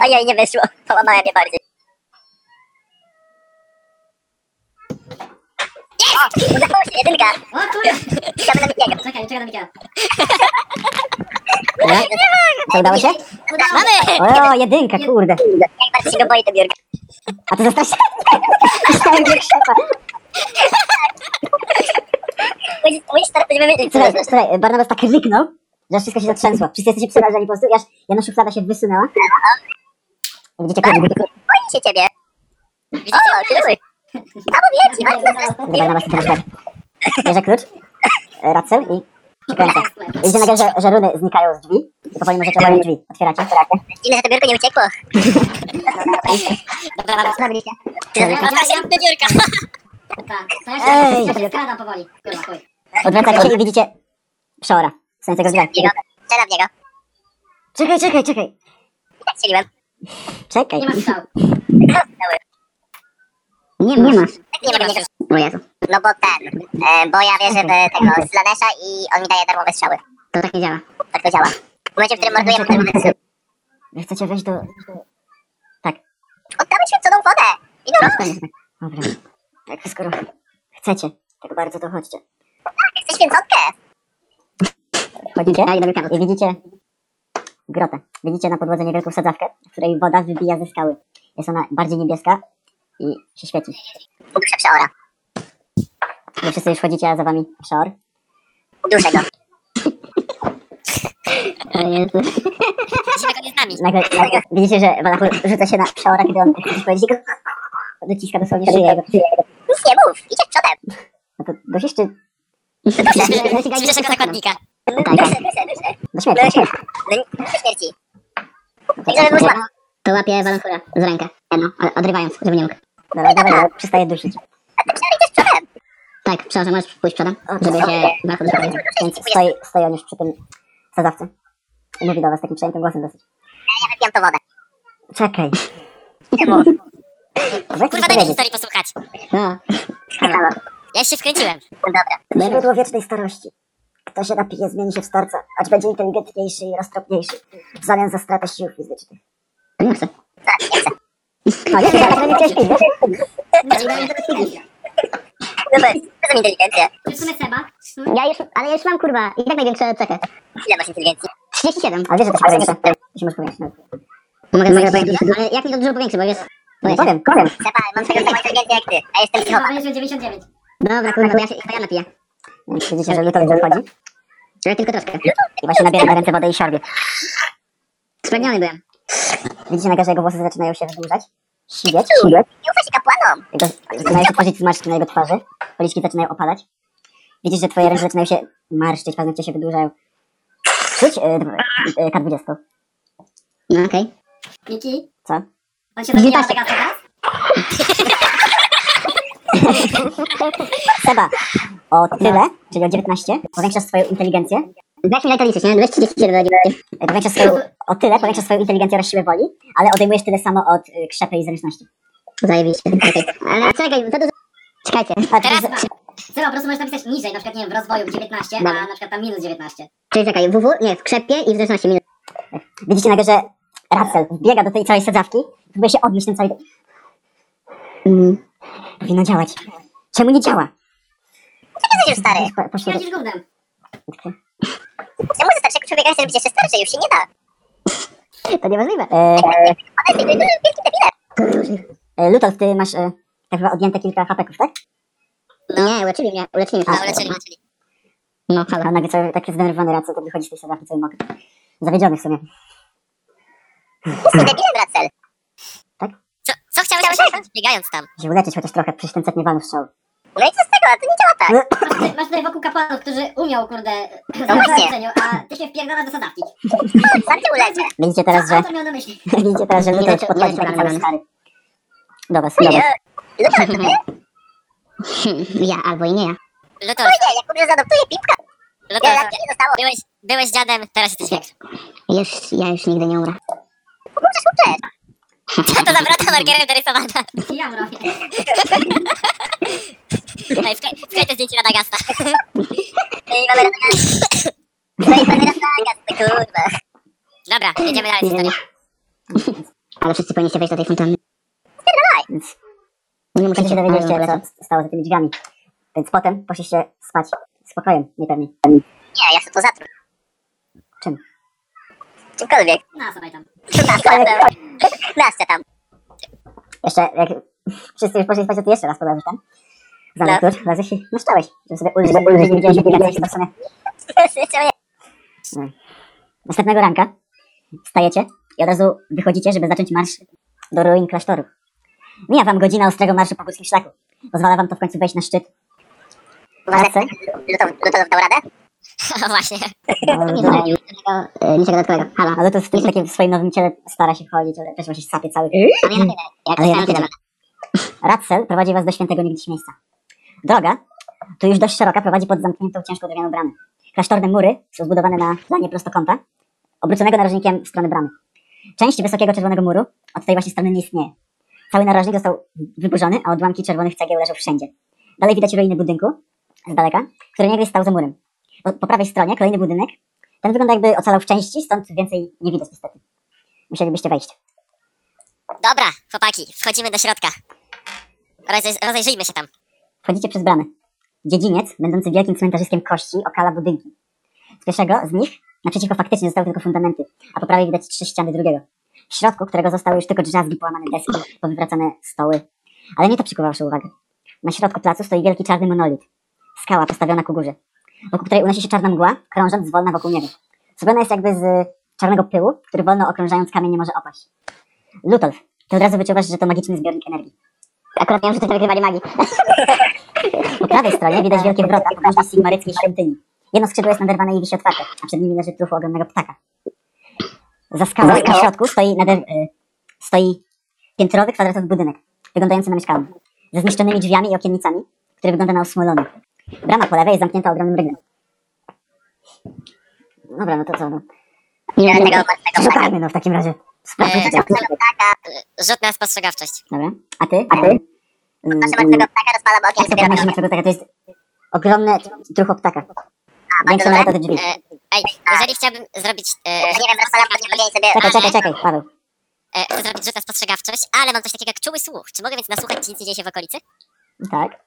S10: Ojej, nie wyszło, połamałem je bardziej.
S12: Jest! Udało się, jedynka.
S11: O kurde!
S12: Czekamy na Mikiego.
S11: Czekaj, czekaj na Mikiela.
S8: To udało się?
S11: Udało się.
S12: Mamy!
S8: O, jedynka, kurde.
S12: Jak bardzo się go boi, to biurka.
S8: A ty zastrasz Myślałem, że krzepa.
S12: Musisz- Musisz teraz będziemy wiedzieć, co
S8: Słuchaj,
S12: jest.
S8: słuchaj, Barnabas tak ryknął, że aż wszystko się zatrzęsło. Wszyscy jesteście przerażeni po prostu. i Aż jedna szuflada się wysunęła. Widzicie, kurde,
S12: Tak.
S8: kurde.
S12: Boi się ciebie. Widzicie? O, klucz. A mówię ci, bardzo
S8: Kurde, Barnabas, ty teraz tak. Bierze klucz, e, racel i przekręca. Widzicie nagle, że, że runy znikają z drzwi. I powoli możecie otworzyć drzwi. Otwieracie.
S12: Ile za to biurko nie uciekło.
S11: Dobra, dobra.
S10: Zrobiliście.
S12: Dobra, się do biurka.
S11: Tak, to
S8: Ej.
S11: ja się skradam powoli. Kurwa, chuj.
S8: Odwracacie się i widzicie przeora. Stojącego w drzwiach.
S12: Strzelam w niego.
S8: Czekaj, czekaj, czekaj.
S12: I tak strzeliłem.
S8: Czekaj.
S11: Nie ma strzału.
S10: Nie masz.
S12: Tak nie mogę niego.
S10: O Jezu.
S12: No bo ten, e, bo ja wierzę w tego Slanesha i on mi daje darmowe strzały.
S10: To tak nie działa.
S12: Tak to działa. W momencie, w którym mordujemy darmowe strzały.
S8: Wy chcecie wejść do...
S12: Oddamy święconą wodę. I no,
S10: Zostaniesz tak.
S8: Dobra. Tak, skoro chcecie tak bardzo, to chodźcie.
S12: chcę święconkę.
S8: Wchodzicie
S10: Daj dobry kawał.
S8: i widzicie grotę. Widzicie na podłodze niewielką sadzawkę, w której woda wybija ze skały. Jest ona bardziej niebieska i się świeci.
S12: Duszę przeora.
S8: Wy wszyscy już wchodzicie, a za wami przeor.
S12: Duszę go.
S10: O Jezu.
S12: Musimy go nie z nami.
S8: Nagle, nagle widzicie, że Walachur rzuca się na przeora, kiedy on wchodzi go dociska dosłownie szyję jego.
S12: Nic nie mów, idzie przodem.
S8: No to dość jeszcze
S12: Zbliżasz go zakładnika.
S10: Tak, tak.
S12: Duszę, duszę, duszę.
S8: do śmierci.
S12: Do śmierci. Tak, żeby był słaby.
S10: To łapie Valonfura z rękę. Jedną, ale odrywając, żeby nie mógł.
S8: Dobra, dawaj, bo przestaje dusić.
S10: A ty przynajmniej idziesz przodem. Tak, przepraszam, możesz pójść przodem, żeby się Valonfur zapowiedział.
S8: Więc stoi, stoi on już przy tym sadzawcy. I mówi do was takim przejętym głosem dosyć.
S10: Ja wypijam to wodę.
S8: Czekaj.
S10: Czemu?
S12: Kurwa, daj mi historii posłuchać.
S10: No.
S12: Ja się wkręciłem.
S10: Dobra.
S8: Źródło wiecznej starości. Kto się napije, zmieni się w starca, acz będzie inteligentniejszy i roztropniejszy, w zamian za stratę sił fizycznych.
S10: Tak, Nie chcę.
S8: No nie, nie, ale nie chciałeś pić, wiesz?
S10: No bez, bez inteligencja.
S11: Czy w sumie Seba?
S10: Ja już, ale ja już mam kurwa i tak największe cechy. Ile masz inteligencji? 37.
S8: Ale wiesz, że to się powiększa. To się może powiększyć.
S10: Mogę, mogę powiedzieć, ale jak mi to dużo powiększy, bo wiesz...
S8: Nie No powiem, powiem.
S10: Seba, mam tego samą inteligencję jak ty, a jestem
S11: Seba,
S10: psychopatą.
S11: ale że 99.
S10: Dobra, kurwa, to ja się to ja napiję.
S8: Widzicie, że Luton wychodzi e,
S10: Ale tylko troszkę.
S8: i właśnie nabiera na ręce wody i siorbie.
S10: Spragniony byłem.
S8: Widzicie nagle, że jego włosy zaczynają się wydłużać, siwieć, siwieć.
S10: Nie ufaj się kapłanom.
S8: Jego, zaczynają się tworzyć zmarszczki na jego twarzy, policzki zaczynają opadać. Widzisz, że twoje ręce zaczynają się marszczyć, paznokcie się wydłużają. Rzuć e, dw- e, K20.
S10: No okej.
S11: Miki?
S8: Co?
S11: On się zabija
S10: Witam
S11: na
S10: się.
S11: tego teraz?
S8: Seba, o
S10: Tak.
S8: tyle, czyli o 19, powiększasz swoją inteligencję.
S10: Weź mi na to liczyć, nie? 234 do 9.
S8: e, Powiększasz swoją, o tyle, powiększasz swoją inteligencję oraz siłę woli, ale odejmujesz tyle samo od y, krzepy i zręczności.
S10: Zajebiście. okej. Ale czekaj, to dużo... Czekajcie.
S8: A, czyli
S11: Teraz
S8: z-
S11: Seba, po prostu możesz napisać niżej, na przykład, nie wiem, w rozwoju 19, a
S10: Dobra.
S11: na przykład tam minus 19.
S10: Czyli czekaj, WW, nie, w krzepie i w zręczności minus.
S8: Widzicie nagle, że Russell biega do tej całej sadzawki, próbuje się odbić tym całym...
S10: Mm.
S8: Powinno działać. Czemu nie działa?
S10: Już stary.
S8: Po, poszło do...
S11: Śmierdzisz gównem.
S10: Czemu zostać jako człowieka chce być jeszcze starszy? Już się nie da. To niemożliwe.
S8: E,
S10: Ale ty dużo wielki debilem.
S8: e, Lutolf, ty masz e, tak chyba odjęte kilka hapeków, tak? No.
S10: Nie, uleczyli mnie, uleczyli
S12: A,
S10: mnie.
S12: uleczyli, uleczyli.
S10: No,
S8: A
S10: halo.
S8: nagle cały, taki zdenerwowany Russell to wychodzi z tej sadzawki cały mokry. Zawiedziony w sumie.
S10: Jestem debilem, Racel.
S12: Co, co chciałeś osiągnąć, biegając tam?
S8: Żeby uleczyć chociaż trochę, przecież ten cepnie walnów strzał.
S10: No i co z tego? To nie działa tak. No
S11: Masz tutaj, masz tutaj wokół kapłanów, którzy umią, kurde,
S10: właśnie.
S11: zaznaczeniu, a ty się wpierdalasz do sadawki.
S10: Sam cię uleczę.
S8: Widzicie
S11: Co
S8: teraz, że...
S11: autor miał na myśli?
S8: Widzicie teraz, że
S10: Nie
S8: Lutolf
S10: leczy-
S8: podchodzi
S10: nie
S8: taki
S10: leczy
S8: cały
S10: rannych.
S8: stary. Do
S10: No
S8: was, do was.
S10: Lubię
S11: No
S10: to, Ja albo i nie ja.
S12: Lutor,
S10: nie, jak kurde zadoptuję pipka.
S12: Lutor,
S10: nie zostało.
S12: byłeś, byłeś dziadem, teraz jesteś większy.
S10: Już, ja już nigdy nie umrę.
S12: Co to za wrota markerem dorysowana?
S11: Ja mu robię.
S12: Ej, wklej wklej te zdjęcie Radagasta.
S10: Ej, mamy razem. Ej, mamy razem, kurwa.
S12: Dobra, jedziemy dalej z historią.
S10: Ale wszyscy powinni się wejść do tej fontanny.
S8: Więc
S10: Nie muszę
S8: Wtedy się dowiedzieliście, co stało za tymi drzwiami. Więc potem poszliście spać spokojem, niepewnie.
S10: Nie, ja chcę to zatruć.
S8: Czym?
S10: Czymkolwiek.
S11: No, sobie tam.
S10: Nasce tam.
S8: Jeszcze, jak wszyscy już poszli spać, to ty jeszcze raz podałeś tam. Za
S10: No.
S8: no. tur, razem się naszczałeś, żeby sobie ulżyć, żeby ulżyć, nie widziałeś obligacji, to w sumie. Następnego ranka wstajecie i od razu wychodzicie, żeby zacząć marsz do ruin klasztorów. Mija wam godzina ostrego marszu po górskim szlaku. Pozwala wam to w końcu wejść na szczyt. Wracę.
S10: Luto dał radę?
S12: O, właśnie.
S10: Nie
S8: No,
S10: zrobił niczego, e, niczego dodatkowego. Halo.
S8: ale to w tym takim swoim nowym ciele stara się chodzić, ale też właśnie sapie cały.
S10: Ale ja na tyle. Jak
S8: Ale ja
S10: chciałem,
S8: na tyle. Ratzel prowadzi was do świętego niegdyś miejsca. Droga, tu już dość szeroka, prowadzi pod zamkniętą, ciężko drewnianą bramę. Klasztorne mury są zbudowane na planie prostokąta, obróconego narożnikiem w stronę bramy. Część wysokiego czerwonego muru od tej właśnie strony nie istnieje. Cały narożnik został wyburzony, a odłamki czerwonych cegieł leżą wszędzie. Dalej widać ruiny budynku, z daleka, który niegdyś stał za murem. Po, po prawej stronie kolejny budynek, ten wygląda jakby ocalał w części, stąd więcej nie widać niestety. Musielibyście wejść.
S12: Dobra, chłopaki, wchodzimy do środka. Rozej, rozejrzyjmy się tam.
S8: Wchodzicie przez bramę. Dziedziniec, będący wielkim cmentarzyskiem kości, okala budynki. Z pierwszego z nich naprzeciwko faktycznie zostały tylko fundamenty, a po prawej widać trzy ściany drugiego. W środku, którego zostały już tylko drzazgi, połamane deski, powywracane stoły. Ale nie to przykuwa waszą uwagę. Na środku placu stoi wielki czarny monolit. Skała postawiona ku górze, wokół której unosi się czarna mgła, krążąc zwolna wokół niego. Zrobiona jest jakby z e, czarnego pyłu, który wolno okrążając kamień nie może opaść. Lutolf, ty od razu wyczuwasz, że to magiczny zbiornik energii.
S10: Akurat miałem, że to nagrywali magii.
S8: Po prawej stronie widać wielkie wrota podróżnej sigmaryckiej świątyni. Jedno skrzydło jest naderwane i wisi otwarte, a przed nimi leży truchu ogromnego ptaka. Za skałą na środku stoi nader, y, stoi piętrowy, kwadratowy budynek, wyglądający na mieszkalny, ze zniszczonymi drzwiami i okiennicami, który wygląda na osmolony. Brama po lewej jest zamknięta ogromnym ryglem. Dobra, no to co? No.
S12: Nie miałem tego martwego ptaka.
S8: Szukajmy, no w takim razie.
S12: E,
S8: Sprawdźmy,
S12: Martwego ptaka, e, rzut na spostrzegawczość.
S8: Dobra. A ty? Mm, A ty?
S12: Proszę martwego ptaka, rozpalam okiem i sobie robię.
S8: Zobaczmy martwego ptaka, to jest ogromne trucho ptaka.
S12: Bardzo
S8: Większe
S12: dobre.
S8: nawet od drzwi.
S12: E, Ej, jeżeli chciałbym zrobić... e,
S10: Nie wiem, rozpalam okiem i sobie...
S8: Czekaj, czekaj,
S12: ale-
S8: czekaj, Paweł.
S12: E, Chcę zrobić rzut na spostrzegawczość, ale mam coś takiego jak czuły słuch. Czy mogę więc nasłuchać, czy nic nie dzieje się w okolicy?
S8: Tak.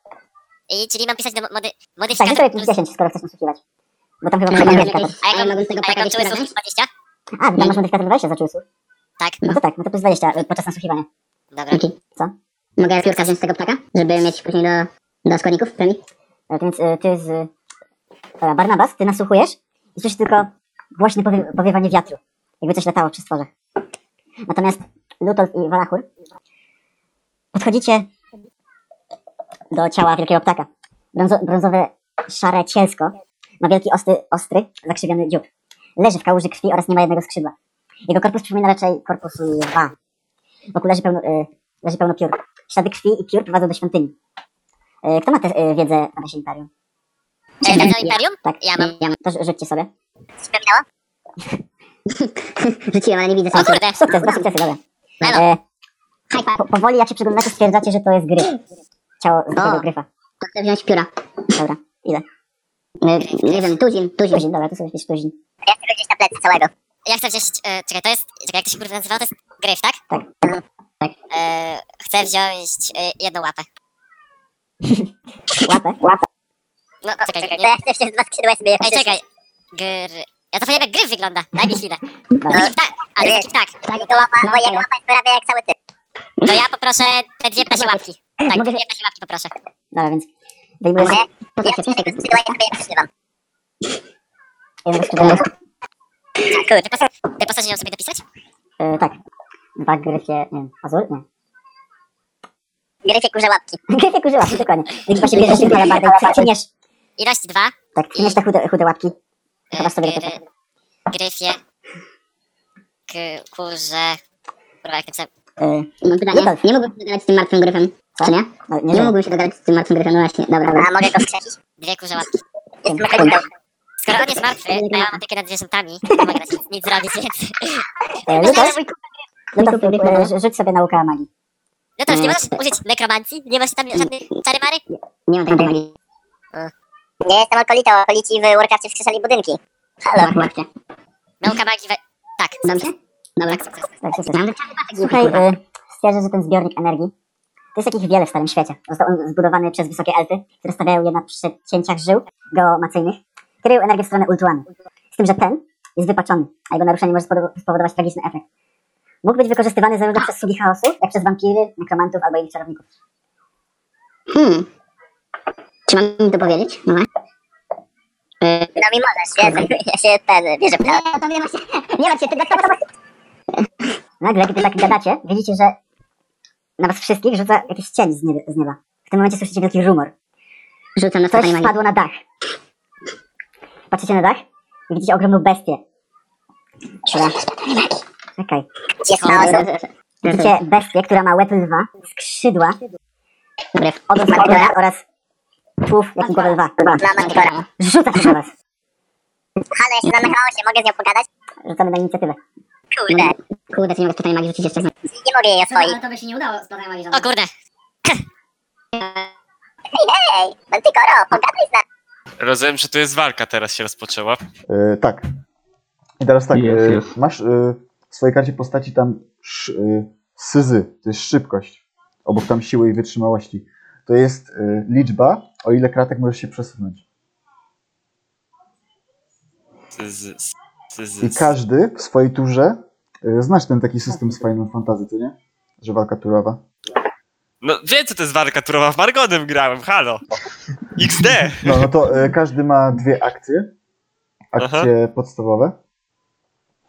S12: I, czyli mam pisać do mo- mody,
S8: Tak,
S12: modyfikator
S8: rzucaj
S12: plus...
S8: plus 10, skoro chcesz nasłuchiwać. Bo tam chyba
S10: A
S8: mamy
S10: ja
S8: modyfikator.
S10: jakieś-
S12: A jak
S10: A
S12: mam, a jak
S10: ja mogę z tego ptaka
S12: mam czuły
S10: wyciągnąć?
S12: słuch 20?
S8: A, tam masz modyfikator 20 za czułysów.
S12: Tak.
S8: No to tak, no to plus 20 podczas nasłuchiwania.
S12: Dobra.
S10: Dzięki.
S8: Co?
S10: Mogę piórka wziąć z tego ptaka, żeby mieć później do, do składników premii?
S8: E, Więc e, ty z... e, Dobra, Barnabas, ty nasłuchujesz i słyszysz tylko głośne powie, powiewanie wiatru. Jakby coś latało przy stworze. Natomiast Lutolf i Walachur podchodzicie do ciała wielkiego ptaka. Brązo, brązowe, szare cielsko ma wielki, ostry, ostry, zakrzywiony dziób. Leży w kałuży krwi oraz nie ma jednego skrzydła. Jego korpus przypomina raczej korpus lwa. Wokół leży pełno, e, leży pełno piór. Ślady krwi i piór prowadzą do świątyni. E, Kto ma tę e, wiedzę na naszym imperium?
S12: Czy wiedzę o Imperium?
S8: Tak,
S12: Ja mam.
S8: To rzu- rzućcie sobie.
S12: Przypomniało?
S10: Rzuciłem, ale nie widzę
S12: O
S10: sensu.
S12: kurde.
S8: Sukces, dwa sukcesy, dobra. E, po, powoli jak się przyglądacie, stwierdzacie, że to jest gryf. Ciało zbitego
S10: O.
S8: gryfa.
S10: To chcę wziąć pióra.
S8: Dobra, ile?
S10: E, Nie wiem, tuzin, tuzin.
S8: Tuzin, dobra, to sobie wpisz tuzin.
S12: Ja chcę gdzieś na plecy całego. Ja chcę wziąć... E, czekaj, to jest... Czekaj, jak to się kurde nazywa? To jest gryf, tak?
S8: Tak.
S12: E, chcę wziąć e, jedną łapę.
S8: Łapę, łapę.
S12: No, czekaj,
S10: To
S12: nie...
S10: ja chcę wziąć dwa skrzydła sobie.
S12: Ej, czekaj. Gr... Ja to powiem jak gryf wygląda. Daj mi chwilę.
S8: Dobra.
S12: Taki ptak. A, to jest taki ptak.
S10: No. Tak, to łapa, bo jak łapa jest prawie jak cały ty.
S12: To ja poproszę te dwie pasie łapki. Tak, dwie
S8: Mogę-
S12: pasie łapki poproszę.
S8: Dobra, No, więc wyjmujesz
S10: Mogę? Ja chcę wziąć tego tak? skrzydła i sobie jak przeszywam.
S8: jednego skrzydła.
S12: Kurde, te posta- te postacie nie mam sobie dopisać?
S8: E, tak. Dwa gryfie, nie wiem, azur? Nie.
S10: Grycie kurze łapki.
S8: Gryfie kurzyła, dokładnie. Więc właśnie bierzesz się parę bardzo i przyniesz,
S12: Ilość dwa.
S8: tak, przyniesz te chude, chude łapki.
S12: e,
S8: Chowasz sobie
S12: gry-
S10: Eee,
S8: gryfie.
S12: Gryfie. K- kurze. Kurwa, jak to pisałem.
S8: E,
S10: Mam pytanie.
S8: Lutolf.
S10: Nie mógłbym się dogadać z tym martwym gryfem,
S8: Co?
S10: czy nie?
S8: no, nie
S10: Nie
S8: wiem.
S10: mógłbym się dogadać z tym martwym gryfem, no właśnie, dobra. dobra.
S12: A mogę go wstrzelić? Dwie kurze łapki. Skoro on jest martwy, a ja mam opiekę nad zwierzętami, to mogę dać nic, nic zrobić, więc...
S8: E, Lutosz, Lutosz, e, rzu- rzuć sobie nauka magii.
S12: No to już nie możesz użyć nekromancji? Nie masz tam żadnych czary mary?
S10: Nie mam takiej magii.
S12: Nie jestem okolitą, okolici w Warcraftie wskrzeszali budynki.
S10: Halo. Łapcie.
S12: Nauka magii we... Tak,
S10: Dobrze? Dobra.
S12: tak, sukces.
S8: Tak, sukces.
S10: Mam wyczarny pasek,
S8: Słuchaj,
S10: kurwa.
S8: e, stwierdzę, że ten zbiornik energii, to jest takich wiele w Starym Świecie. Został on zbudowany przez wysokie elfy, które stawiają je na przecięciach żył geomacyjnych, kierują energię w stronę Ultuanu. Z tym, że ten jest wypaczony, a jego naruszenie może spowodo- spowodować tragiczny efekt. Mógł być wykorzystywany zarówno przez sługi chaosu, jak przez wampiry, nekromantów albo innych czarowników.
S10: Hmm. Czy mam im to powiedzieć? No. E,
S12: No mi możesz, ja, ja się ten, wierzę w to.
S10: nie, no to nie ma się, nie ma się, to, to, to, to,
S8: Nagle, kiedy tak gadacie, widzicie, że na was wszystkich rzuca jakiś cień z nieba. Z nieba. W tym momencie słyszycie wielki rumor.
S10: Rzucam na
S8: Coś
S10: stopę magii.
S8: spadło na dach. Patrzycie na dach i widzicie ogromną bestię. Która... Czekaj.
S12: Cicho.
S8: Widzicie bestię, która ma łeb lwa, skrzydła, ogon skorpiona oraz tułów jak i głowę lwa.
S12: Dla Mantigora.
S8: Rzuca się na was.
S12: Halo, ja się zamechało się, mogę z nią pogadać?
S8: Rzucamy na inicjatywę.
S12: Kurde,
S10: Kurde, czy nie mogę stopę magii rzucić jeszcze raz.
S12: nie mogę jej
S11: Co,
S12: oswoić.
S11: No, ale to by się nie udało z planem magii
S12: O
S11: żadnej.
S12: kurde,
S10: Ej,
S11: No
S10: Mantikoro, pogadaj z nami.
S4: Rozumiem, że to jest walka teraz się rozpoczęła.
S1: E, tak. I teraz tak,
S6: Jest,
S1: e,
S6: jest.
S1: masz e, w swojej karcie postaci tam sz, e, syzy, to jest szybkość, obok tam siły i wytrzymałości. To jest e, liczba, o ile kratek możesz się przesunąć.
S4: Z, z, z, z,
S1: I każdy w swojej turze, e, znasz ten taki system z Final Fantasy, to nie? Że walka turowa.
S4: No wiem, co to jest walka turowa, w Margonem grałem, halo. XD!
S1: No, no to e, każdy ma dwie akcje. Akcje podstawowe.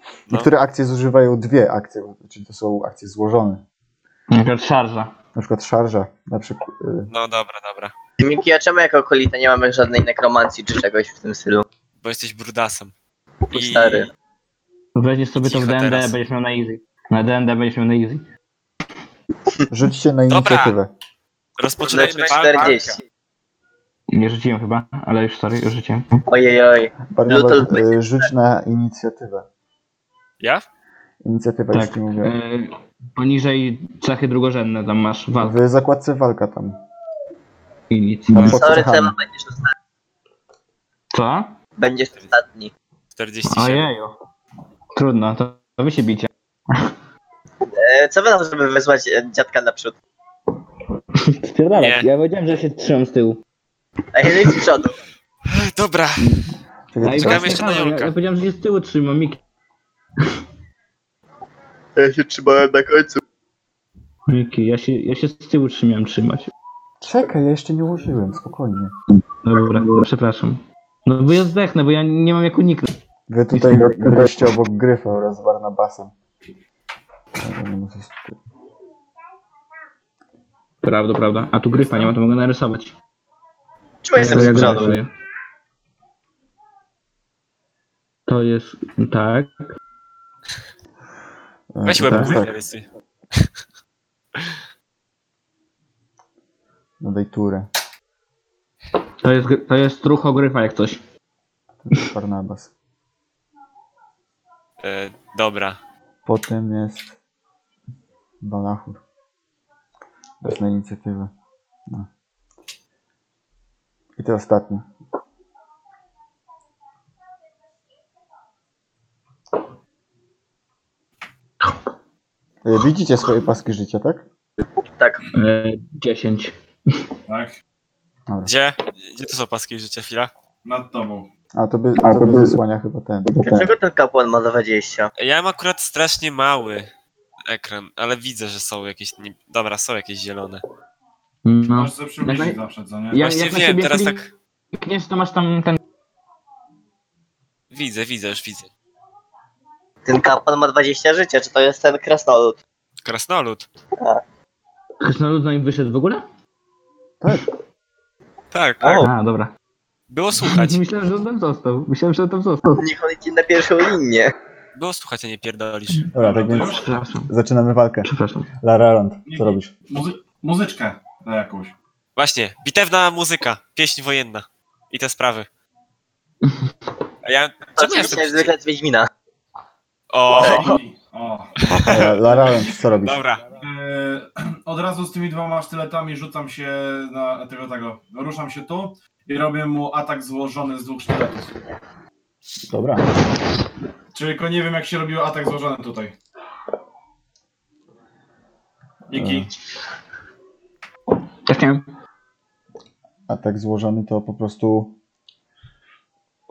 S4: No.
S1: Niektóre akcje zużywają dwie akcje, bo- czyli to są akcje złożone.
S6: Na przykład szarża.
S1: Na przykład szarża, na przykład. e,
S4: No dobra, dobra.
S2: Miki, a czemu jako okolita nie mamy żadnej nekromancji czy czegoś w tym stylu?
S4: Bo jesteś brudasem.
S2: Stary.
S6: Weźmiesz sobie to
S4: Cicho
S6: w D&D,
S4: teraz.
S6: będziesz miał na easy. Na D&D będziesz miał na easy.
S1: Rzućcie na inicjatywę.
S4: Rozpoczynajmy
S2: Lecz
S4: walkę.
S2: 40.
S6: Nie rzuciłem chyba, ale już sorry, już rzuciłem.
S2: Ojej, oj.
S1: Barnabas, y, rzuć na inicjatywę.
S4: Ja?
S1: Inicjatywa
S6: Tak.
S1: już nie mówiłem.
S6: Y, poniżej cechy drugorzędne tam masz walkę
S1: W zakładce walka tam.
S6: i nic.
S1: Na pod
S2: Sorry,
S1: cechami.
S2: Tema, będziesz ostatni.
S6: Co?
S2: Będziesz ostatni.
S4: 47.
S6: Ojeju. Trudno, to, to wy się bicie.
S2: E, co będą, żeby wysłać e, dziadka naprzód?
S6: Spierdalać, ja wiedziałem, że się trzymam z tyłu.
S2: A jeżeli z przodu?
S4: Dobra.
S1: Czekaj, czekaj.
S6: i
S4: Czekamy jeszcze na
S6: ja, Tak, ja
S4: Julka.
S6: powiedziałem, że się z tyłu trzymam, Miki.
S2: Ja się trzymałem na końcu.
S6: Miki, ja się, ja się z tyłu trzymałem trzymać.
S1: Czekaj, ja jeszcze nie ułożyłem, spokojnie.
S6: Dobra, przepraszam. No bo ja zdechnę, bo ja nie mam jak uniknąć.
S1: Wy tutaj byliście obok Gryfa oraz Barnabasem.
S6: Prawda, prawda. A tu gryfa nie ma, to mogę narysować.
S2: Czemu jestem
S6: To ja
S2: z przodu?
S6: narysuję. To jest... tak.
S4: Weź
S1: tak,
S4: łeb
S1: tak.
S4: narysuj.
S1: No daj turę,
S6: To jest, gry- to jest rucho gryfa jak coś.
S1: Barnabas.
S4: E, dobra.
S1: Potem jest Balachur. Bez na inicjatywę. No. I to ostatnie. E, Widzicie swoje paski życia, tak?
S2: Tak.
S6: E, 10.
S5: Tak?
S4: Gdzie? Gdzie to są paski życia, chwila?
S5: Nad tobą.
S1: A to by, a to by wysłania chyba ten. ten.
S2: Dlaczego ten kapłan ma 20?
S4: Ja mam akurat strasznie mały ekran, ale widzę, że są jakieś... Nie... Dobra, są jakieś zielone.
S6: No.
S5: Możesz sobie przybliżyć
S6: Jak-
S5: zawsze, co nie?
S6: Ja-
S4: Właśnie
S6: jak na
S4: wiem,
S6: siebie
S4: teraz
S6: klik-
S4: tak...
S6: Klikniesz, to masz tam ten...
S4: Widzę, widzę, już widzę.
S2: Ten kapłan ma 20 życia, czy to jest ten krasnolud? Tak.
S4: Krasnolud.
S6: Krasnolud na nim wyszedł w ogóle?
S4: Tak, tak.
S2: O.
S6: A, dobra.
S4: Było słuchać.
S6: Myślałem, że on tam został. Myślałem, że on tam został.
S2: Niech on idzie na pierwszą linię.
S4: Było słuchać, a No, nie pierdolisz.
S1: Dobra, tak więc
S6: Przepraszam,
S1: zaczynamy walkę.
S6: przepraszam.
S1: Lara Rond, co robisz?
S5: Muzy- muzyczkę na jakąś.
S4: Właśnie, bitewna muzyka, pieśń wojenna i te sprawy. A ja...
S2: To
S4: Czemu ja
S2: co się
S4: jestem...
S2: zwykle z Wiedźmina.
S4: O,
S5: O.
S1: E, Lara Rond, co robisz?
S4: dobra.
S5: E, od razu z tymi dwoma sztyletami rzucam się na tego tego. Ruszam się tu i robię mu atak złożony z dwóch sztyletów.
S1: Dobra.
S5: Czyli tylko nie wiem jak się robił atak złożony tutaj. Dzięki.
S6: Czekam.
S1: Atak tak złożony to po prostu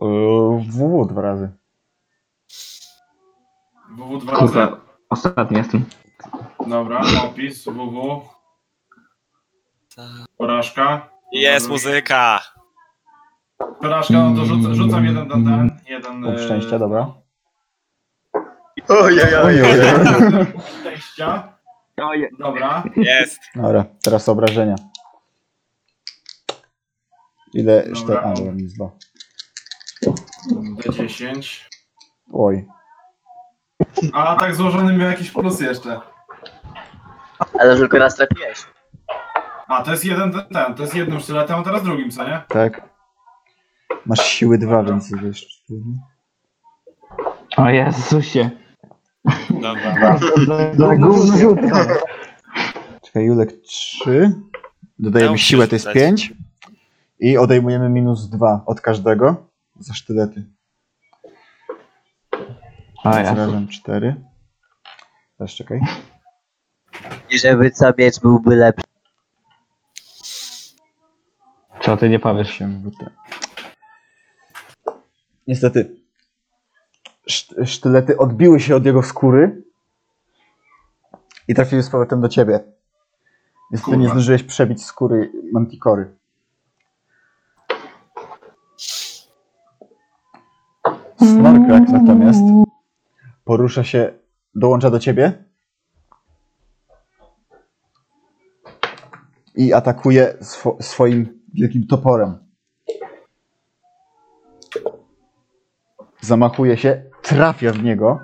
S1: yy, WW dwa razy.
S5: WW dwa razy.
S6: Kurwa, ostatni jestem.
S5: Dobra, opis WW. Porażka.
S4: Jest muzyka.
S5: Porażka, no to rzuc- rzucam jeden na ten. Jeden.
S1: Punkt
S5: e,
S1: szczęścia, dobra.
S2: Ojej,
S5: Punkt szczęścia. Dobra.
S4: Jest.
S1: Dobra, teraz obrażenia. Ile
S5: Dobra.
S1: szter... A, dobra, nic dwa.
S5: D10.
S1: Oj,
S5: A atak złożony miał jakiś plus jeszcze.
S2: Ale tylko raz trafiłeś.
S5: A, to jest jeden ten, ten to jest jednym sztyletem, a teraz drugim, co nie?
S1: tak. Masz siły dwa, więc wiesz.
S6: O Jezusie.
S4: Dobra.
S1: Dobra, gówno rzutka. Czekaj, Julek trzy. Dodajemy
S4: Miał
S1: siłę, to jest
S4: przerzucać.
S1: pięć. I odejmujemy minus dwa od każdego za sztylety.
S6: O
S1: Więc
S6: Jezu.
S1: razem cztery. Teraz czekaj.
S2: I żeby co miecz byłby lepszy.
S6: Co ty nie powiesz?
S1: Się wyte- Niestety. Szt- Sztylety odbiły się od jego skóry i trafiły z powrotem do ciebie. Niestety nie
S5: Kurwa.
S1: zdążyłeś przebić skóry Manticory. Snorkrak natomiast porusza się, dołącza do ciebie i atakuje swo- swoim wielkim toporem. Zamachuje się, trafia w niego.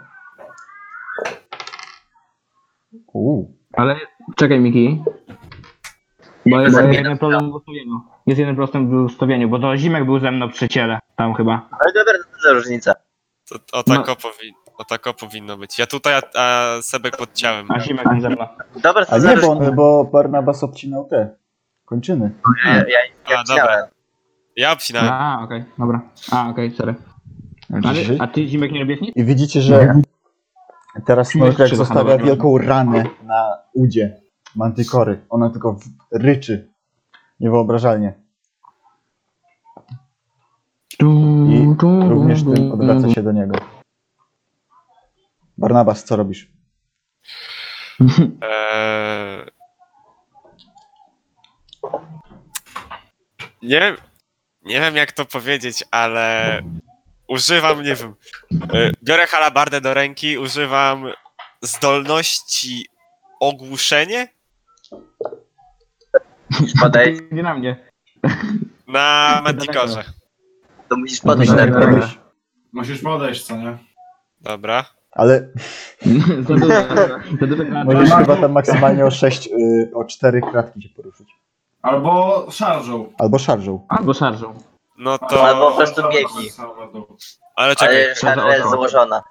S1: Uuu,
S6: Ale Czekaj, Miki. Bo No,
S2: No,
S6: jest jeden problem w ustawieniu. Jest jeden problem w ustawieniu, bo to Zimek był ze mną przy ciele, tam chyba.
S2: Ale dobra, to co za różnica.
S4: To, o, tak o, powi- o tak o powinno być. Ja tutaj, a, a Sebek pod ciałem.
S6: A Zimek nie ze mną.
S2: Dobra,
S1: A
S2: to za
S1: nie, bo,
S2: różnica.
S1: on, bo Barnabas obcinał te kończyny.
S2: Ja, ja, ja
S4: A, dobra. Ja obcinałem.
S6: A, okej, dobra. A, okej, sorry. Ale, a ty, Zimek, nie robisz nic? Mhm.
S1: I widzicie, że teraz Snorklek
S6: Krzywo
S1: zostawia
S6: handlowe.
S1: wielką ranę na udzie mantykory. Ona tylko w- ryczy. Niewyobrażalnie. I również tym odwraca się do niego. Barnabas, co robisz?
S4: Eee... Nie, nie wiem jak to powiedzieć, ale używam, nie wiem, e, biorę halabardę do ręki, używam zdolności ogłuszenie
S2: Podaj,
S6: Nie na mnie.
S4: na Manticorze.
S2: to musisz podejść na
S1: Co robisz?
S5: Musisz podejść, co nie?
S4: Dobra.
S1: Ale
S6: za dużo, za dużo
S1: możesz chyba tam maksymalnie o 6, o 4 kratki się poruszyć.
S5: Albo szarżą.
S1: Albo szarżą.
S6: Albo szarżą.
S4: No to...
S2: Albo po prostu biegnij.
S4: Ale czekaj.
S2: Ale szarża jest założona.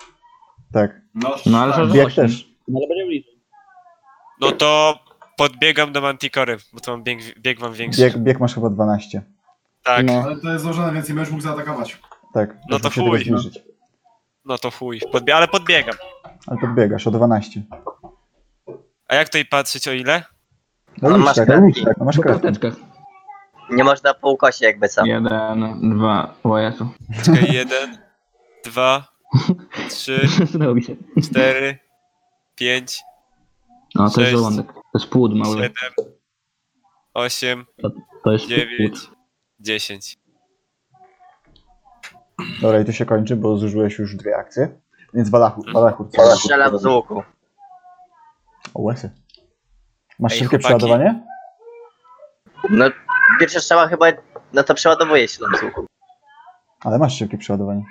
S1: Tak.
S5: No,
S6: No, ale
S5: tak.
S6: szarżą.
S1: Bieg też.
S6: Ale będzie bliżej.
S4: No to podbiegam do Manticory, bo to mam bieg, bieg mam większy.
S1: Bieg, bieg masz chyba 12.
S4: Tak,
S6: No.
S5: Ale to jest złożone, więc nie będziesz mógł zaatakować.
S1: Tak.
S4: No
S1: już
S4: to
S1: muszę tego
S4: chuj.
S1: zbliżyć.
S4: no to chuj. Podbie ale podbiegam.
S1: Ale podbiegasz o 12.
S4: A jak tutaj patrzeć o ile?
S1: No
S2: Ale
S1: już
S2: masz
S1: tak,
S2: kratki.
S1: no już tak, no masz
S6: Po
S1: kratki.
S6: karteczkach.
S2: Nie można po ukosie jakby co.
S6: Jeden, dwa, o Jezu.
S4: Czekaj, jeden, dwa, trzy,
S6: Zdało mi się.
S4: cztery, pięć,
S6: O, No, to
S4: Sześć.
S6: jest żołądek. To jest płód mały.
S4: siedem, osiem,
S6: To jest
S4: dziewięć,
S6: płód.
S4: dziesięć.
S1: Dobra, i tu się kończy, bo zużyłeś już dwie akcje. Więc Walachur,
S6: Mhm.
S1: Walachur, co robisz?
S2: Strzelam z łuku.
S1: O, łysy. Masz
S4: Ej,
S1: szybkie
S4: chłopaki.
S1: przeładowanie?
S2: No, pierwsza strzała chyba, no to przeładowuje się tam z łuku.
S1: Ale masz szybkie przeładowanie.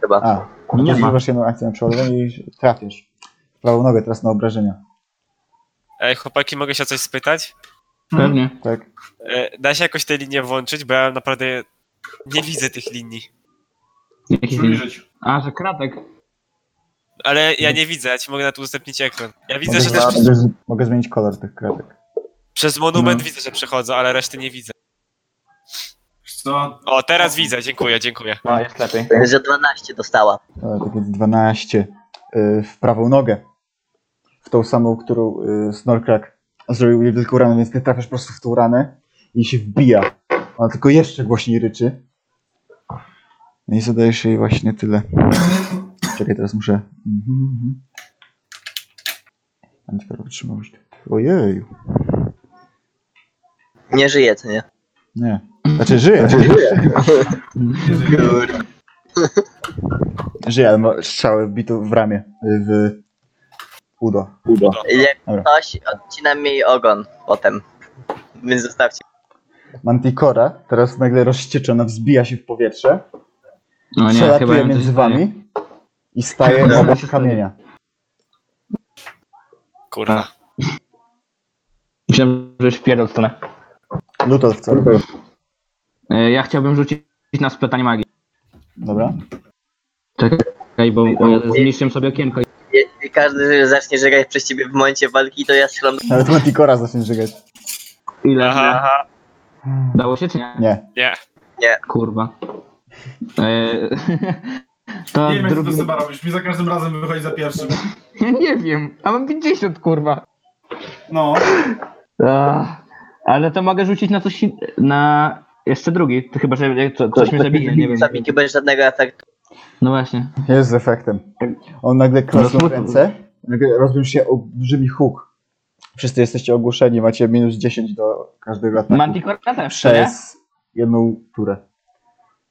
S2: Chyba.
S1: A,
S6: Nie
S1: nie
S6: ma.
S1: zużywasz jedną akcję na przeładowanie i trafisz. W Prawą nogę teraz na obrażenia.
S4: Ej, chłopaki, mogę się o coś spytać?
S6: Pewnie.
S1: Tak?
S4: E, da się jakoś te linie włączyć, bo ja naprawdę nie widzę tych linii.
S6: Jakiś inny.
S5: Przybliżyć.
S6: A, że kratek.
S4: Ale ja nie widzę, ja ci mogę na to udostępnić ekran. Ja widzę,
S1: Mogę,
S4: że też
S1: z-
S4: przez,
S1: mogę, z- mogę zmienić kolor tych kratek.
S4: przez monument widzę, że przechodzą, ale reszty nie widzę.
S5: Wiesz Co?
S4: O, teraz widzę, dziękuję, dziękuję.
S6: No, jest lepiej.
S2: Że 12 dostała.
S1: Dobra, tak więc 12 y, w prawą nogę. W tą samą, którą y, Snorkrak zrobił jej wielką ranę, więc ty trafiasz po prostu w tą ranę i się wbija. Ona tylko jeszcze głośniej ryczy. No i zadajesz jej właśnie tyle. Czekaj, teraz muszę... Mhm, mhm. Antykorp wytrzymałość. Ojej.
S2: Nie żyje, co nie?
S1: Nie. Znaczy żyje. Żyje, ale ma strzałę wbitą w ramię. y, W udo. Udo.
S2: Jak
S1: Dobra.
S2: ktoś odcina mi jej ogon potem. Więc zostawcie.
S1: Manticora, teraz nagle rozścieczona, wzbija się w powietrze,
S6: No nie, chyba
S1: przelatuje
S6: ja
S1: między wami i staje
S6: Chyba
S1: obok
S6: się
S1: kamienia.
S4: Kurwa.
S6: Myślałem, że już wpierdol w stronę.
S1: Lutolf, co robisz?
S6: E, Ja chciałbym rzucić na spletanie magii.
S1: Dobra.
S6: Czekaj, bo bo zniszczyłem sobie okienko.
S2: I każdy zacznie żegać przez ciebie w momencie walki, to ja strzelam.
S1: Nawet Manticora zacznie żygać.
S6: Ile?
S4: Aha, aha,
S6: Dało się czy nie?
S1: Nie.
S4: nie.
S6: Kurwa. E, to
S5: Nie wiem, jak ty to
S6: drugi...
S5: sobie robisz. Mi za każdym razem wychodzi za pierwszym.
S6: Ja nie wiem, a mam 50 kurwa.
S5: No,
S6: Ach, ale to mogę rzucić na coś... in- na... Jeszcze drugi, to chyba że jak to, coś mnie zabije, nie wiem.
S2: Zabity bez żadnego efektu.
S6: No właśnie.
S1: Jest z efektem. On
S6: No
S1: nagle klasnął w ręce, nagle rozbił się olbrzymi huk. Wszyscy jesteście ogłuszeni, macie minus 10 do każdego ataku.
S6: Manticora też, nie?
S1: Przez jedną turę.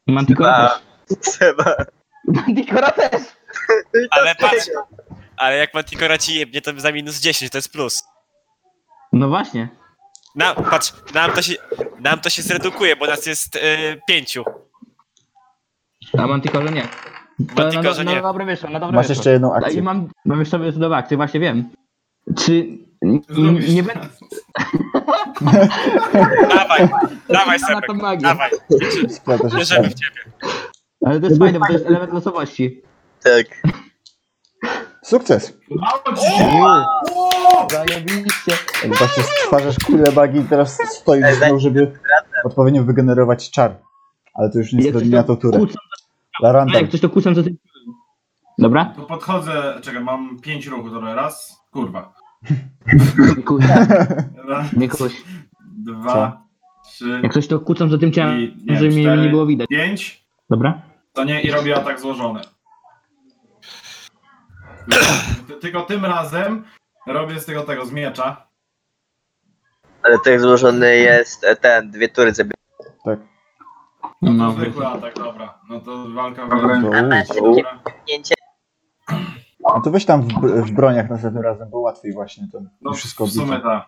S6: Manticora też.
S2: Trzeba.
S6: Manticora też!
S4: Ale patrz, ale jak Manticora ci jebnie, to za minus 10, to jest plus.
S6: No właśnie.
S4: Na, patrz, nam to, się, nam to się zredukuje, bo nas jest y, pięciu.
S6: A Manticorze nie. To
S4: Manticorze
S6: no, no,
S4: nie.
S6: No dobre wyszło, no dobre
S1: Masz
S6: wyszło.
S1: jeszcze jedną
S6: I
S1: akcję.
S6: mam, mam jeszcze sobie do akcji, właśnie wiem. Czy N- n- nie będę.
S4: Dawaj, dawaj
S6: Wygląda na
S4: Sebek,
S6: to magię.
S4: dawaj.
S6: Splata się
S4: Wierzymy
S6: stara.
S4: w ciebie.
S6: Ale to jest fajne, bo to jest element losowości.
S2: Tak.
S1: Sukces!
S6: Zajebiście.
S1: Jak właśnie stwarzasz kulę bagi i teraz stoisz znowu, żeby odpowiednio wygenerować czar. Ale to już nie jest do na tą turę. Laranda.
S6: Jak coś to kłócę, co ty... Dobra?
S5: To podchodzę, czekaj, mam pięć ruchów, dobra, raz, kurwa. Raz,
S6: Nie kuś.
S5: dwa, trzy,
S6: Jak coś to kłócą za tym ciałem,
S5: nie,
S6: żeby mnie
S5: cztery,
S6: nie było widać.
S5: pięć,
S6: Dobra?
S5: to nie, i robię atak złożony. Ty- Tylko tym razem robię z tego tego, z miecza.
S2: Ale tak złożony jest e, ten, dwie tury zabiera.
S1: Tak.
S5: No to
S6: No,
S5: zwykły atak, dobra. No to walka w
S1: Dobra.
S5: ręce.
S1: Dobra.
S5: Dobra.
S1: No to weź tam w, w broniach następnym razem, bo łatwiej właśnie to
S5: No,
S1: wszystko
S5: w sumie
S1: obliczę.
S5: tak.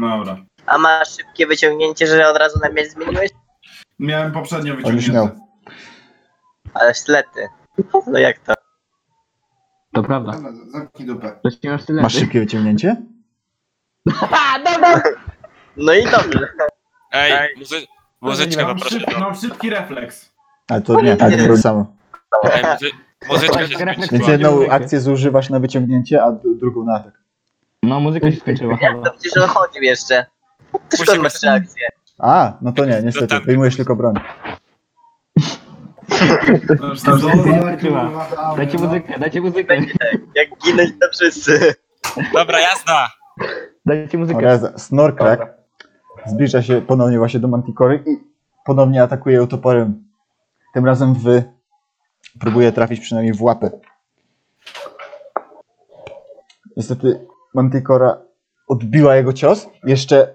S5: Dobra.
S2: A masz szybkie wyciągnięcie, że od razu na miecz zmieniłeś?
S5: Miałem poprzednio
S1: On już
S5: wyciągnięte.
S1: miał.
S2: Ale ślety. No jak to?
S6: to prawda.
S7: Zamknij dupę.
S6: To się masz tyle.
S1: Masz szybkie wyciągnięcie?
S2: No i dobrze.
S4: Ej, muzy- muzyczkę
S5: mam,
S4: poproszę.
S5: szyb, mam no, szybki refleks.
S1: Ale
S6: No
S1: to nie, ale to było samo.
S4: Ej, muzy- muzyczkę się zmienić.
S1: Więc jedną akcję zużywasz na wyciągnięcie, a d- drugą na atak.
S6: No, muzyka się skończyła.
S2: To przecież on chodził jeszcze. Ty
S4: Musimy-
S2: skąd masz reakcję?
S1: A, no to nie, niestety,
S4: tam-
S1: wyjmujesz tylko broń.
S6: Tak. Dajcie
S7: no.
S6: muzykę, dajcie muzykę.
S2: Tak, Jak ginąć to wszyscy.
S4: Dobra, jazda.
S6: Dajcie muzykę.
S1: Oraz Snorkrak zbliża się ponownie właśnie do Manticory i ponownie atakuje ją toporem. Tym razem w... próbuje trafić przynajmniej w łapę. Niestety Manticora odbiła jego cios, jeszcze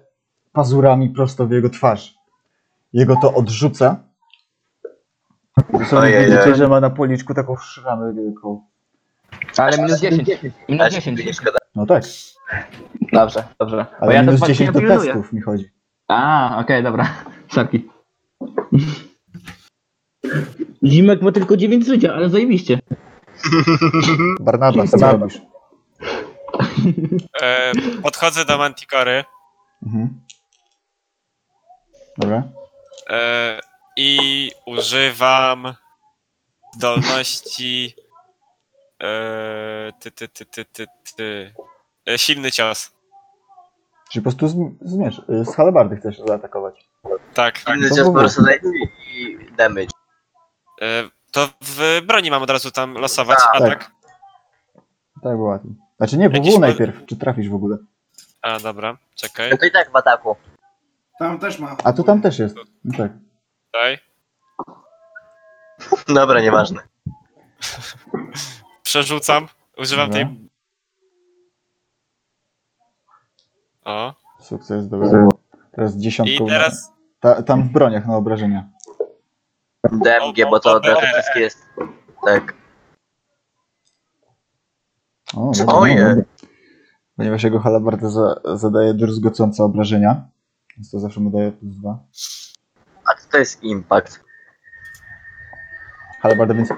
S1: pazurami prosto w jego twarz. Jego to odrzuca. Dosłownie
S2: Ojej,
S1: widzicie,
S2: ojej.
S1: że ma na policzku taką szramę wielką.
S6: Ale minus 10.
S2: A
S6: Minus
S2: się
S6: 10.
S2: nie szkoda.
S1: No tak,
S6: Dobrze, dobrze. Bo
S1: ale minus
S6: patrzę,
S1: 10 do
S6: pilnuję.
S1: testów mi chodzi.
S6: A, okej, dobra. Sorki. Zimek ma tylko 9 życia, ale zajebiście.
S1: Barnabas, co robisz?
S4: E, podchodzę do Manticory
S1: Mhm. Dobra.
S4: e, i używam zdolności e, ty, ty, ty, ty, ty, ty. E, silny cios.
S1: Czyli po prostu zm- zmierz, y, z halabardy chcesz zaatakować.
S4: Tak.
S2: Inny
S1: to
S2: cios po
S1: było.
S2: prostu daje i damage.
S4: E, to w broni mam od razu tam losować atak.
S1: Tak było łatwiej. Znaczy nie,
S4: Jakiś
S1: WW
S4: mo-
S1: najpierw, czy trafisz w ogóle.
S4: A, dobra, czekaj.
S2: No to i tak w ataku.
S7: Tam też ma.
S1: A tu tam też jest. No tak.
S4: Daj.
S2: Dobra, nieważne.
S4: Przerzucam. Używam
S1: Dobra.
S4: tej.
S1: No.
S4: O.
S1: Sukces, dobra. Teraz dziesiątką.
S4: I
S1: na-
S4: teraz.
S1: Ta, tam w broniach na obrażenia.
S2: DMG, bo to dla tych wszystkich jest. Tak.
S1: O,
S2: Ojej.
S1: dobra, dobra. Ponieważ jego halabarda za, zadaje druzgocące obrażenia, więc to zawsze mu daje plus dwa.
S2: A co to jest impact?
S1: halabardę, więc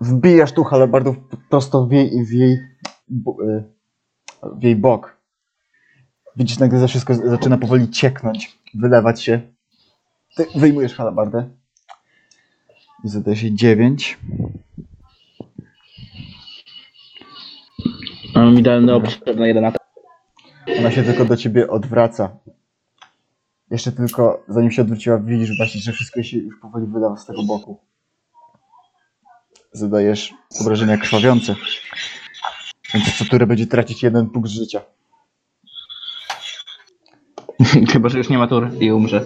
S1: wbijasz tu halabardów prosto w jej, w jej, bo- y, w jej bok. Widzisz, nagle za wszystko z- zaczyna powoli cieknąć, wylewać się. Ty wyjmujesz halabardę. I zadaje się 9.
S6: Mam idealny obszar na jeden atak.
S1: Ona się tylko do ciebie odwraca. Jeszcze tylko, zanim się odwróciła, widzisz właśnie, że wszystko się już powoli wylewa z tego boku. Zadajesz obrażenia krwawiące. Więc co turę będzie tracić jeden punkt życia.
S6: Chyba, że już nie ma tur i umrze.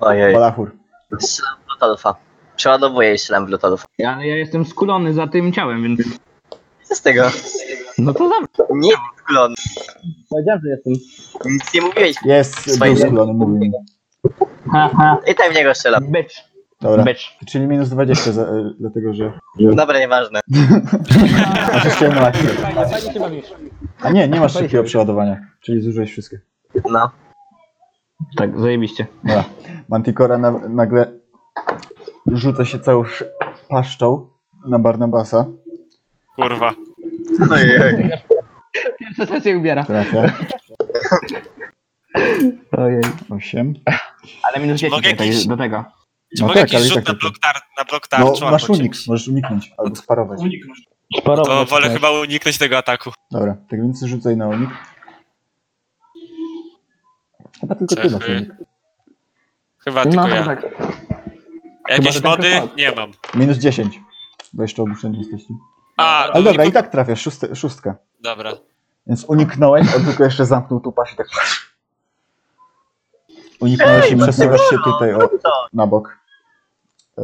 S2: Ojej.
S1: Balachur.
S2: Strzelam w Lutalfa. Przeładowuję i strzelam w Lutalfa.
S6: Ale ja jestem skulony za tym ciałem, więc...
S2: Co z tego?
S6: No to dobrze.
S2: Nie klon.
S6: Powiedziałem, że jestem.
S2: Nic nie mówiłeś.
S1: Jest, był
S2: Fajnie.
S1: skulony, mówił mi.
S6: Ha, ha.
S2: I tak w niego strzelam.
S6: Becz,
S1: Dobra,
S6: becz.
S1: czyli minus 20, za, y, dlatego że...
S2: Dobra, nieważne.
S1: Oczyściłem na akcję.
S6: Fajnie, fajnie się bawisz.
S1: A nie, nie masz szybkiego przeładowania, czyli zużyłeś wszystkie.
S2: No.
S6: Tak, zajebiście.
S1: Dobra. Manticora na, nagle rzuca się całą sz- paszczą na Barnabasa.
S4: Kurwa.
S2: Ojej.
S6: to co się ubiera.
S1: Trafia.
S6: Ojej.
S1: 8.
S6: Ale minus
S4: Czy
S6: 10
S4: mogę
S6: tutaj,
S4: jakiś-
S6: do tego.
S4: Czy
S1: tak,
S4: mogę jakiś rzut na blok, tar- na blok
S1: No,
S4: tarczą?
S1: masz unik, możesz uniknąć albo sparować.
S5: Uniknąć.
S4: To wolę
S6: tak.
S4: chyba uniknąć tego ataku.
S1: Dobra, tak więc rzucaj na unik. Chyba tylko ty masz unik.
S4: Cechy. Chyba tylko ja.
S1: No, tak. Chyba, że
S4: Jakieś
S1: ten
S4: mody?
S1: przypadek.
S4: Nie mam.
S1: Minus 10. Bo jeszcze obliczenie jesteście.
S4: A,
S1: Ale dobra,
S4: unik-
S1: i tak trafiasz, szósty, szóstka.
S4: Dobra.
S1: Więc uniknąłeś, on tylko jeszcze zamknął tu pas i tak... Uniknąłeś i przesuwasz się tutaj o, na bok. Y,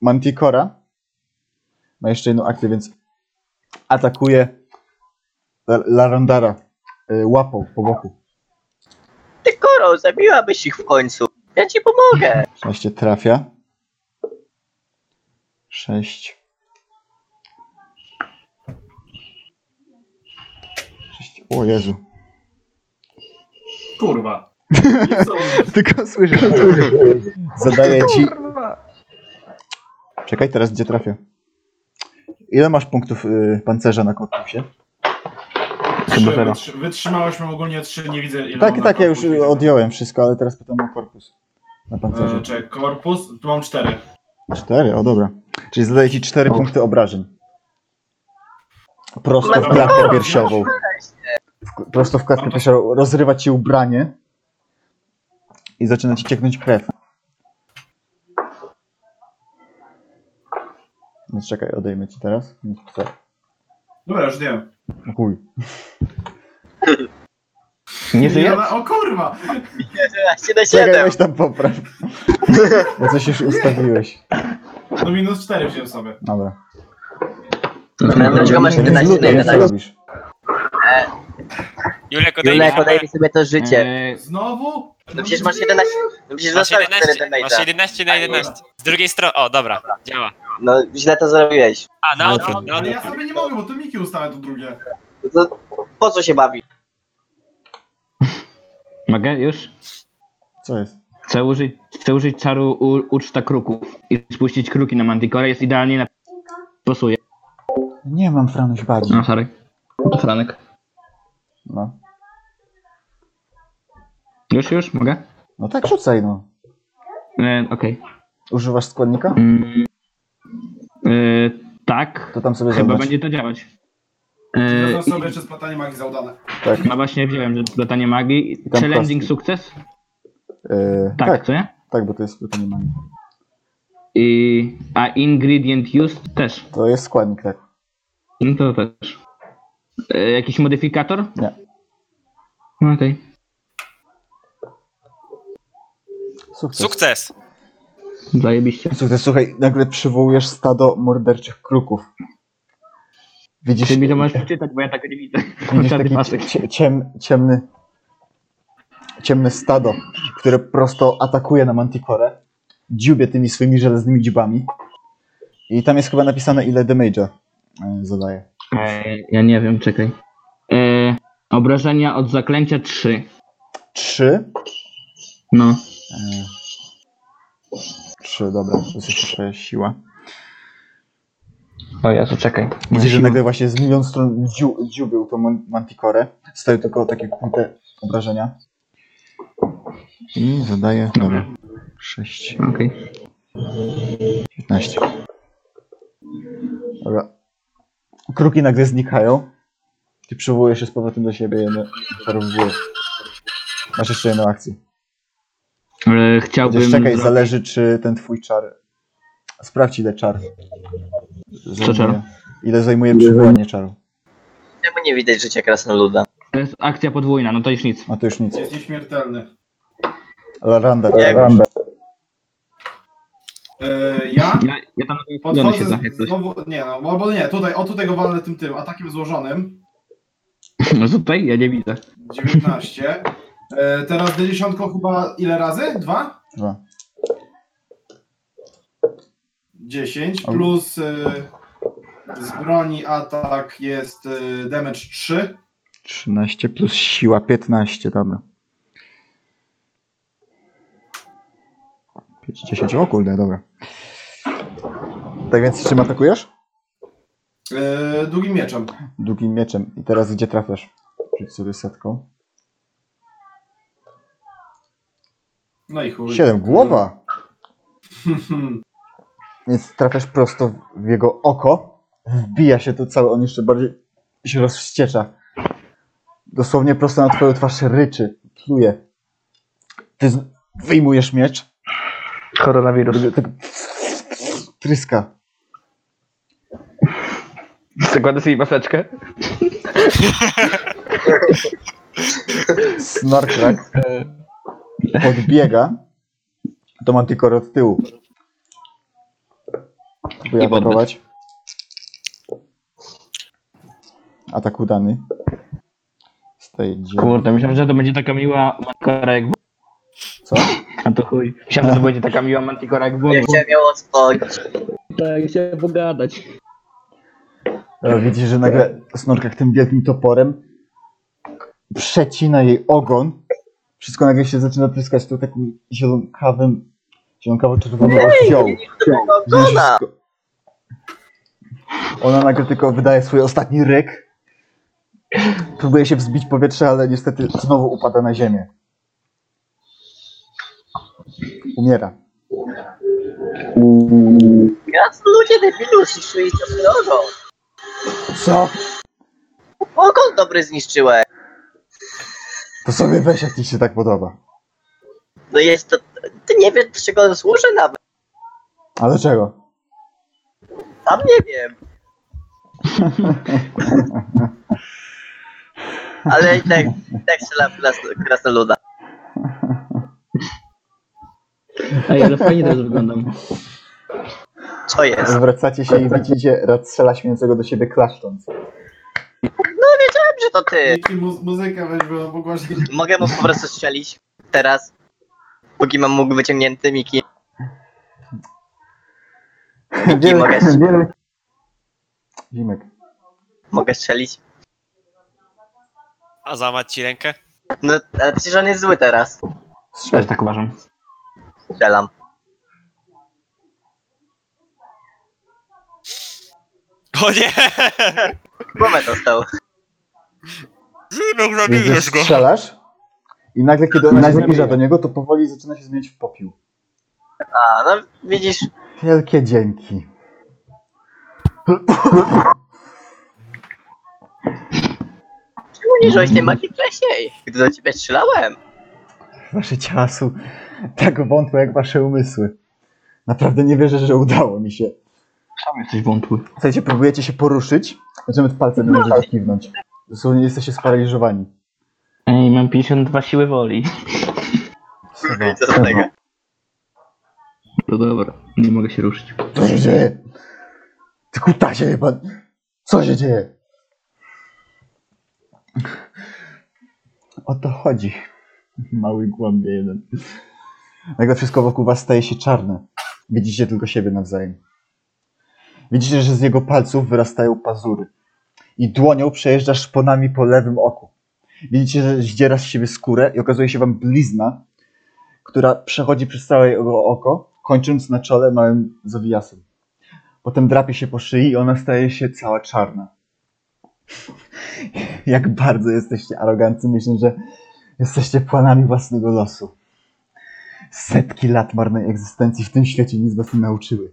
S1: Manticora ma jeszcze jedną akcję, więc atakuje La- Larandara y, łapą po boku.
S2: Ty koro, zabiłabyś ich w końcu. Ja ci pomogę.
S1: 16 trafia. 6. 6. O Jezu.
S5: Kurwa.
S1: Tylko słyszę. Zadaję ci. Czekaj, teraz gdzie trafię. Ile masz punktów y, pancerza na korpusie?
S5: Trzy, wytrzy- Wytrzymałyśmy ogólnie trzy, nie widzę ile
S1: Tak,
S5: mam
S1: tak,
S5: na
S1: ja już
S5: korpus.
S1: odjąłem wszystko, ale teraz pytam o korpus. Na
S5: E,
S1: pancerze.
S5: Czekaj, korpus, tu mam cztery.
S1: Cztery, o dobra. Czyli zadaję ci cztery punkty obrażeń. Prosto w
S5: Matko,
S1: klatkę
S5: no,
S1: piersiową. W, prosto w klatkę piersiową. Rozrywa ci ubranie i zaczyna ci cieknąć krew. No czekaj, odejmę ci teraz. No, tak.
S5: Dobra, już wiem.
S1: Chuj.
S6: Nie
S5: Nie, ale- O kurwa!
S1: Czekaj, weź tam popraw. Bo coś już ustawiłeś.
S5: No minus cztery wziąłem sobie.
S1: Dobra.
S5: No
S2: Dlaczego masz
S1: Więc
S2: 11
S1: luty,
S2: na
S1: co robisz?
S4: Julek, odejmij
S2: Julek,
S4: się.
S2: odejmij sobie to życie.
S6: Eee.
S5: Znowu?
S2: No przecież masz 11. No przecież
S4: Masz
S2: dostałeś
S4: 11,
S2: 4
S4: masz
S2: damage'a.
S4: 11 na 11. Z drugiej strony. O, dobra, działa.
S2: No źle to zrobiłeś.
S4: A,
S1: No,
S4: na odwrót, na
S5: Ale
S4: odwrót.
S5: ja sobie nie mogę, bo to Miki ustawia to drugie.
S2: No To po co się bawi?
S6: Mogę już?
S1: Co jest?
S6: Chcę użyć, chcę użyć czaru u, uczta kruków i spuścić kruki na Manticore. Jest idealnie na... Pasuje.
S1: Nie mam Franuś Badzi.
S6: No, sorry. Franek.
S1: No.
S6: Już, już? Mogę?
S1: no tak, rzucaj no.
S6: E, Okej. Mm.
S1: Używasz składnika?
S6: E, tak.
S1: To tam sobie
S6: Chyba
S1: zobacz.
S6: będzie to działać.
S5: Wezmę
S6: E,
S5: sobie jeszcze splatanie magii zaudane.
S1: Tak.
S6: no właśnie wziąłem, że latanie magii.
S1: I tam
S6: Challenging
S1: kostki.
S6: sukces?
S1: Yy,
S6: Tak,
S1: tak,
S6: co nie?
S1: tak, bo to jest pytanie mamy.
S6: I, a ingredient used też.
S1: To jest składnik, tak.
S6: No to też. E, jakiś modyfikator?
S1: Nie.
S6: No okej.
S1: Sukces.
S4: Sukces.
S6: Zajebiście.
S1: Sukces, słuchaj, nagle przywołujesz stado morderczych kruków. Widzisz,
S6: Ty mi to możesz przeczytać, bo ja tak nie widzę.
S1: widzisz
S6: Czarny
S1: taki
S6: pasek.
S1: cie, ciem, ciemny, ciemne stado, które prosto atakuje na Manticore, dziubie tymi swoimi żelaznymi dziubami. I tam jest chyba napisane, ile damage'a e, zadaje.
S6: E, ja nie wiem, czekaj. E, obrażenia od zaklęcia 3.
S1: Trzy.
S6: No.
S1: E, Trzy, dobra, to jest jeszcze twoja siła.
S6: O Jezu, czekaj.
S1: Widzisz, że nagle właśnie z milion stron dziu, dziubił tą man- mantikorę. Stoją tylko takie kłute obrażenia. I zadaję, dobra, 6,
S6: Okej.
S1: 15. Dobra. Kruki nagle znikają. Ty przywołujesz się z powrotem do siebie, jedno, parowujesz. Masz jeszcze jedną akcję.
S6: E,
S1: Chociaż
S6: Chciałbym...
S1: czekaj,
S6: zrobić-
S1: zależy czy ten twój czar... Sprawdź ile czar. zajmuje.
S6: czar?
S1: Ile zajmuje przywołanie czaru.
S2: Czemu nie widać życia krasnoluda?
S6: To jest akcja podwójna, no to już nic.
S1: A to już nic.
S5: Jest nieśmiertelny.
S1: Laranda,
S2: Jak-
S1: Laranda.
S5: E, ja
S6: Ja, ja tam podglądam się
S5: podchodzę
S6: za
S5: z-
S6: jak coś.
S5: znowu, nie no, albo nie, tutaj, o tutaj go walę tym tym, atakiem złożonym,
S6: No tutaj ja nie widzę.
S5: 19. E, teraz D10 chyba ile razy? Dwa?
S1: Dwa.
S5: 10
S1: Albo-
S5: plus y, z broni atak jest y, damage 3.
S1: 13 plus siła 15, dobra. 5, 10, o kurde, dobra. Tak więc czym atakujesz?
S5: Eee, długim mieczem.
S1: Długim mieczem. I teraz gdzie trafiasz? Rzuć sobie setką.
S5: No i chuj.
S1: Siedem, głowa! Więc trafiasz prosto w jego oko. Wbija się tu cały, on jeszcze bardziej się rozwściecza. Dosłownie prosto na twoją twarz ryczy, pluje. Ty z- wyjmujesz miecz.
S9: Koronawirus.
S1: Tak tryska.
S9: Zakłada sobie maseczkę.
S1: Snorklak podbiega do Manticore od tyłu. Próbuje
S9: I poddać.
S1: atakować. Atak udany. Staje
S9: Kurde, myślałem, że to będzie taka miła mantikora jak...
S1: Co?
S9: A to chuj. Myślałem, że to będzie taka miła mantikora jak
S2: Ja
S9: Volvo.
S2: chciałem ją odsłonić.
S9: Tak, chciałem pogadać.
S1: E, Widzisz, że nagle Snorklak tym wielkim toporem przecina jej ogon. Wszystko nagle się zaczyna tryskać tu takim zielonkawym, zielonkawo-czerwoną oddział.
S2: Ogona!
S1: Ona nagle tylko wydaje swój ostatni ryk. Próbuje się wzbić w powietrze, ale niestety znowu upada na ziemię. Umiera.
S2: Gratuluję debilu, zniszczyłeś to swój ogon.
S1: Co?
S2: Ogon dobry zniszczyłeś.
S1: To sobie weź, jak ci się tak podoba.
S2: No jest to... Ty nie wiesz, do czego on służy nawet.
S1: A dlaczego?
S2: Sam nie wiem. Ale i tak, i tak strzelam kras- krasnoluda.
S6: Ej, ale fajnie teraz wyglądam.
S2: Co jest?
S1: Zwracacie się i widzicie rad strzela śmiejącego do siebie klaszcząc.
S2: No wiedziałem, że to ty.
S5: Dzięki mu- muzyka weźmie, mogła się...
S2: Mogę mu po prostu strzelić teraz, póki mam mógł wyciągnięty Miki. Miki, mogę,
S1: wiele... Zimek.
S2: mogę strzelić?
S4: A załamać ci rękę?
S2: No, ale przecież on jest zły teraz.
S9: Też tak uważam.
S2: Strzelam.
S4: O nie!
S2: Moment dostał.
S4: No,
S1: Wiesz,
S4: zabiłeś go.
S1: strzelasz i nagle, kiedy ona się zbliża do niego, to powoli zaczyna się zmieniać w popiół.
S2: A, no widzisz,
S1: Wielkie dzięki.
S2: czemu nie żyłeś tej magii wcześniej? Gdy do ciebie strzelałem.
S1: Wasze ciała są tak wątłe jak wasze umysły. Naprawdę nie wierzę, że udało mi się.
S9: Sam jesteś wątły.
S1: Słuchajcie, próbujecie się poruszyć, zaczynamy palcem nie możecie kiwnąć. Dosłownie jesteście sparaliżowani.
S9: Ej, mam 52 siły woli.
S1: Seba,
S2: Co z tego?
S6: To No dobra, nie mogę się ruszyć.
S1: Co się dzieje? Ty kutasie chyba. Co się dzieje? O to chodzi. Mały głębie jeden. Nagle wszystko wokół was staje się czarne. Widzicie tylko siebie nawzajem. Widzicie, że z jego palców wyrastają pazury. I dłonią przejeżdżasz szponami po lewym oku. Widzicie, że zdziera z siebie skórę i okazuje się wam blizna, która przechodzi przez całe jego oko, kończąc na czole małym zawijasem. Potem drapie się po szyi i ona staje się cała czarna. Jak bardzo jesteście arogancy, myślę, że jesteście planami własnego losu. Setki lat marnej egzystencji w tym świecie nic was nie nauczyły.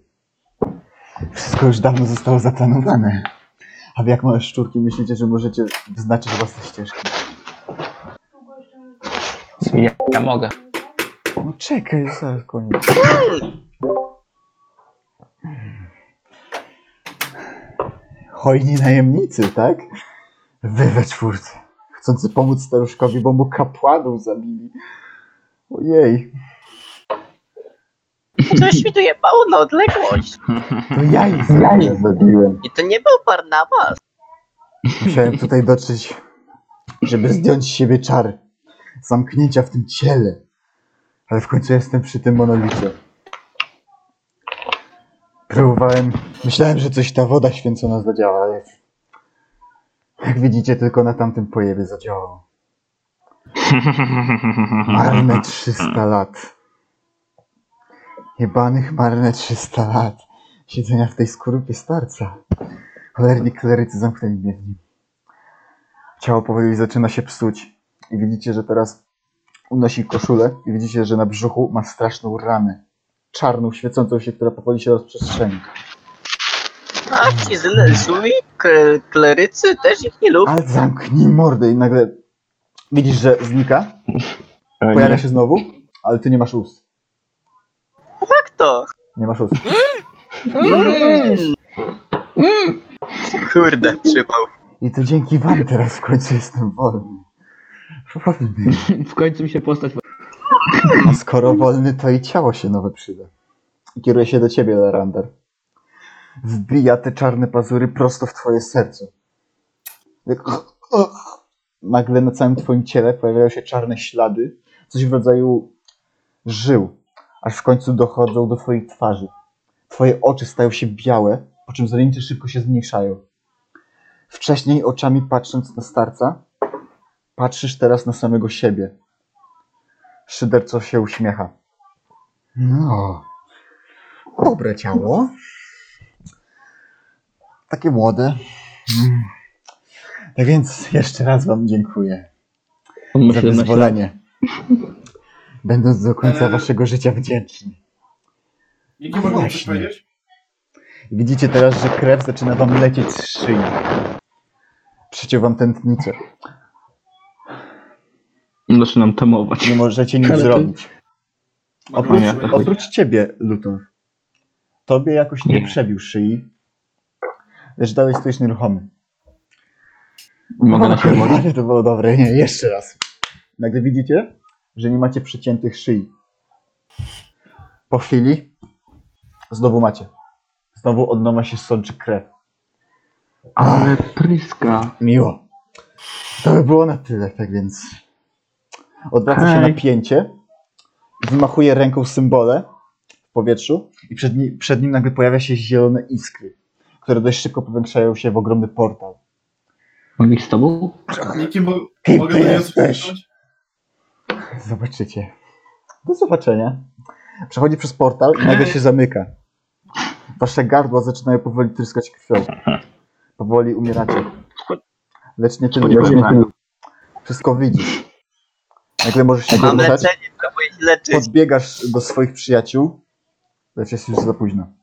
S1: Wszystko już dawno zostało zaplanowane. A wy jak małe szczurki myślicie, że możecie wyznaczyć własne ścieżki?
S9: Ja, ja mogę.
S1: No czekaj, zaraz koniec. Hojni najemnicy, tak? Wy we czwórce, chcący pomóc staruszkowi, bo mu kapłanów zabili. Ojej,
S2: Coś śwituje mało na odległość.
S1: to ja ich zabiłem. zabiłem.
S2: I to nie był Barnabas.
S1: Musiałem tutaj dotrzeć, żeby zdjąć z siebie czar zamknięcia w tym ciele. Ale w końcu jestem przy tym monolicie. Próbowałem, myślałem, że coś ta woda święcona zadziała, ale jak widzicie, tylko na tamtym pojebie zadziałało. Marne 300 lat. Jebanych marne 300 lat siedzenia w tej skorupie starca. Cholerni klerycy zamknęli mnie w nim. Ciało powoli zaczyna się psuć. I widzicie, że teraz unosi koszulę i widzicie, że na brzuchu ma straszną ranę. Czarną, świecącą się, która powoli się rozprzestrzeni.
S2: A ci źle żółwi, kle- klerycy też ich nie lubią.
S1: Ale zamknij mordę i nagle widzisz, że znika. Pojawia się znowu, ale ty nie masz ust.
S2: Jak to?
S1: Nie masz ust.
S2: Mm-hmm. Kurde, przypał.
S1: I to dzięki wam teraz w końcu jestem wolny. Wolny.
S6: W końcu mi się postać.
S1: A skoro wolny, to i ciało się nowe przyda. I Kieruje się do ciebie, Larander. Wbija te czarne pazury prosto w twoje serce. Jak- Nagle na całym twoim ciele pojawiają się czarne ślady, coś w rodzaju żył, aż w końcu dochodzą do twojej twarzy. Twoje oczy stają się białe, po czym zrenicze szybko się zmniejszają. Wcześniej oczami patrząc na starca, patrzysz teraz na samego siebie. Szyderco się uśmiecha. No. Dobre ciało. Takie młode. Mm. Tak więc jeszcze raz Wam dziękuję
S6: On
S1: za
S6: ma 17 lat.
S1: wyzwolenie. Będąc do końca Waszego życia wdzięczny.
S5: Eee. Jaki mogę coś
S1: Właśnie.
S5: powiedzieć?
S1: Widzicie teraz, że krew zaczyna Wam lecieć z szyi. Przeciął Wam tętnicę.
S6: Zaczynam tamować.
S1: Nie możecie nic
S6: Ale to-
S1: zrobić. Oprócz,
S6: Dobra, No to chuj.
S1: oprócz ciebie, Luton. Tobie jakoś nie przebił szyi. Lecz dalej stoisz nieruchomy.
S6: Mogę na siebie.
S1: Kurwa, Ale to było dobre. Nie, jeszcze raz. Nagle widzicie, że nie macie przyciętych szyi. Po chwili znowu macie. Znowu od nowa się sączy krew.
S6: Ale pryska.
S1: Miło. To by było na tyle, tak więc. Odwraca się
S6: Hej.
S1: napięcie, wymachuje ręką symbole w powietrzu i przed, ni- przed nim nagle pojawia się zielone iskry, które dość szybko powiększają się w ogromny portal.
S6: Mam ich z tobą?
S5: Jakim mo-
S1: Kim
S5: mogę
S1: ty
S5: do niego coś
S1: jesteś?
S5: powiedzieć?
S1: Zobaczycie. Do zobaczenia. Przechodzi przez portal i nagle się zamyka. Wasze gardła zaczynają powoli tryskać krwią. Powoli umieracie. Lecz nie tylko. Lecz nie tylko. Wszystko widzisz. Nagle możesz się
S2: Mam
S1: poruszać.
S2: leczenie, próbuję się leczyć.
S1: Podbiegasz do swoich przyjaciół, lecz jest już za późno.